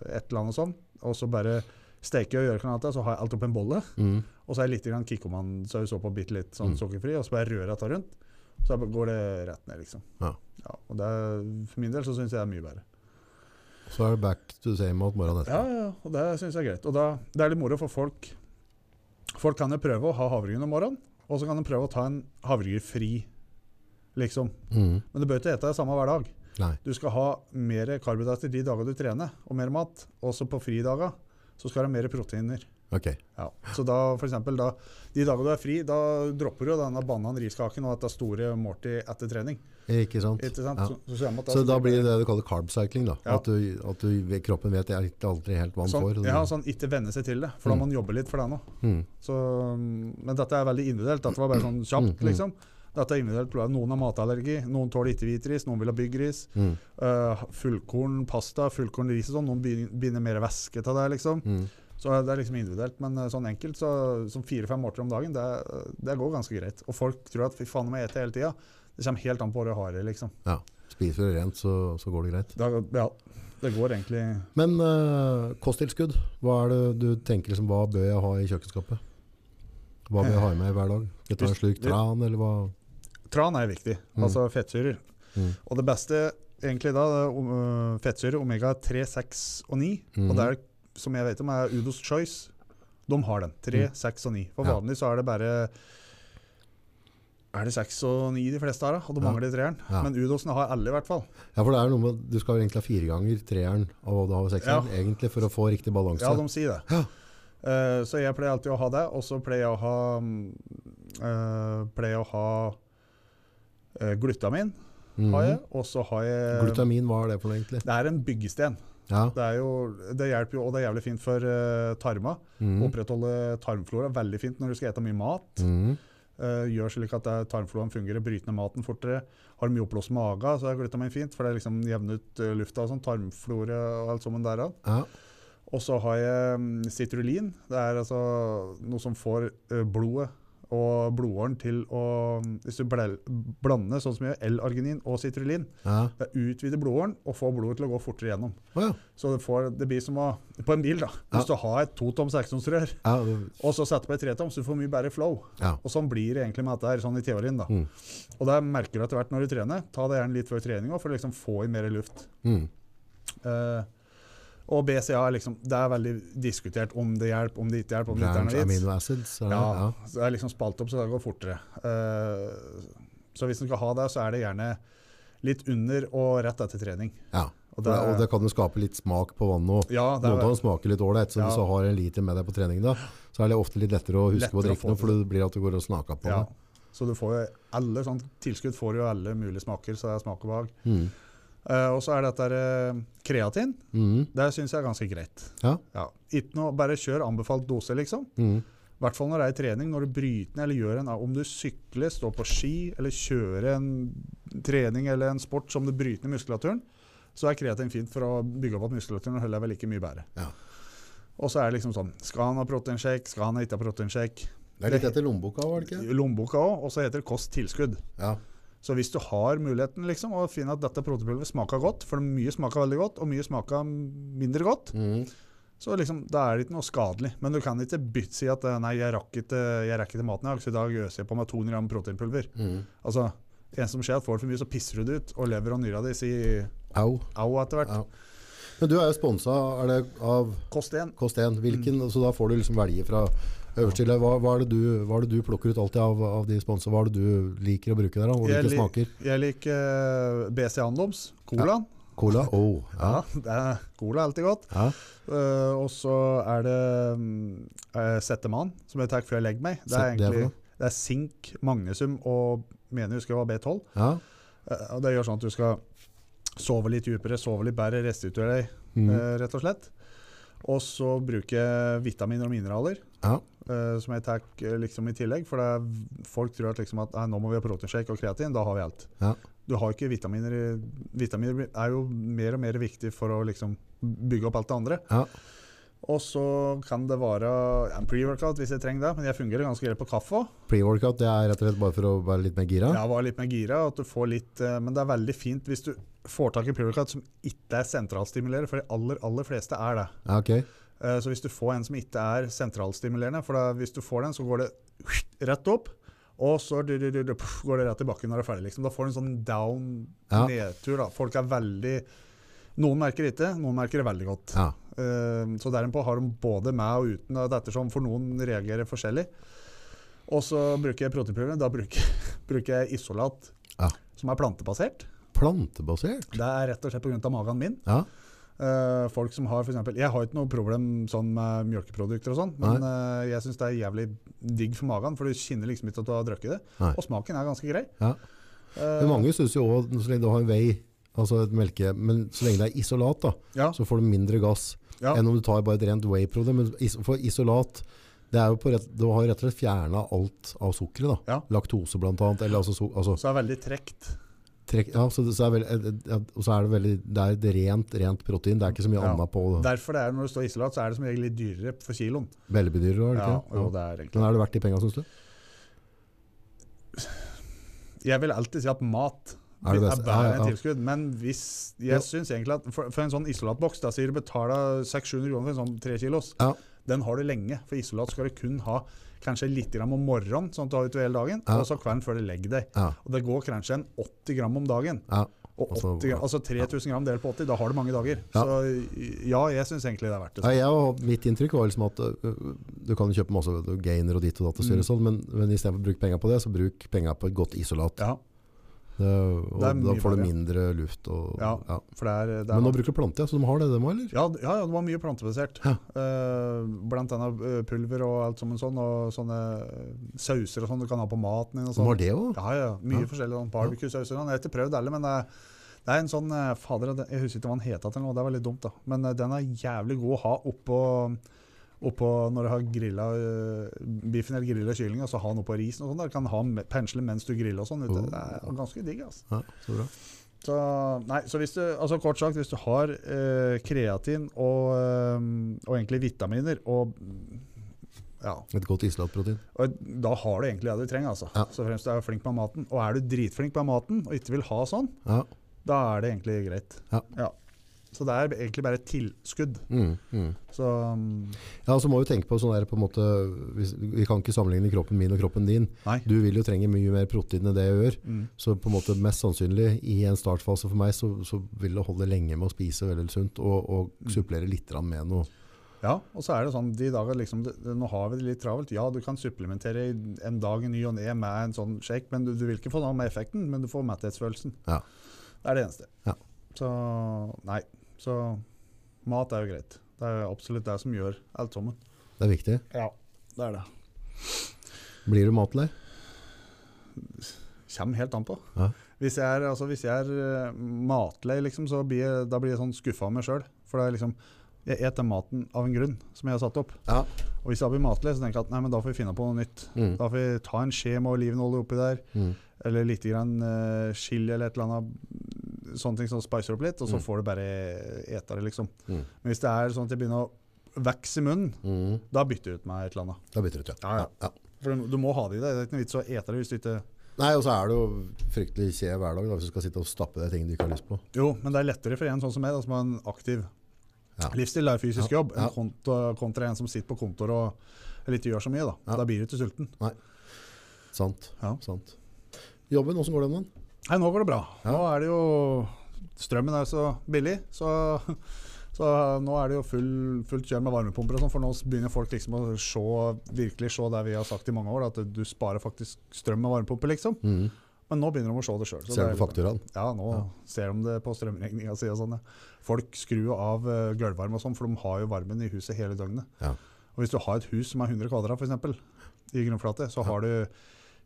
eh, et eller annet sånn. Og så bare steker jeg og gjør ikke noe annet, så har jeg alt oppi en bolle.
mhm.
Og så er det litt grann kikkoman-saus oppå, bitte litt sånn
Mm.
sukkerfri, og så bare rører jeg dette rundt. Så bare går det rett ned, liksom.
Ja.
og det er, for min del så syns jeg det er mye bedre.
Så er det back to the same alt morgenen
Ja,
etter.
ja, og det syns jeg er greit. Og da, det er litt moro for folk. Folk kan jo prøve å ha havregryn om morgenen, og så kan de prøve å ta en havregrynfri, liksom.
Mhm.
Men du bør ikke ete det samme hver dag.
Nei.
Du skal ha mer karbohydrater de dagene du trener, og mer mat. Også på fridager så skal du ha mer proteiner.
Ok,
Ja, så da for eksempel, da, de dagene du er fri, da dropper du jo denne banan riskaken og dette store måltid etter trening.
ikke sant?
Ikke sant?
Ja.
Så, så ser man at altså,
Så da blir det det du kaller carb cycling, da.
Ja.
At, du, at du, kroppen vet jeg er ikke aldri helt hva den
sånn,
får.
ja, sånn ikke venne seg til det, for da må man jobbe litt for det nå.
Mm.
Så, men dette er veldig individuelt. Dette var bare sånn kjapt,
Mm, mm.
liksom. Dette er individuelt. tror jeg. Noen har matallergi, noen tåler ikke hvitris, noen vil ha byggris.
Mm.
Uh, fullkorn pasta, fullkorn ris og sånn. Noen begyn- binder mer væske til det, liksom.
Mm.
Så det er liksom individuelt, men eh, sånn enkelt, så, som fire-fem måltider om dagen, det, er- det går ganske greit. Og folk tror at fy faen, må jeg ete hele tida. Det kommer helt an på hva du har i, liksom.
Spiser du rent, så, så går det greit.
Da, ja, det går egentlig
Men eh, kosttilskudd, hva er det du tenker liksom, hva bør jeg ha i kjøkkenskapet? Hva bør jeg ha i meg hver dag? Skal jeg ta en slurk
Hvis-
tran, eller hva?
Tran er viktig,
Mm.
altså fettsyrer.
Mm.
Og det beste egentlig da det er om- øh, fettsyre omega 3, 6 og 9. Og
Mhm.
det er, som jeg vet om, er Udos Choice. De har den. 3, 6 og 9. For
Mm. Ja.
vanlig så er det bare Er det 6 og 9 de fleste har, da? Og de
Ja.
mangler treeren.
Ja.
Men Udosen har alle, i hvert fall.
Ja, for det er jo noe med Du skal egentlig ha fire ganger treeren og du har sekseren, egentlig, for å få riktig balanse.
Ja, de sier det.
Ja.
Eh, så jeg pleier alltid å ha det, og så pleier jeg å ha mm, eh, Pleier jeg å ha eh, glutamin,
Mhm.
har jeg. eh, Og så har jeg
Glutamin, hva er det for noe, egentlig?
Det er en byggesten.
Ja.
Det, er jo, det hjelper jo, og det er jævlig fint for eh, tarma.
Mhm.
Opprettholde tarmflora. Veldig fint når du skal ete mye mat.
Mhm.
Eh, gjør slik at det er tarmfloraen fungerer, bryter ned maten fortere. Har mye oppblåst mage, så er glutamin fint, for det liksom jevner ut eh, lufta og sånn. Tarmflora og alt sammen der.
ja.
Og så har jeg mm, citrulin. Det er altså noe som får eh, blodet og blodåren til å mm, Hvis du blel- blander sånn som jeg gjør, L-arginin og citrulin,
ja.
det utvider blodåren og får blodet til å gå fortere gjennom.
Å ja.
Så det, får, det blir som å På en bil, da. Hvis du har et totom 16-rør,
Ja, det-
og så setter du på et tretom, så du får mye bedre flow.
ja.
Og sånn blir det egentlig med dette her, sånn i teorien, da.
Mm.
Og det merker du etter hvert når du trener. Ta det gjerne litt før trening også, for å liksom få i mer luft.
Mhm.
Eh, og BCA er liksom Det er veldig diskutert om det hjelper, om det ikke hjelper, om det ikke
Branch
er noe vits.
amino acids, er det?
Ja,
Ja.
så det er liksom spalt opp, så det går fortere. Eh, så hvis en skal ha det, så er det gjerne litt under og rett etter trening.
ja.
Og
For det, og det kan jo skape litt smak på vannet òg.
ja, det
Noen av
er
dem smaker litt ålreit, så
Ja.
hvis du har en liter med deg på trening, da, så er det ofte litt lettere å huske
Lettere
å
å
drikke
få
noe,
til.
for det blir at du går og snakker på
ja.
det.
Så du får jo alle sånn tilskudd får jo alle mulige smaker, så det er smak og behag.
Mhm.
Eh, og så er dette her, eh, kreatin.
Mhm.
Det syns jeg er ganske greit.
Ja.
Ikke noe, bare kjør anbefalt dose, liksom.
Mhm.
I hvert fall når det er i trening, når du bryter ned eller gjør en Om du sykler, står på ski eller kjører en trening eller en sport som du bryter ned muskulaturen, så er kreatin fint for å bygge opp at muskulaturen holder deg vel like mye bedre.
Ja.
Og så er det liksom sånn Skal han ha proteinshake? Skal han ikke ha proteinshake?
Det er litt etter lommeboka, var det ikke?
Lommeboka òg. Og så heter det kosttilskudd.
Ja.
Så hvis du har muligheten liksom, og finner at dette proteinpulveret smaker godt, for mye smaker veldig godt, og mye smaker mindre godt,
Mhm.
så liksom, da er det ikke noe skadelig. Men du kan ikke bytte si at eh, nei, jeg rakk ikke, jeg rakk ikke maten i dag, så i dag øser jeg på meg 200 gram proteinpulver.
Mhm.
Altså, en som skjer at får du for mye, så pisser du det ut, og lever og nyra di sier
Au.
au etter hvert.
Ja. Men du er jo sponsa er det, av
Kost igjen.
Kost 1, hvilken,
Mm.
så da får du liksom velge fra øverst til hva, hva, er det du, hva er det du plukker ut alltid av, av de sponsa? Hva er det du liker å bruke der, da? Og
Jeg
hvilke
li-
smaker?
Jeg liker eh, BC Andoms, colaen.
Cola? Oh, ja.
Ja. det er, cola er alltid godt.
ja.
Eh, og så er det mm, eh, Settemann, som jeg tar før jeg legger meg. Det er
Sett- det er for
egentlig
noe?
det er sink, magnesum og mener jeg husker det var B12.
ja.
Eh, Og det gjør sånn at du skal sove litt dypere, sove litt bedre, restituere deg,
Mm.
eh, rett og slett. Og så bruker jeg vitaminer og mineraler,
Ja.
eh, som jeg tar eh, liksom i tillegg. For det er, folk tror at, liksom at nei, nå må vi ha proteinshake og kreatin, da har vi alt.
Ja.
Du har ikke vitaminer i Vitaminer blir- er jo mer og mer viktig for å liksom bygge opp alt det andre.
Ja.
Og så kan det være en pre-workout hvis jeg trenger det, men jeg fungerer ganske greit på kaffe òg.
Pre-workout det er rett og slett bare for å være litt mer gira?
Ja, var litt mer gira, at du får litt, eh, men det er veldig fint hvis du får tak i pre-workout som ikke er sentralstimulerende, for de aller, aller fleste er det.
Ja, ok.
Eh, Så hvis du får en som ikke er sentralstimulerende, for da, hvis du får den, så går det rett opp, og så du- du- du- du- puff, går det rett i bakken når det er ferdig. Liksom. Da får du en sånn
Ja.
down-nedtur. da. Folk er veldig Noen merker det ikke, noen merker det veldig godt.
Ja.
Eh, Så derimot har de både med og uten, og det er ettersom, for noen reagerer forskjellig. Og så bruker jeg proteinpulver. Da bruker, bruker jeg isolat,
Ja.
som er plantebasert.
Plantebasert?
Det er rett og slett pga. magen min.
Ja.
Eh, folk som har for eksempel, Jeg har ikke noe problem sånn med mjølkeprodukter, og sånn, men eh, jeg syns det er jævlig digg for magen, for du kjenner liksom ikke at du har drukket det.
Nei.
Og smaken er ganske grei.
Ja.
Eh,
Men mange syns jo òg, så lenge du har en vei, altså et melke Men så lenge det er isolat, da,
ja,
så får du mindre gass
ja,
enn om du tar bare et rent whey-produkt. Men is for isolat det er jo på rett, Du har jo rett og slett fjerna alt av sukkeret. da.
Ja.
Laktose, blant annet. Eller altså, so, altså
så er det veldig trekt.
trekk, ja, så det, så er vel, eh, eh, og så er det veldig Det er et rent, rent protein. Det er ikke så mye
Ja.
annet på
Derfor det er når du står isolat, så er det som regel litt dyrere for kiloen.
velbedyrer. er det
Ja,
ikke?
jo, det er egentlig
Men er det verdt de penga, syns du?
Jeg vil alltid si at mat
Er
er,
det beste?
bedre
Ja, ja.
enn tilskudd, men hvis
Ja.
jeg synes egentlig at for, for en sånn isolatboks, da sier du betaler 600 kroner for en sånn 3 kilos,
Ja.
den har du lenge, for isolat skal du kun ha kanskje litt grann om morgenen, sånn at du har utover hele dagen,
Ja.
og så kvelden før du legger deg.
Ja.
Og det går kanskje en 80 gram om dagen.
Ja.
Og 80
Altså-
gram, altså 3000 gram delt på 80, da har du mange dager.
Ja.
Så ja, jeg syns egentlig det er verdt det.
Nei, jeg, og mitt inntrykk var liksom at øh, du kan kjøpe masse gainer og ditt og datt og styre
Mm.
og sånn, men, men istedenfor å bruke penger på det, så bruk penger på et godt isolat.
Ja,
Det, og
Det er mye
da får du
bedre.
mindre luft. Og,
Ja. for det er, det er
Men nå bruker du plante, ja, så de har det, dem òg, eller?
Ja, d- ja, ja, det var mye plantebasert.
Ja.
Eh, blant annet eh, pulver og alt som en sånn, og sånne sauser og sånn du kan ha på maten din. Og
De
sånn.
har det òg?
Ja, ja, mye
Ja.
forskjellig. Sånn Barbecue-sauser og sånn. Jeg har ikke prøvd alle, men det er, det er en sånn eh, Fader, det- jeg husker ikke hva den het til nå, det er veldig dumt, da. Men eh, den er jævlig god å ha oppå Oppå når du har grilla eh, biffen eller grilla kylling, og så ha noe på risen og sånn. der. Du kan ha me- pensle mens du griller og sånn. vet du. Det er ganske digg, altså.
Ja, så bra.
Så, nei, så hvis du, altså kort sagt, hvis du har eh, kreatin og, eh, og egentlig vitaminer og ja,
Et godt isolatprotein.
og da har du egentlig det du trenger, altså.
Ja.
Så fremst du er flink med maten. Og er du dritflink med maten og ikke vil ha sånn,
Ja.
da er det egentlig greit.
Ja.
Så det er egentlig bare et tilskudd.
Mm, mm.
Så mm,
Ja, så må vi tenke på sånn der på en måte hvis, Vi kan ikke sammenligne kroppen min og kroppen din.
nei.
Du vil jo trenge mye mer protein enn det jeg gjør.
Mm.
Så på en måte mest sannsynlig i en startfase for meg så, så vil det holde lenge med å spise veldig sunt og,
Mm.
og supplere litt grann med noe.
Ja, og så er det sånn de dager liksom, det- det- Nå har vi det litt travelt. Ja, du kan supplementere i en dag i ny og ne med en sånn shake, men du, du vil ikke få noe med effekten, men du får metthetsfølelsen.
Ja.
Det er det eneste.
Ja.
Så nei. Så mat er jo greit. Det er absolutt det som gjør alt sammen.
Det er viktig.
Ja, det er det.
Blir du matlei?
Kommer helt an på.
Ja.
Hvis jeg er, altså, hvis jeg er eh, matlei, liksom, så blir jeg, da blir jeg sånn skuffa av meg sjøl. For det er liksom Jeg et den maten av en grunn, som jeg har satt opp.
Ja.
Og hvis jeg blir matlei, så tenker jeg at nei, men da får vi finne på noe nytt.
Mm.
Da får vi ta en skje med olivenolje oppi der,
Mm.
eller litt grann eh, chili eller et eller annet. mm, Sånne ting som spicer opp litt, og så
Mm.
får du bare ete det, liksom.
Mm.
Men hvis det er sånn at jeg begynner å vokse i munnen,
Mm.
da bytter jeg ut meg et eller annet.
Da bytter du ut,
Ja, ja.
ja.
For du, du må ha det i deg. Det er ikke noe vits å ete det hvis du ikke
Nei, og så er det jo fryktelig kjev hverdag da, hvis du skal sitte og stappe deg ting du ikke har lyst på.
Jo, men det er lettere for en sånn som meg, da, som har en aktiv
Ja.
livsstil. Det er fysisk
Ja,
jobb. En
ja.
konto, kontra en som sitter på kontoret og eller ikke gjør så mye. Da
Ja.
Da blir du ikke sulten.
Sant.
Ja.
Sant. Jobben, åssen går det om den?
Nei, nå går det bra.
Ja.
Nå er det jo Strømmen er jo så billig, så, så nå er det jo full, fullt kjør med varmepumper og sånn, for nå begynner folk liksom å se, virkelig se det vi har sagt i mange år, at du sparer faktisk strøm med varmepumpe, liksom.
Mm.
Men nå begynner de å se det sjøl.
Ser du på fakturaen?
Ja, nå
Ja.
ser de det på strømregninga si. og sånn, ja. Folk skrur jo av uh, gulvvarme og sånn, for de har jo varmen i huset hele døgnet.
Ja.
Og hvis du har et hus som er 100 kvadrat, for eksempel, i grunnflate, så har du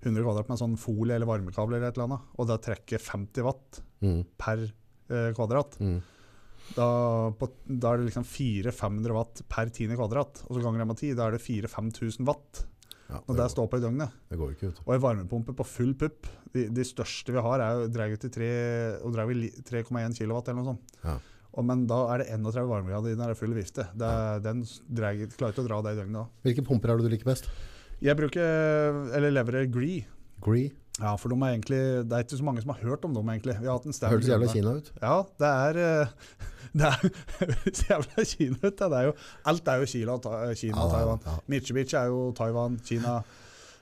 100 kvadrat med sånn folie eller varmekabel eller et eller annet, og da trekker 50 watt
Mm.
per eh, kvadrat.
Mm.
Da, på, da er det liksom 400-500 watt per tiende kvadrat, og så ganger jeg med 10, da er det 4000-5000 watt
Ja, det,
når det
går,
står på i døgnet.
det går jo ikke ut.
Og en varmepumpe på full pupp. De, de største vi har, er jo dreier til tre- og dreier vel li- 3,1 kW eller noe sånt.
Ja.
Og, men da er det 31 varmegrader i den her full vifte. Det, er- Den s- dreier, klarer ikke å dra det i døgnet. da.
Hvilke pumper er det du liker best?
Jeg bruker, eller leverer Gree.
Gree.
Ja, for de er egentlig, det er ikke så mange som har hørt om dem, egentlig. Vi har hatt en stand-
Høres jævla Kina ut.
Ja, det er eh, Det er høres jævla Kina ut. da. Det er jo, alt er jo Kina, og Ta- Kina og Taiwan.
ja.
Mitsubishi er jo Taiwan, Kina.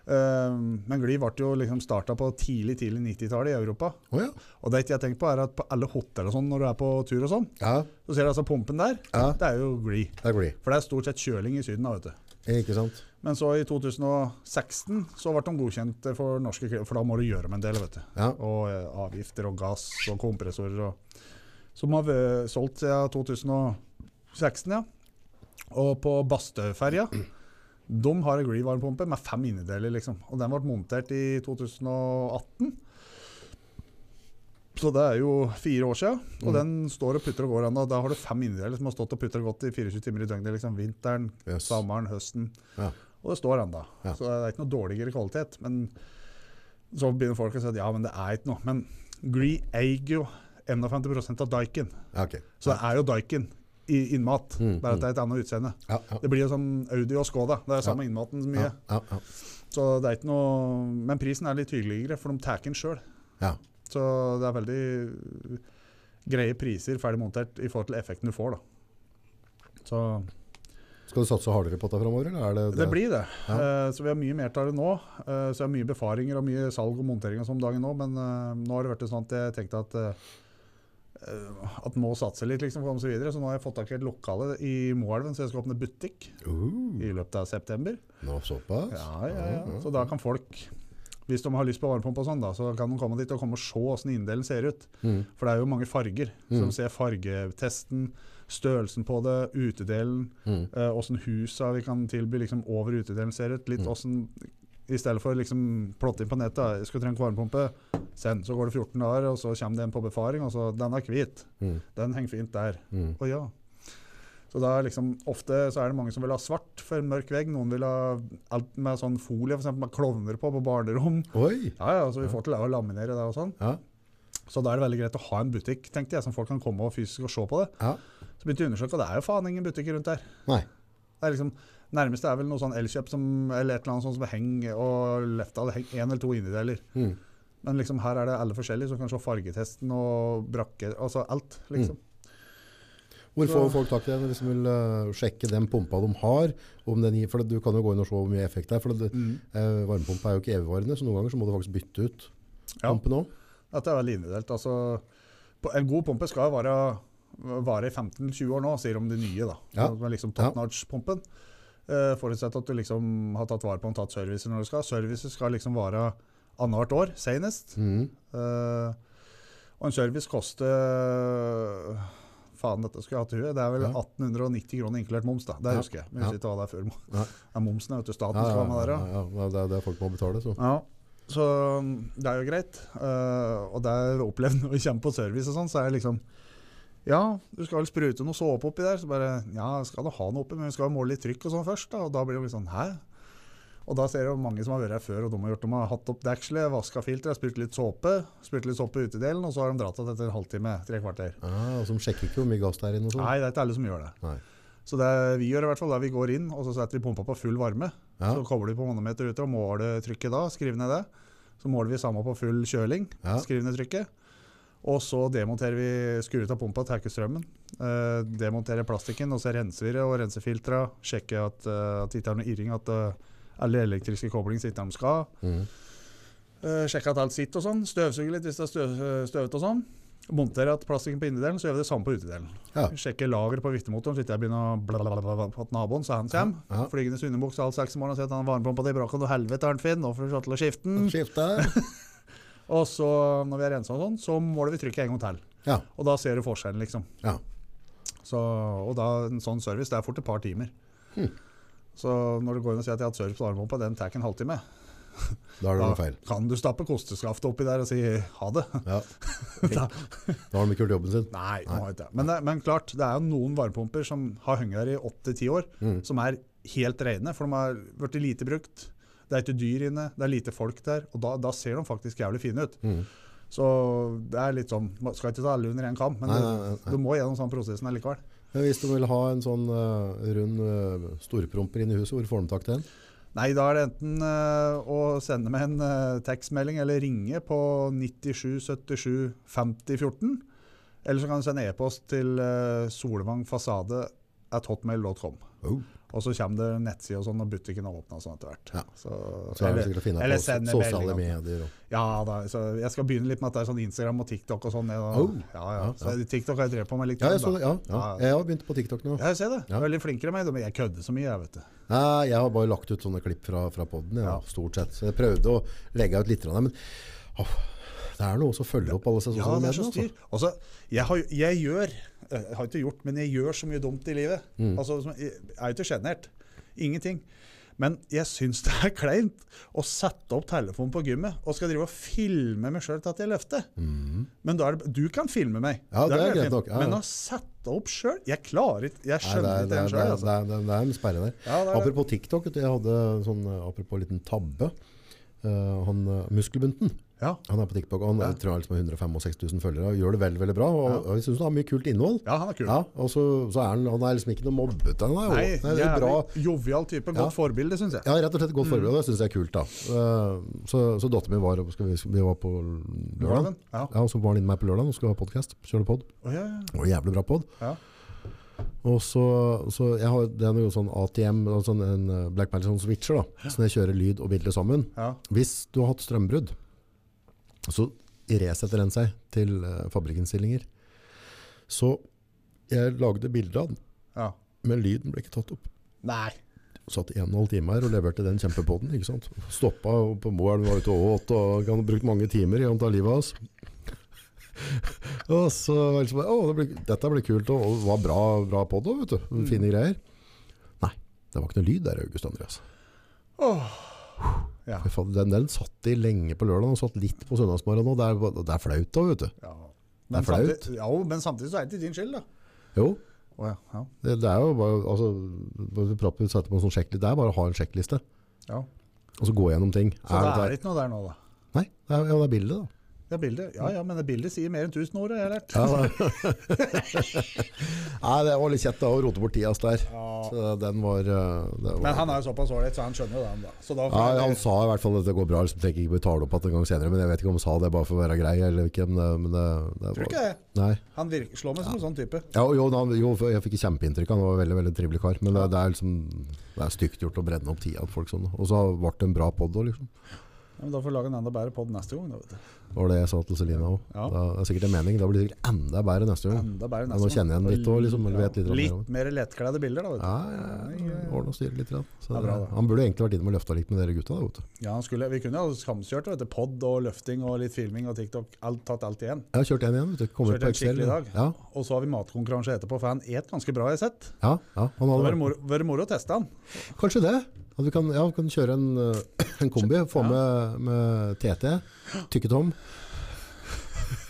Ehm, men Gli ble jo liksom starta på tidlig tidlig 90-tallet i Europa.
Å ja.
Og det ikke jeg tenker på er at på alle hotell og sånn når du er på tur, og sånn,
Ja,
så ser du altså pumpen der.
Ja.
Det er jo Gli.
det er Gree.
For det er stort sett kjøling i Syden. da, vet du.
Ikke sant?
Men så i 2016 så ble de godkjent for norske kre- for da må du gjøre om en del. vet du.
Ja.
Og eh, avgifter og gass og kompressorer. Og, som har vært solgt siden 2016, ja. Og på Bastøferja de har en Gree-varmepumpe med fem innedeler. liksom. Og den ble montert i 2018. Så det er jo fire år siden.
Mm.
Og den står og putter og går ennå. Da har du fem innedeler som har stått og putter og gått i 24 timer i døgnet. liksom. Vinteren,
Yes.
sommeren, høsten.
Ja.
Og det står ennå.
Ja.
Så det er ikke noe dårligere kvalitet. Men så begynner folk å si at ja, men det er ikke noe. Men Gree eier jo 51 av Daikin.
Ja, ok.
Så det er jo Daikin i innmat,
Mm,
bare at det er et annet utseende.
Ja, ja.
Det blir jo som Audi og Skoda. Det er samme innmaten så mye.
Ja, ja, ja.
Så det er ikke noe Men prisen er litt hyggeligere, for de tar den sjøl.
Ja.
Så det er veldig greie priser ferdig montert i forhold til effekten du får, da. Så
Skal du satse hardere på dette framover? eller er det,
det blir det.
Ja.
Eh, Så vi har mye mer av det nå. Eh, Så jeg har mye befaringer og mye salg og montering og sånn om dagen nå, men eh, nå har det vært sånn at jeg tenkte at eh, eh, at må satse litt liksom, for å komme seg videre. Så nå har jeg fått tak i et lokale i Moelven, så jeg skal åpne butikk
Uh,
i løpet av september.
nå såpass?
Mm. Ja, ja, ja. Så da kan folk, hvis de har lyst på varmepumpe og sånn, da, så kan de komme dit og komme og se åssen inndelen ser ut.
Mm.
For det er jo mange farger. Så de ser fargetesten, størrelsen på det, utedelen,
Mm.
eh, åssen husa vi kan tilby liksom, over utedelen ser ut. Litt åssen I stedet for liksom plotte inn på nettet da, 'Skulle trengt varmepumpe.' Send. Så går det 14 dager, og så kommer det en på befaring, og så 'Den er hvit.
Mm.
Den henger fint der.'
Mm.
Å ja. Så da er liksom, Ofte så er det mange som vil ha svart for en mørk vegg. Noen vil ha alt med sånn folie, for eksempel med klovner på på barnerom.
Oi!
Ja, ja, så Vi får til det å laminere det og sånn.
Ja.
Så da er det veldig greit å ha en butikk tenkte jeg, som folk kan komme og fysisk og se på det.
ja.
Så begynte jeg å undersøke, og det er jo faen ingen butikker rundt der.
Nei.
Det er liksom, Nærmeste er vel noe sånn Elkjøp som, eller et eller annet sånt som henger og Lefdal henger én eller to innedeler.
Mm.
Men liksom her er det alle forskjellige, så du kan se fargetesten og brakke, altså alt, liksom.
Hvor
Så-
får folk tak i den hvis de vil eh, sjekke den pumpa de har? Om den gir, for Du kan jo gå inn og se hvor mye effekt det er. for det, eh, Varmepumpa er jo ikke evigvarende, så noen ganger så må du faktisk bytte ut
Ja.
pumpen òg.
Dette er veldig innedelt. Altså, på- en god pumpe skal jo vare, vare i 15-20 år nå, sier de de nye, da.
Ja.
Som er liksom
Ja.
top notch-pumpen. Eh, forutsatt at du liksom har tatt vare på den, tatt servicer når du skal. Servicer skal liksom vare annethvert år, senest.
Mm.
Eh, og en service koster Faen, dette skulle jeg hatt i huet. Det er vel
Ja.
1890 kroner inkludert moms, da. Det
Ja.
husker jeg. Men jeg
Ja.
husker ikke hva det er før moms.
Nei.
Det er momsen, vet du. Staten
Ja,
skal
ja,
ha med der,
ja,
ja.
ja, ja, det er det folk må betale. Så.
Ja, så um, det er jo greit. Eh, og det jeg opplevd når vi kommer på service og sånn, så er det liksom Ja, du skal vel sprute noe såpe oppi der? Så bare Ja, skal du ha noe oppi, men vi skal jo måle litt trykk og sånn først, da. Og da blir det jo litt sånn Hæ? Og da ser jeg jo mange som har vært her før, og de har gjort de har hatt opp dekselet, vaska filteret, sprut litt såpe, sprut litt såpe i utedelen, og så har de dratt igjen etter en halvtime, tre kvarter.
Ah, og så de sjekker ikke hvor mye gass det er inne. og sånn.
Nei, det er ikke alle som gjør det.
Nei.
Så det vi gjør i hvert fall, er vi går inn, og så setter vi pumpa på full varme.
Ja.
Så kobler vi på manometeret ute og måler trykket da. Skriver ned det. Så måler vi samme på full kjøling.
Ja.
Skriver ned trykket. Og så demonterer vi, skrur ut av pumpa, tar ikke strømmen. Eh, demonterer plastikken, og så renser vi det og renser filtra. Sjekker at, eh, at det ikke er noe irring, at eh, alle elektriske koblinger sitter der de skal.
Mm.
Eh, sjekker at alt sitter og sånn. Støvsuger litt hvis det er støv, støvet og sånn. Monterer at plastikken på innedelen, så gjør vi det samme på utedelen.
Ja.
Sjekker lageret på viftemotoren, så ikke jeg begynner å bla, bla, bla, bla, på at naboen, så han kommer.
Ja.
Flygende underbukse halv seks i morgen og sier at han har varmepumpa di i brakken, og helvete er den fin, nå får du slå til å skifte den.
Skifte.
Og så, når vi har rensa og sånn, så måler vi trykket en gang til.
Ja.
Og da ser du forskjellen, liksom.
ja.
Så, og da, en sånn service, det er fort et par timer.
Hm.
Så når du går inn og sier at jeg har hatt service på varmepumpa, den tar ikke en halvtime.
Da er det
Da
noe feil.
kan du stappe kosteskaftet oppi der og si ha det.
Ja.
Da-
Da har de ikke gjort jobben sin.
Nei, de har ikke det. Men, det. men klart, det er jo noen varmepumper som har hengt der i 8-10 år,
Mm.
som er helt rene, for de har vært lite brukt. Det er ikke dyr inne, det er lite folk der, og da, da ser de faktisk jævlig fine ut.
Mm.
Så det er litt sånn, man skal ikke ta alle under én kam, men
Nei, nei, nei.
du du må gjennom sånn prosessen allikevel.
Men hvis du vil ha en sånn eh, rund uh, storpromper inn i huset, hvor får de tak i den?
Nei, da er det enten eh, å sende meg en eh, tekstmelding eller ringe på 97 77 50 14. Eller så kan du sende e-post til uh, solvangfasade.hotmail.com.
Oh.
Og så kommer det nettside og sånn, og butikken har åpna sånn etter hvert.
Ja.
Så,
Så er det sikkert å finne
eller
på so-
sende
sosiale
melding,
medier. Og.
ja, da, så jeg skal begynne litt med at det er sånn Instagram og TikTok og sånn. jeg da-
Oh.
Ja, ja.
Ja,
Så TikTok har jeg drevet på med litt.
Ja, jeg, så
før,
det,
da.
ja, ja.
Ja, ja.
jeg har begynt på TikTok nå.
Ja, jeg ser det.
Ja.
Veldig flinkere enn meg. Men jeg kødder så mye, jeg, vet du.
Nei, jeg har bare lagt ut sånne klipp fra, fra podden, ja,
Ja.
stort sett. Så jeg prøvde å legge ut litt, grann, men åh, det er noe som følger opp alle seg
Ja,
sosiale
det er
medier.
så styr.
Altså.
Altså, jeg, har, jeg gjør eh, Jeg har ikke gjort, men jeg gjør så mye dumt i livet.
Mm.
Altså, som- jeg er jo ikke sjenert. Ingenting. Men jeg syns det er kleint å sette opp telefonen på gymmet og skal drive og filme meg sjøl til at jeg løfter. Men da er det, du kan filme meg,
Mm. Ja, det er greit
fint.
nok, ja, ja.
men å sette opp sjøl Jeg klarer ikke
Nei,
Jeg
det,
skjønner
er,
ikke
det,
den
er, det,
sjøl.
er, det,
Altså.
er, det er en sperre der.
Ja, det er det.
apropos TikTok, vet du, jeg hadde sånn, eh, apropos liten tabbe. Eh, han eh, Muskelbunten,
Ja.
han er på TikTok, og han
Ja.
jeg tror han liksom har 165 000 følgere, og gjør det veldig, veldig bra. Og,
Ja.
og jeg synes han har mye kult innhold.
ja, han er kul.
Ja, og så, så er han, han er liksom ikke noe mobbet. Han er, jo-
Nei,
han er en bra,
jævlig Mm. jovial type. Godt forbilde, syns jeg.
Ja, rett og slett godt forberedt, og det syns jeg er kult. da. Eh, Så, så datteren min var, skal vi, vi var på lørdag,
Morven. Ja.
ja, og så var han inne med meg på lørdag og skulle ha podkast. Kjøre pod.
Å, ja, ja.
Det var en jævlig bra pod.
ja.
Og så, så jeg har, Det er noe sånn ATM, og sånn en eh, Black Magic sånn switcher, da, så når jeg kjører lyd og bilde sammen.
ja.
Hvis du har hatt strømbrudd, så resetter den seg til eh, fabrikkinnstillinger. Så jeg lagde bilder av den,
Ja.
men lyden ble ikke tatt opp.
Nei.
Satt en og en halv time her og leverte den kjempepoden, ikke sant? Stoppa på Moelv, var ute og åt, og han brukt mange timer i å ta livet av oss. og så var det liksom, å, det ble, dette ble kult, og, og det var bra, bra podd også, vet du. Fine greier. Nei, det var ikke noe lyd der, August Andreas.
Åh. Ja.
Fy faen, Den, den satt i lenge på lørdag, og satt litt på søndagsmorgen, og det er, det er flaut da, vet du.
ja.
Det er flaut.
samtidig- Ja, men samtidig så er det ikke din skyld, da.
Jo,
Å ja. Ja.
det, det er jo bare, altså, bare vi prater- setter på en sånn sjekkliste, det er bare å ha en sjekkliste,
ja.
og så gå gjennom ting.
Så det er
det der?
ikke noe der nå, da.
Nei, det er, ja, det er bildet da.
Det er bildet. Ja ja, men det bildet sier mer enn 1000 ord, har jeg lært.
Ja, det. Nei, det var litt kjett da, å rote bort Tias der. Så den var, eh, det var
Men han er jo såpass ålreit, så han skjønner jo det, han da. Så da
ja, han sa i hvert fall at det går bra, liksom tenker ikke betale opp at en gang senere, men jeg vet ikke om han sa det bare for å være grei eller ikke. Men, det- men det, det
Tror
var,
ikke det.
Nei.
Han virker, slår meg som en sånn type.
Ja, og jo, han, jo, for jeg fikk kjempeinntrykk, han var en veldig, veldig trivelig kar. Men det, det er liksom, det er stygt gjort å brenne opp tida på folk sånn. Og så ble det en bra podd også, liksom.
Ja, men da får vi lage en enda bedre pod neste gang. Da, vet du.
Det var det jeg sa til Selina også.
Ja.
Det er sikkert en mening, da blir det sikkert enda bedre neste gang.
Enda bedre
Ja,
neste
nå kjenner jeg den litt også, liksom, eller vet litt
litt,
mer om det.
mer lettkledde bilder, da. Vet du.
Ja,
eh,
ja, ja. ordne og styre litt. grann. Så,
Ja, bra, da.
han burde egentlig vært inne med løfta litt med dere gutta. Da, vet du.
Ja, han skulle, vi kunne jo samkjørt vet du, pod og løfting og litt filming og TikTok. Alt, tatt alt igjen.
Jeg har kjørt en igjen. Vet du. Kommer
Kjørte
ut på
en
Excel.
skikkelig
ja.
dag.
Ja,
Og så har vi matkonkurranse etterpå, for han et ganske bra, jeg har sett.
ja, ja. Han
Det
hadde
var moro, vært moro å teste han.
Kanskje det. At vi kan, ja, vi kan kjøre en, eh, en kombi. Få med, med TT, Tykke-Tom.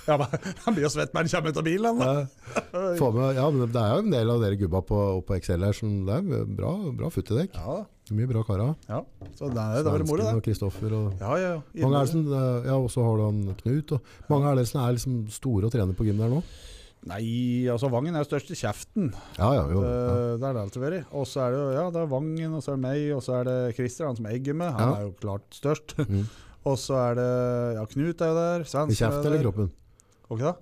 Ja, men, han blir jo svett når han kommer ut av bilen. Da.
Eh, få med- Ja, men det er jo en del av dere gubba på, på Excel her som det er bra, bra futt i dekk.
Ja,
Mye bra karer.
ja. Så det, det var moro,
Svensken
det.
og Kristoffer og
Ja, ja, ja.
mange er det som, eh, ja, og så har du han Knut. Og mange er det som er liksom store og trener på gym der nå.
Nei, altså Vangen er jo størst i kjeften.
Ja, ja, jo. Ja.
Eh, Det er det alltid vært. Og så er det jo ja, det er Vangen, og så er det meg, og så er det Christer, han som eier gymmet. Han
Ja.
er jo klart størst.
Mm.
Og så er det ja, Knut er jo der. Svens
I kjeft eller kroppen?
Ok da.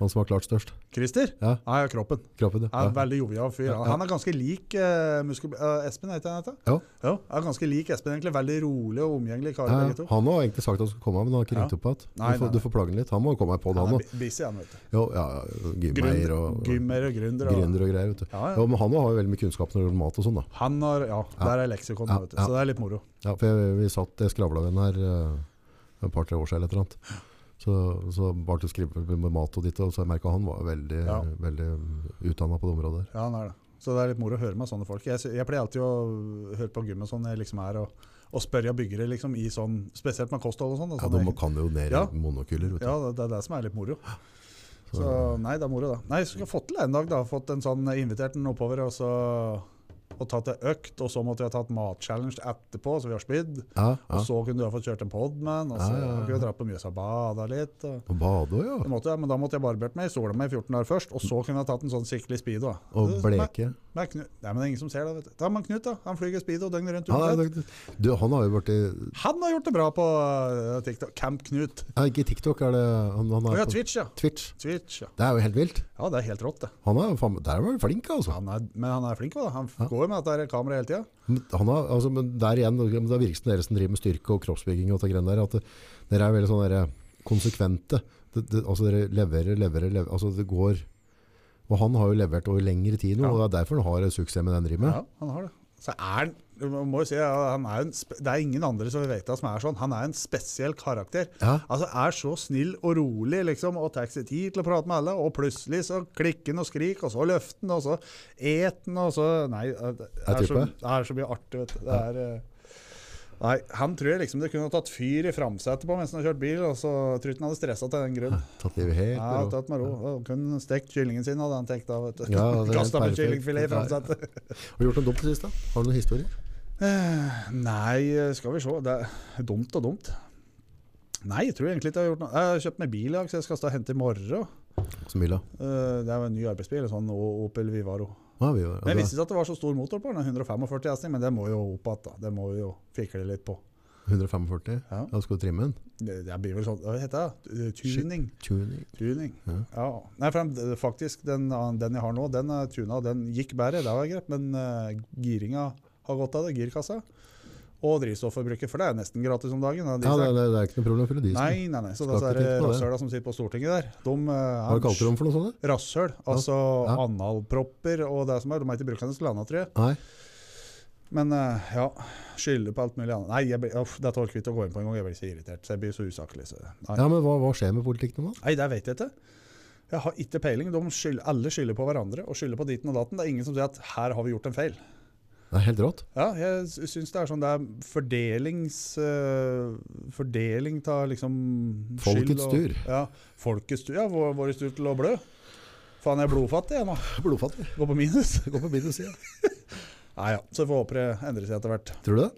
Han som har klart størst.
Christer?
Ja.
Nei, ja, kroppen.
Kroppen,
Han er en veldig jovial fyr.
Ja, ja.
Han er ganske lik eh, muskel... eh, Espen, heter han dette?
Ja.
Jo, er ganske lik Espen, egentlig. Veldig rolig og omgjengelig kar,
Ja,
begge to.
han har egentlig sagt at han skulle komme, men han har ikke ringt
Ja.
opp igjen. Du,
Nei,
får-
nei,
du
nei.
får plage han litt. Han må jo komme her på, han
Han
òg.
er bu- busy, han, vet du.
Jo, Ja, ja, Gymeier og
Gymmer og gründer. og-
gründer og greier. vet du.
Ja, ja.
Jo, men han har jo veldig mye kunnskap når det gjelder mat og sånn. da.
Han har Ja, der er leksikon,
Ja,
vet du.
ja.
Så det er litt moro.
Ja, for jeg, vi satt, Jeg skravla med han her eh, et par-tre år siden eller et eller annet. Så, så bare til å skrive med mat og ditt, og så merka han var veldig,
Ja.
veldig utdanna på det området. der.
Ja, han er det. Så det er litt moro å høre med sånne folk. Jeg, sy- jeg pleier alltid å høre på gym og sånn jeg liksom er, og, og spørre byggere liksom i sånn, spesielt med kosthold og sånn. og
Ja,
sånn
De
egen-
kan jo ned i
Ja.
monokuler. vet du.
ja, det, det er det som er litt moro. Så nei, det er moro da. Nei, så skal jeg fått til det en dag da. Fått en sånn eh, invitert den oppover og så og tatt en økt, og så måtte vi ha tatt matchallenge etterpå, så vi har spydd.
Ja,
Og
ja.
så kunne du ha fått kjørt en pod med den, og så
Ja, ja, ja.
kunne vi dratt på Mjøsa og bada litt. Og,
Og bade òg, ja.
det måtte, jeg, men da måtte jeg barbert meg, sola meg i 14 dager først, og så kunne jeg tatt en sånn skikkelig speedo. da.
Og
Det-
bleke.
Nei, Knut. Nei, men det er ingen som ser det. vet du. Da er man Knut, da. Han flyger speedo døgnet rundt.
Han,
uansett.
er, du, han har jo blitt
Han har gjort det bra på eh, TikTok. Camp Knut.
ja, Ikke TikTok, er det han, han
Å
er
ja,
på
Twitch, ja.
Twitch.
Twitch, ja.
Det er jo helt vilt.
Ja, det er helt rått, det.
Han er, jo faen- der var han flink, altså.
Han er, men han er flink, også, da. Han går jo med dette her kameraet hele tida.
Men Han er, altså men der igjen, men det virker som dere som driver med styrke og kroppsbygging og det greiene der, at det, dere er veldig sånn dere konsekvente. Det, det, altså dere leverer, leverer, leverer. Altså det går... Og han har jo levert over lengre tid nå,
Ja.
og det er derfor han har suksess med den driven.
Ja, han har det. Så er han man må jo si, ja, han er jo en, spe- Det er ingen andre som vi vet av som er sånn. Han er en spesiell karakter.
Ja.
Altså, Er så snill og rolig liksom, og tar seg tid til å prate med alle. Og plutselig så klikker han og skriker, og så løfter han, og så eter han, og så Nei, det er, så,
type.
det er så mye artig, vet du. Det er, eh, Nei, Han tror jeg liksom det kunne ha tatt fyr i framsetet på mens han har kjørt bil. og så tror jeg ikke han hadde stressa til den grunn.
Tatt livet helt.
Ja,
med ro.
tatt med ro. Han kunne stekt kyllingen sin, hadde han tenkt da. vet du.
Ja, det er
Kasta med
perfekt.
kyllingfilet i
Ja.
framsetet.
Har du gjort noe dumt til sist da? Har du noen historier?
Eh, Nei, skal vi se. Det er dumt og dumt. Nei, jeg tror egentlig ikke jeg har gjort noe. Jeg har kjøpt meg bil i dag, så jeg skal stå og hente i morgen.
Som Mila.
Eh, Det er jo en ny arbeidsbil, en sånn O- Opel Vivaro.
Ja, vi var.
Men Jeg
Altså,
visste ikke at det var så stor motor på den, 145 hesting, men det må jo opp igjen. da. Det må vi jo fikle litt på.
145. Ja.
Ja.
Da skal du trimme den.
Det det blir vel sånn Hva heter det? Tuning.
Tuning.
Tuning.
Ja.
Ja. Nei, for den, faktisk, den, den jeg har nå, den eh, er tuna, den gikk bedre, det var greit, men eh, giringa har gått av det, girkassa. Og drivstofforbruket, for det er nesten gratis om dagen. da,
Ja, det,
diesel.
det, det er ikke noe problem å fylle diesel.
Nei, nei, nei. Så
Skal
disse
ikke
her
tenke på det.
rasshøla som sitter på Stortinget der, de eh,
Hva
er
kalte du dem for noe sånt? da?
rasshøl. Altså
Ja.
analpropper og det som er. De er ikke brukende til annet, tror jeg.
Nei.
Men eh, ja, skylder på alt mulig annet. Nei, jeg blir, uff, dette orker vi ikke å gå inn på engang. Jeg blir så irritert. Så jeg blir så usaklig. Så. Nei.
Ja, men hva, hva skjer med politikken nå? da?
nei, det vet jeg ikke. Jeg har ikke peiling. De skylder, alle skylder på hverandre og skylder på ditten og datten. Det er ingen som sier at her har vi gjort en feil.
Det er helt rått.
Ja, jeg sy- syns det er sånn det er fordelings... eh, fordeling av liksom
Folkets
og-
tur.
Ja, folkets tur. Ja, vår, vår tur til å blø. Faen, jeg er blodfattig jeg nå.
Blodfattig.
Går på minus.
Det går på minus, ja.
Nei ja, så får vi håpe det endrer seg etter hvert.
Tror du det?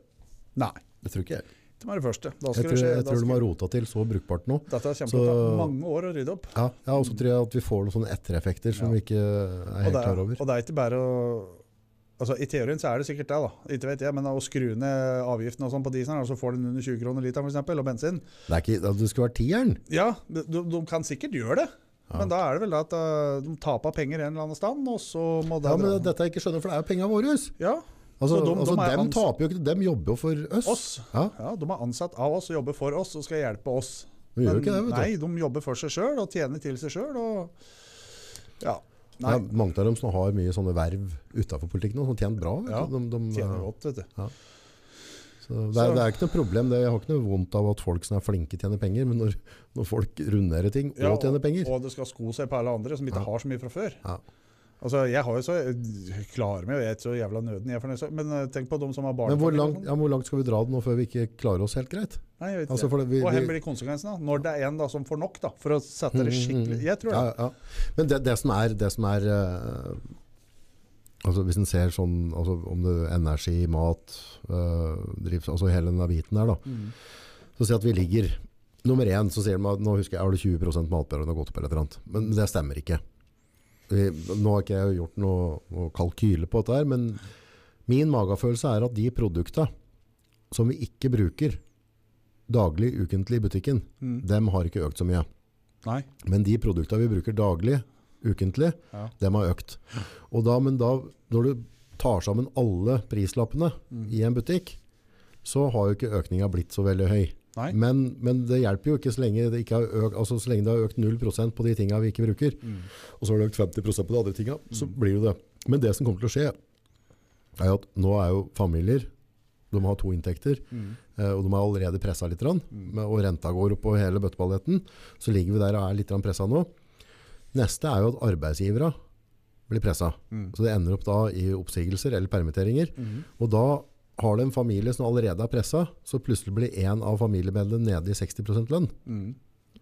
Nei,
Det tror ikke jeg.
det var det første. Da
Jeg
skal
tror,
det skje.
jeg
da
tror de
skal-
har rota til så brukbart nå.
Dette kommer
Så-
til å ta mange år å rydde opp.
Ja, ja og så tror jeg at vi får noen sånne ettereffekter som
Mm. Ja.
vi ikke er
Og
helt
det, er,
klar over.
og det er ikke bare å Altså, I teorien så er det sikkert det, da. Ikke vet jeg, men å skru ned avgiftene og sånn på dieselen, og så får du den under 20 kroner literen for eksempel, og bensin
Det, er ikke, det skulle vært tieren.
Ja, de, de de kan sikkert gjøre det.
Ja.
Men da er det vel da at eh, de taper penger en eller annen stand, og så må det
Ja, men dette jeg ikke skjønner, for det er jo penga våre. Altså,
ja, Så de- de
altså,
er
dem
ans-
taper jo ikke, dem jobber jo for oss.
oss.
Ja,
Ja, De er ansatt av oss og jobber for oss og skal hjelpe oss.
de gjør jo ikke det, vet du.
nei, de jobber for seg sjøl og tjener til seg sjøl og Ja.
Nei.
Nei,
Ja, mange av dem som har mye sånne verv utenfor politikken, og som tjener bra. Vet
Ja,
du. De, de,
tjener godt, vet du.
Så det, er,
Så-
det er ikke noe problem. Det, jeg har ikke noe vondt av at folk som er flinke tjener penger, men når, når folk runderer ting og
Ja,
tjener penger
Og det skal sko seg på alle andre som ikke
Ja.
har så mye fra før.
Ja.
Altså, Jeg har jo så, jeg klarer meg, og jeg er ikke så jævla nøden jeg er fornøyd med, men eh, tenk på de som har barn.
Men hvor langt, ja, hvor langt skal vi dra det nå før vi ikke klarer oss helt greit?
Nei, jeg vet ikke.
Altså, for det, vi, Mm,
og her
vi,
blir konsekvensene. da. Når det er en da som får nok, da, for å sette det skikkelig Jeg tror det.
ja, ja. Men det, det som er, det som er eh, altså Hvis en ser sånn altså om det er energi, mat, uh, drivs, altså hele den der biten der, da,
Mm.
Så si at vi ligger Nummer én, så sier de at nå husker jeg, har du 20 matbærende og godtepøl eller noe. Men det stemmer ikke. Vi, nå har ikke jeg gjort noe, noe kalkyle på dette her, men min magefølelse er at de produkta som vi ikke bruker daglig, ukentlig i butikken,
Mm.
dem har ikke økt så mye.
Nei.
Men de produkta vi bruker daglig, ukentlig,
Ja.
dem har økt. Og da, men da, når du tar sammen alle prislappene
Mm.
i en butikk, så har jo ikke økninga blitt så veldig høy.
Nei.
Men, men det hjelper jo ikke så lenge det, ikke har økt, altså så lenge det har økt 0 på de tinga vi ikke bruker,
Mm.
og så har det økt 50 på de andre tinga, så blir det det. Men det som kommer til å skje, er jo at nå er jo familier De har to inntekter,
Mm.
eh, og de er allerede pressa litt, grann,
Mm.
med- og renta går opp på hele bøtteballetten. Så ligger vi der og er litt pressa nå. Neste er jo at arbeidsgivere blir pressa.
Mm.
Så det ender opp da i oppsigelser eller permitteringer.
Mm.
Og da har du en familie som allerede er pressa, så plutselig blir én av familiemedlemmene nede i 60 lønn.
Mm.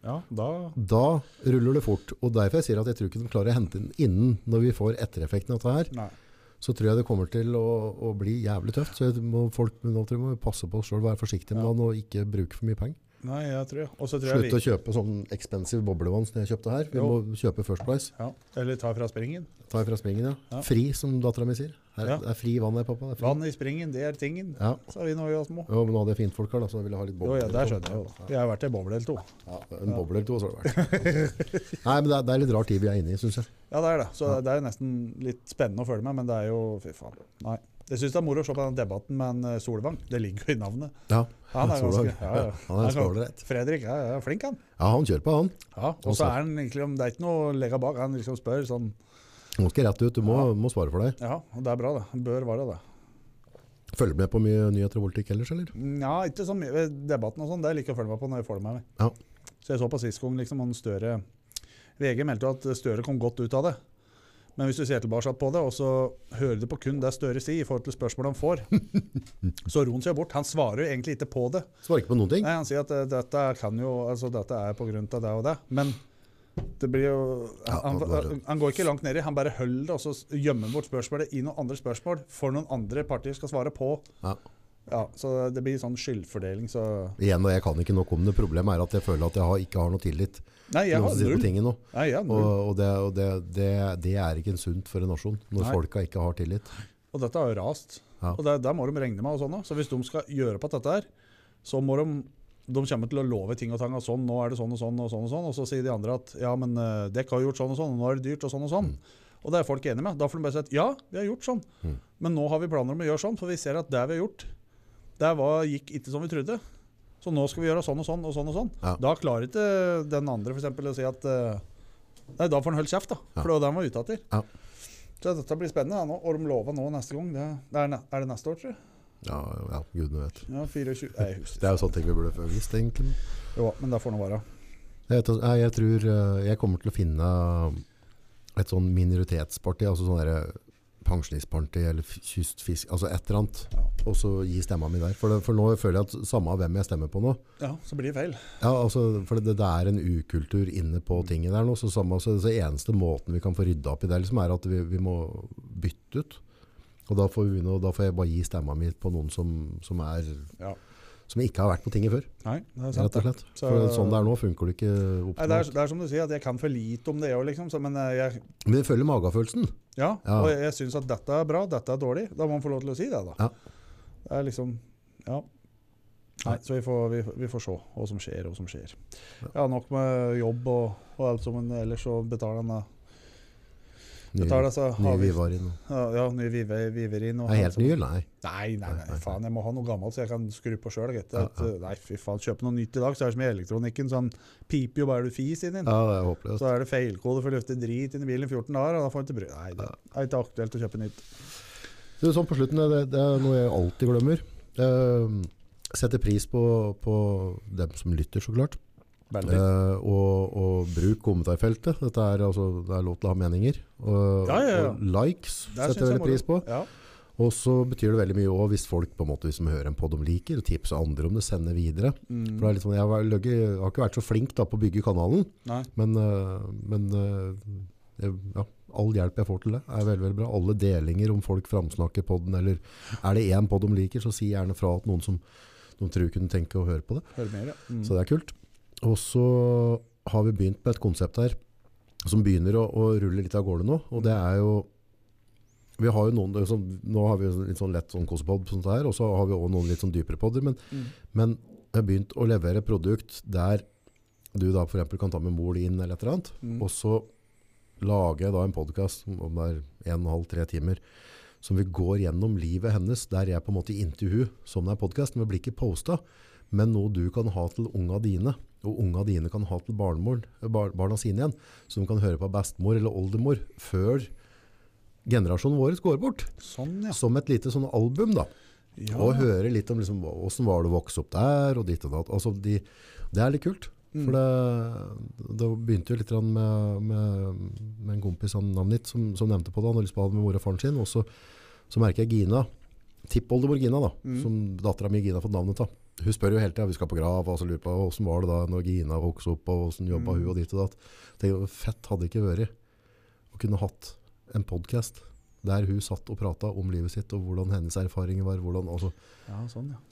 Ja, da
Da ruller det fort. Og derfor jeg sier at jeg tror ikke de klarer å hente inn innen når vi får ettereffekten av dette her.
Nei.
Så tror jeg det kommer til å, å bli jævlig tøft. Så jeg må, folk nå tror jeg må passe på oss sjøl, være forsiktige med
Ja.
den og ikke bruke for mye penger.
Nei, jeg tror Og så tror jeg
Slutt å
vi
kjøpe sånn expensive boblevann som jeg kjøpte her. Vi
Jo.
må kjøpe First Price.
ja. Eller ta fra springen.
Ta fra springen, ja.
Ja.
Fri, som dattera mi sier. Her,
Ja.
Det er fri vann her, pappa. Det er fri.
Vann i springen, det er tingen,
Ja.
sa vi når vi var små.
Jo, men nå hadde jeg fint folk her, da, så jeg ville ha litt
Jo,
boble.
ja, Der skjønner jeg jo. da. Jeg har vært i boble eller to.
Ja, en boble eller to, så har det vært. Nei, men det er, det er litt rar tid vi er inne i, synes jeg.
Ja, det er det. Så
Ja.
det er jo nesten litt spennende å følge med, men det er jo Fy faen. Nei. Jeg syns det er moro å se på den debatten med en eh, Solvang. Det ligger jo i navnet.
Ja,
Han er
Solvang.
ganske ja, sånn- ja.
Han er
Han kan-
skålerett.
Fredrik ja, ja, flink, han.
Ja, han kjører på, han.
Ja, Og så er han egentlig om det er ikke noe å legge bak. Han liksom spør sånn
Nå skal jeg rett ut, du må, må svare for deg.
Ja, og det er bra, det. Han Bør være det.
Følger du med på mye nyheter og politikk ellers, eller?
Ja, ikke så mye debatten og sånn. Det liker jeg å følge med på når jeg får det med meg.
Ja.
Så jeg så på sist gang liksom han Støre VG meldte jo at Støre kom godt ut av det. Men hvis du ser tilbake på det, og så hører du på kun det Støre sier i forhold til spørsmålet han får, så roer han seg bort. Han svarer jo egentlig ikke på det.
Svarer ikke på noen ting.
Nei, Han sier at eh, dette kan jo Altså, dette er på grunn av det og det. Men det blir jo
Ja,
han,
og
han,
bare-
han går ikke langt nedi. Han bare holder det, og så s- gjemmer han bort spørsmålet i noen andre spørsmål for noen andre partier skal svare på.
Ja.
Ja, Så det blir sånn skyldfordeling, så
Igjen, og jeg kan ikke nok om det. Problemet er at jeg føler at jeg har, ikke har noe tillit til
Nei, jeg
noen
har
som sitter på
null.
tinget nå.
Nei, jeg har
Og,
null.
og, det, og det, det, det er ikke sunt for en nasjon, når
Nei.
folka ikke har tillit.
Og dette har jo rast.
Ja.
Og det, der må de regne med. og sånn da. Så hvis de skal gjøre på dette her, så må de de kommer til å love ting og tang og sånn, nå er det sånn og sånn og sånn, og sånn, og så sier de andre at ja, men eh, dere har gjort sånn og sånn, og nå er det dyrt og sånn og sånn. Og det er folk enige med. Da får de bare si at ja, vi har gjort sånn,
Mm.
men nå har vi planer om å gjøre sånn, for vi ser at det vi har gjort, Det var, gikk ikke som vi trodde. Så nå skal vi gjøre sånn og sånn og sånn. og sånn.
Ja.
Da klarer ikke den andre for eksempel, å si at eh, Nei, da får han holde kjeft, da.
Ja.
For det var det han var ute etter.
Ja.
Så dette blir spennende. da, nå, Og de lover nå neste gang. Det, det er, ne- er det neste år, tror jeg?
Ja, ja, gudene vet.
Ja, 24 Nei, jeg husker
Det er jo sånne ting vi burde visst, egentlig.
ikke. Jo, men det får nå være.
Jeg, vet, at- nei, jeg tror eh, jeg kommer til å finne eh, et sånn minoritetsparti, altså sånn derre pensjonistparti eller f- kystfisk, altså et eller annet,
Ja.
og så gi stemma mi der. For, det, for nå føler jeg at samme av hvem jeg stemmer på nå,
Ja, så blir det feil.
ja, altså, for det, det er en ukultur inne på tinget der nå, så samme, altså, så eneste måten vi kan få rydda opp i det, liksom, er at vi, vi må bytte ut. Og da får, vi, begynne, og da får jeg bare gi stemma mi på noen som, som, er,
Ja.
som ikke har vært på tinget før,
Nei, det er sant.
rett og
det.
slett.
Så-
For sånn det er nå funker det ikke
Nei, det, er,
optimalt.
det er som du sier, at jeg kan for lite om det òg, liksom. Så, men eh, jeg,
Men det følger magafølelsen.
ja,
Ja.
og jeg, jeg syns at dette er bra, dette er dårlig. Da må man få lov til å si det, da.
Ja.
Det er liksom Ja. Nei,
Nei.
så vi får, vi, vi får se hva som skjer, og hva som skjer. Ja, nok med jobb og, og alt som en ellers, så betaler han da.
Ny,
Betaler
ny
altså
vi
avgift.
var inne.
Ja, ja, ny vive, viverin. og
Er
alt
helt
som-
ny, eller? nei.
Nei, nei,
Nei, nei,
nei, faen, jeg må ha noe gammelt så jeg kan skru på sjøl.
Ja, ja.
eh, Nei, fy faen, kjøp noe nytt i dag, så er det som i elektronikken. Sånn piper jo bare du fis inn
Ja,
i den.
det altså. er håpløst.
Så er det feilkode for å lufte drit inn i bilen i 14 dager, og da får du ikke bry Nei, det er ikke aktuelt å kjøpe nytt.
Du, sånn på slutten, det, det er noe jeg alltid glemmer. Uh, setter pris på, på dem som lytter, så klart.
Veldig.
Eh, og, og bruk kommentarfeltet. Dette er, altså, det er lov til å ha meninger. Og,
Ja, ja, ja.
og likes setter
Der synes
jeg
jeg
veldig pris på.
moro. Ja.
Og så betyr det veldig mye også hvis folk på en måte, hvis de hører en podd de liker, og tipser andre om det, sender videre.
Mm.
For det er litt sånn, jeg har, vært- løgge- jeg har ikke vært så flink da, på å bygge kanalen,
Nei.
men, eh, men eh, jeg, ja, all hjelp jeg får til det er veldig, veldig bra. Alle delinger om folk framsnakker podden, eller er det en podd de liker, så si gjerne fra at noen som de tror kunne tenke å høre på det.
Hør mer, ja. Mm.
Så det er kult. Og så har vi begynt på et konsept her som begynner å, å rulle litt av gårde nå. Og det er jo vi har jo noen, det er sånn, Nå har vi jo litt sånn lett sånn kosepod, sånt her, og så har vi også noen litt sånn dypere podder. Men,
Mm.
men jeg har begynt å levere produkt der du da for eksempel kan ta med mor din eller et eller annet.
Mm.
Og så lager jeg da en podkast om det er en og en halv, tre timer som vi går gjennom livet hennes, der jeg på en måte intervjuer som det er podkast, men det blir ikke posta. Men noe du kan ha til unga dine, og unga dine kan ha til barnemor, bar, barna sine igjen, som kan høre på bestemor eller oldemor før generasjonen vår går bort.
Sånn, ja.
Som et lite sånn album, da.
ja.
Og høre litt om liksom, hva- hvordan var det å vokse opp der, og ditt og datt. Altså, de, det er litt kult. For det, det begynte jo litt grann med, med, med en kompis han navnet ditt, som, som nevnte på det. Han hadde lyst på å ha det med mor og faren sin. Og så, så merker jeg Gina, tippoldemor Gina, da, som dattera mi Gina har fått navnet av. Hun spør jo hele tida, vi skal på grav, og så lurer på åssen var det da når Gina vokste opp, og åssen jobba hun, og ditt og datt. Tenker, jeg, fett hadde ikke vært å kunne hatt en podkast der hun satt og prata om livet sitt, og hvordan hennes erfaringer var. hvordan, altså,
ja, sånn, ja.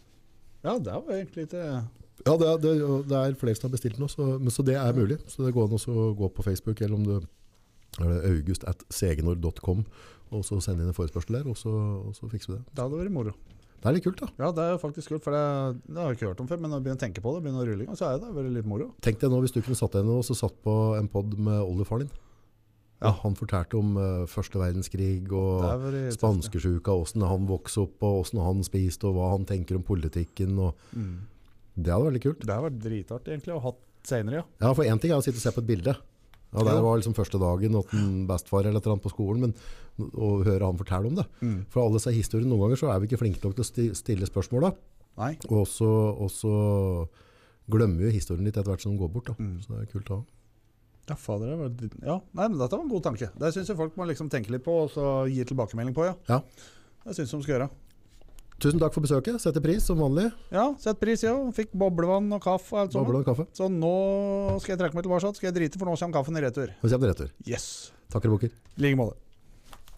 Ja, det var egentlig eh, ikke
Ja, det er, det, er- og det er flere som har bestilt nå, så, men, så det er mulig. Så det går an også å gå på Facebook, eller om du er det august at segenord.com, og så sende inn en forespørsel der, og så, og så fikser vi det.
Det hadde vært moro.
Det er litt kult da.
Ja, det er jo faktisk kult, for det, det har jeg ikke hørt om før, men når jeg begynner å tenke på det, begynner å rulle i gang, så er det vært litt moro.
Tenk deg nå hvis du kunne satt deg ned og så satt på en podd med oldefaren din.
Ja.
Og Han fortalte om eh, første verdenskrig
Det
og
er vært-
spanskesjuka, hvordan han vokste opp, og hvordan han spiste, og hva han tenker om politikken. Og
Mm.
det hadde vært veldig kult.
Det har vært dritartig egentlig, å ha senere, ja.
Ja, for en ting er å sitte og se på et bilde. Ja, det
Ja.
var liksom første dagen at en bestefar eller et eller annet på skolen, men å høre han fortelle om det.
Mm.
For alle disse historiene, noen ganger så er vi ikke flinke nok til å sti- stille spørsmål da.
Nei.
Og så, og så glemmer vi historien litt etter hvert som den går bort da.
Mm.
Så det er kult da.
Ja, fader, det var litt- ja. Nei, men dette var en god tanke. Det syns jeg folk må liksom tenke litt på og så gi tilbakemelding på. ja.
Ja.
Det syns de skal gjøre.
Tusen takk for besøket. Setter pris som vanlig.
Ja, sett pris, ja. Fikk boblevann og kaffe. og Alt sammen.
Boble og kaffe.
Så nå skal jeg trekke meg tilbake, så skal jeg drite, for nå kommer kaffen i retur.
Nå kommer det retur.
Yes.
Takker og boker.
I like måte.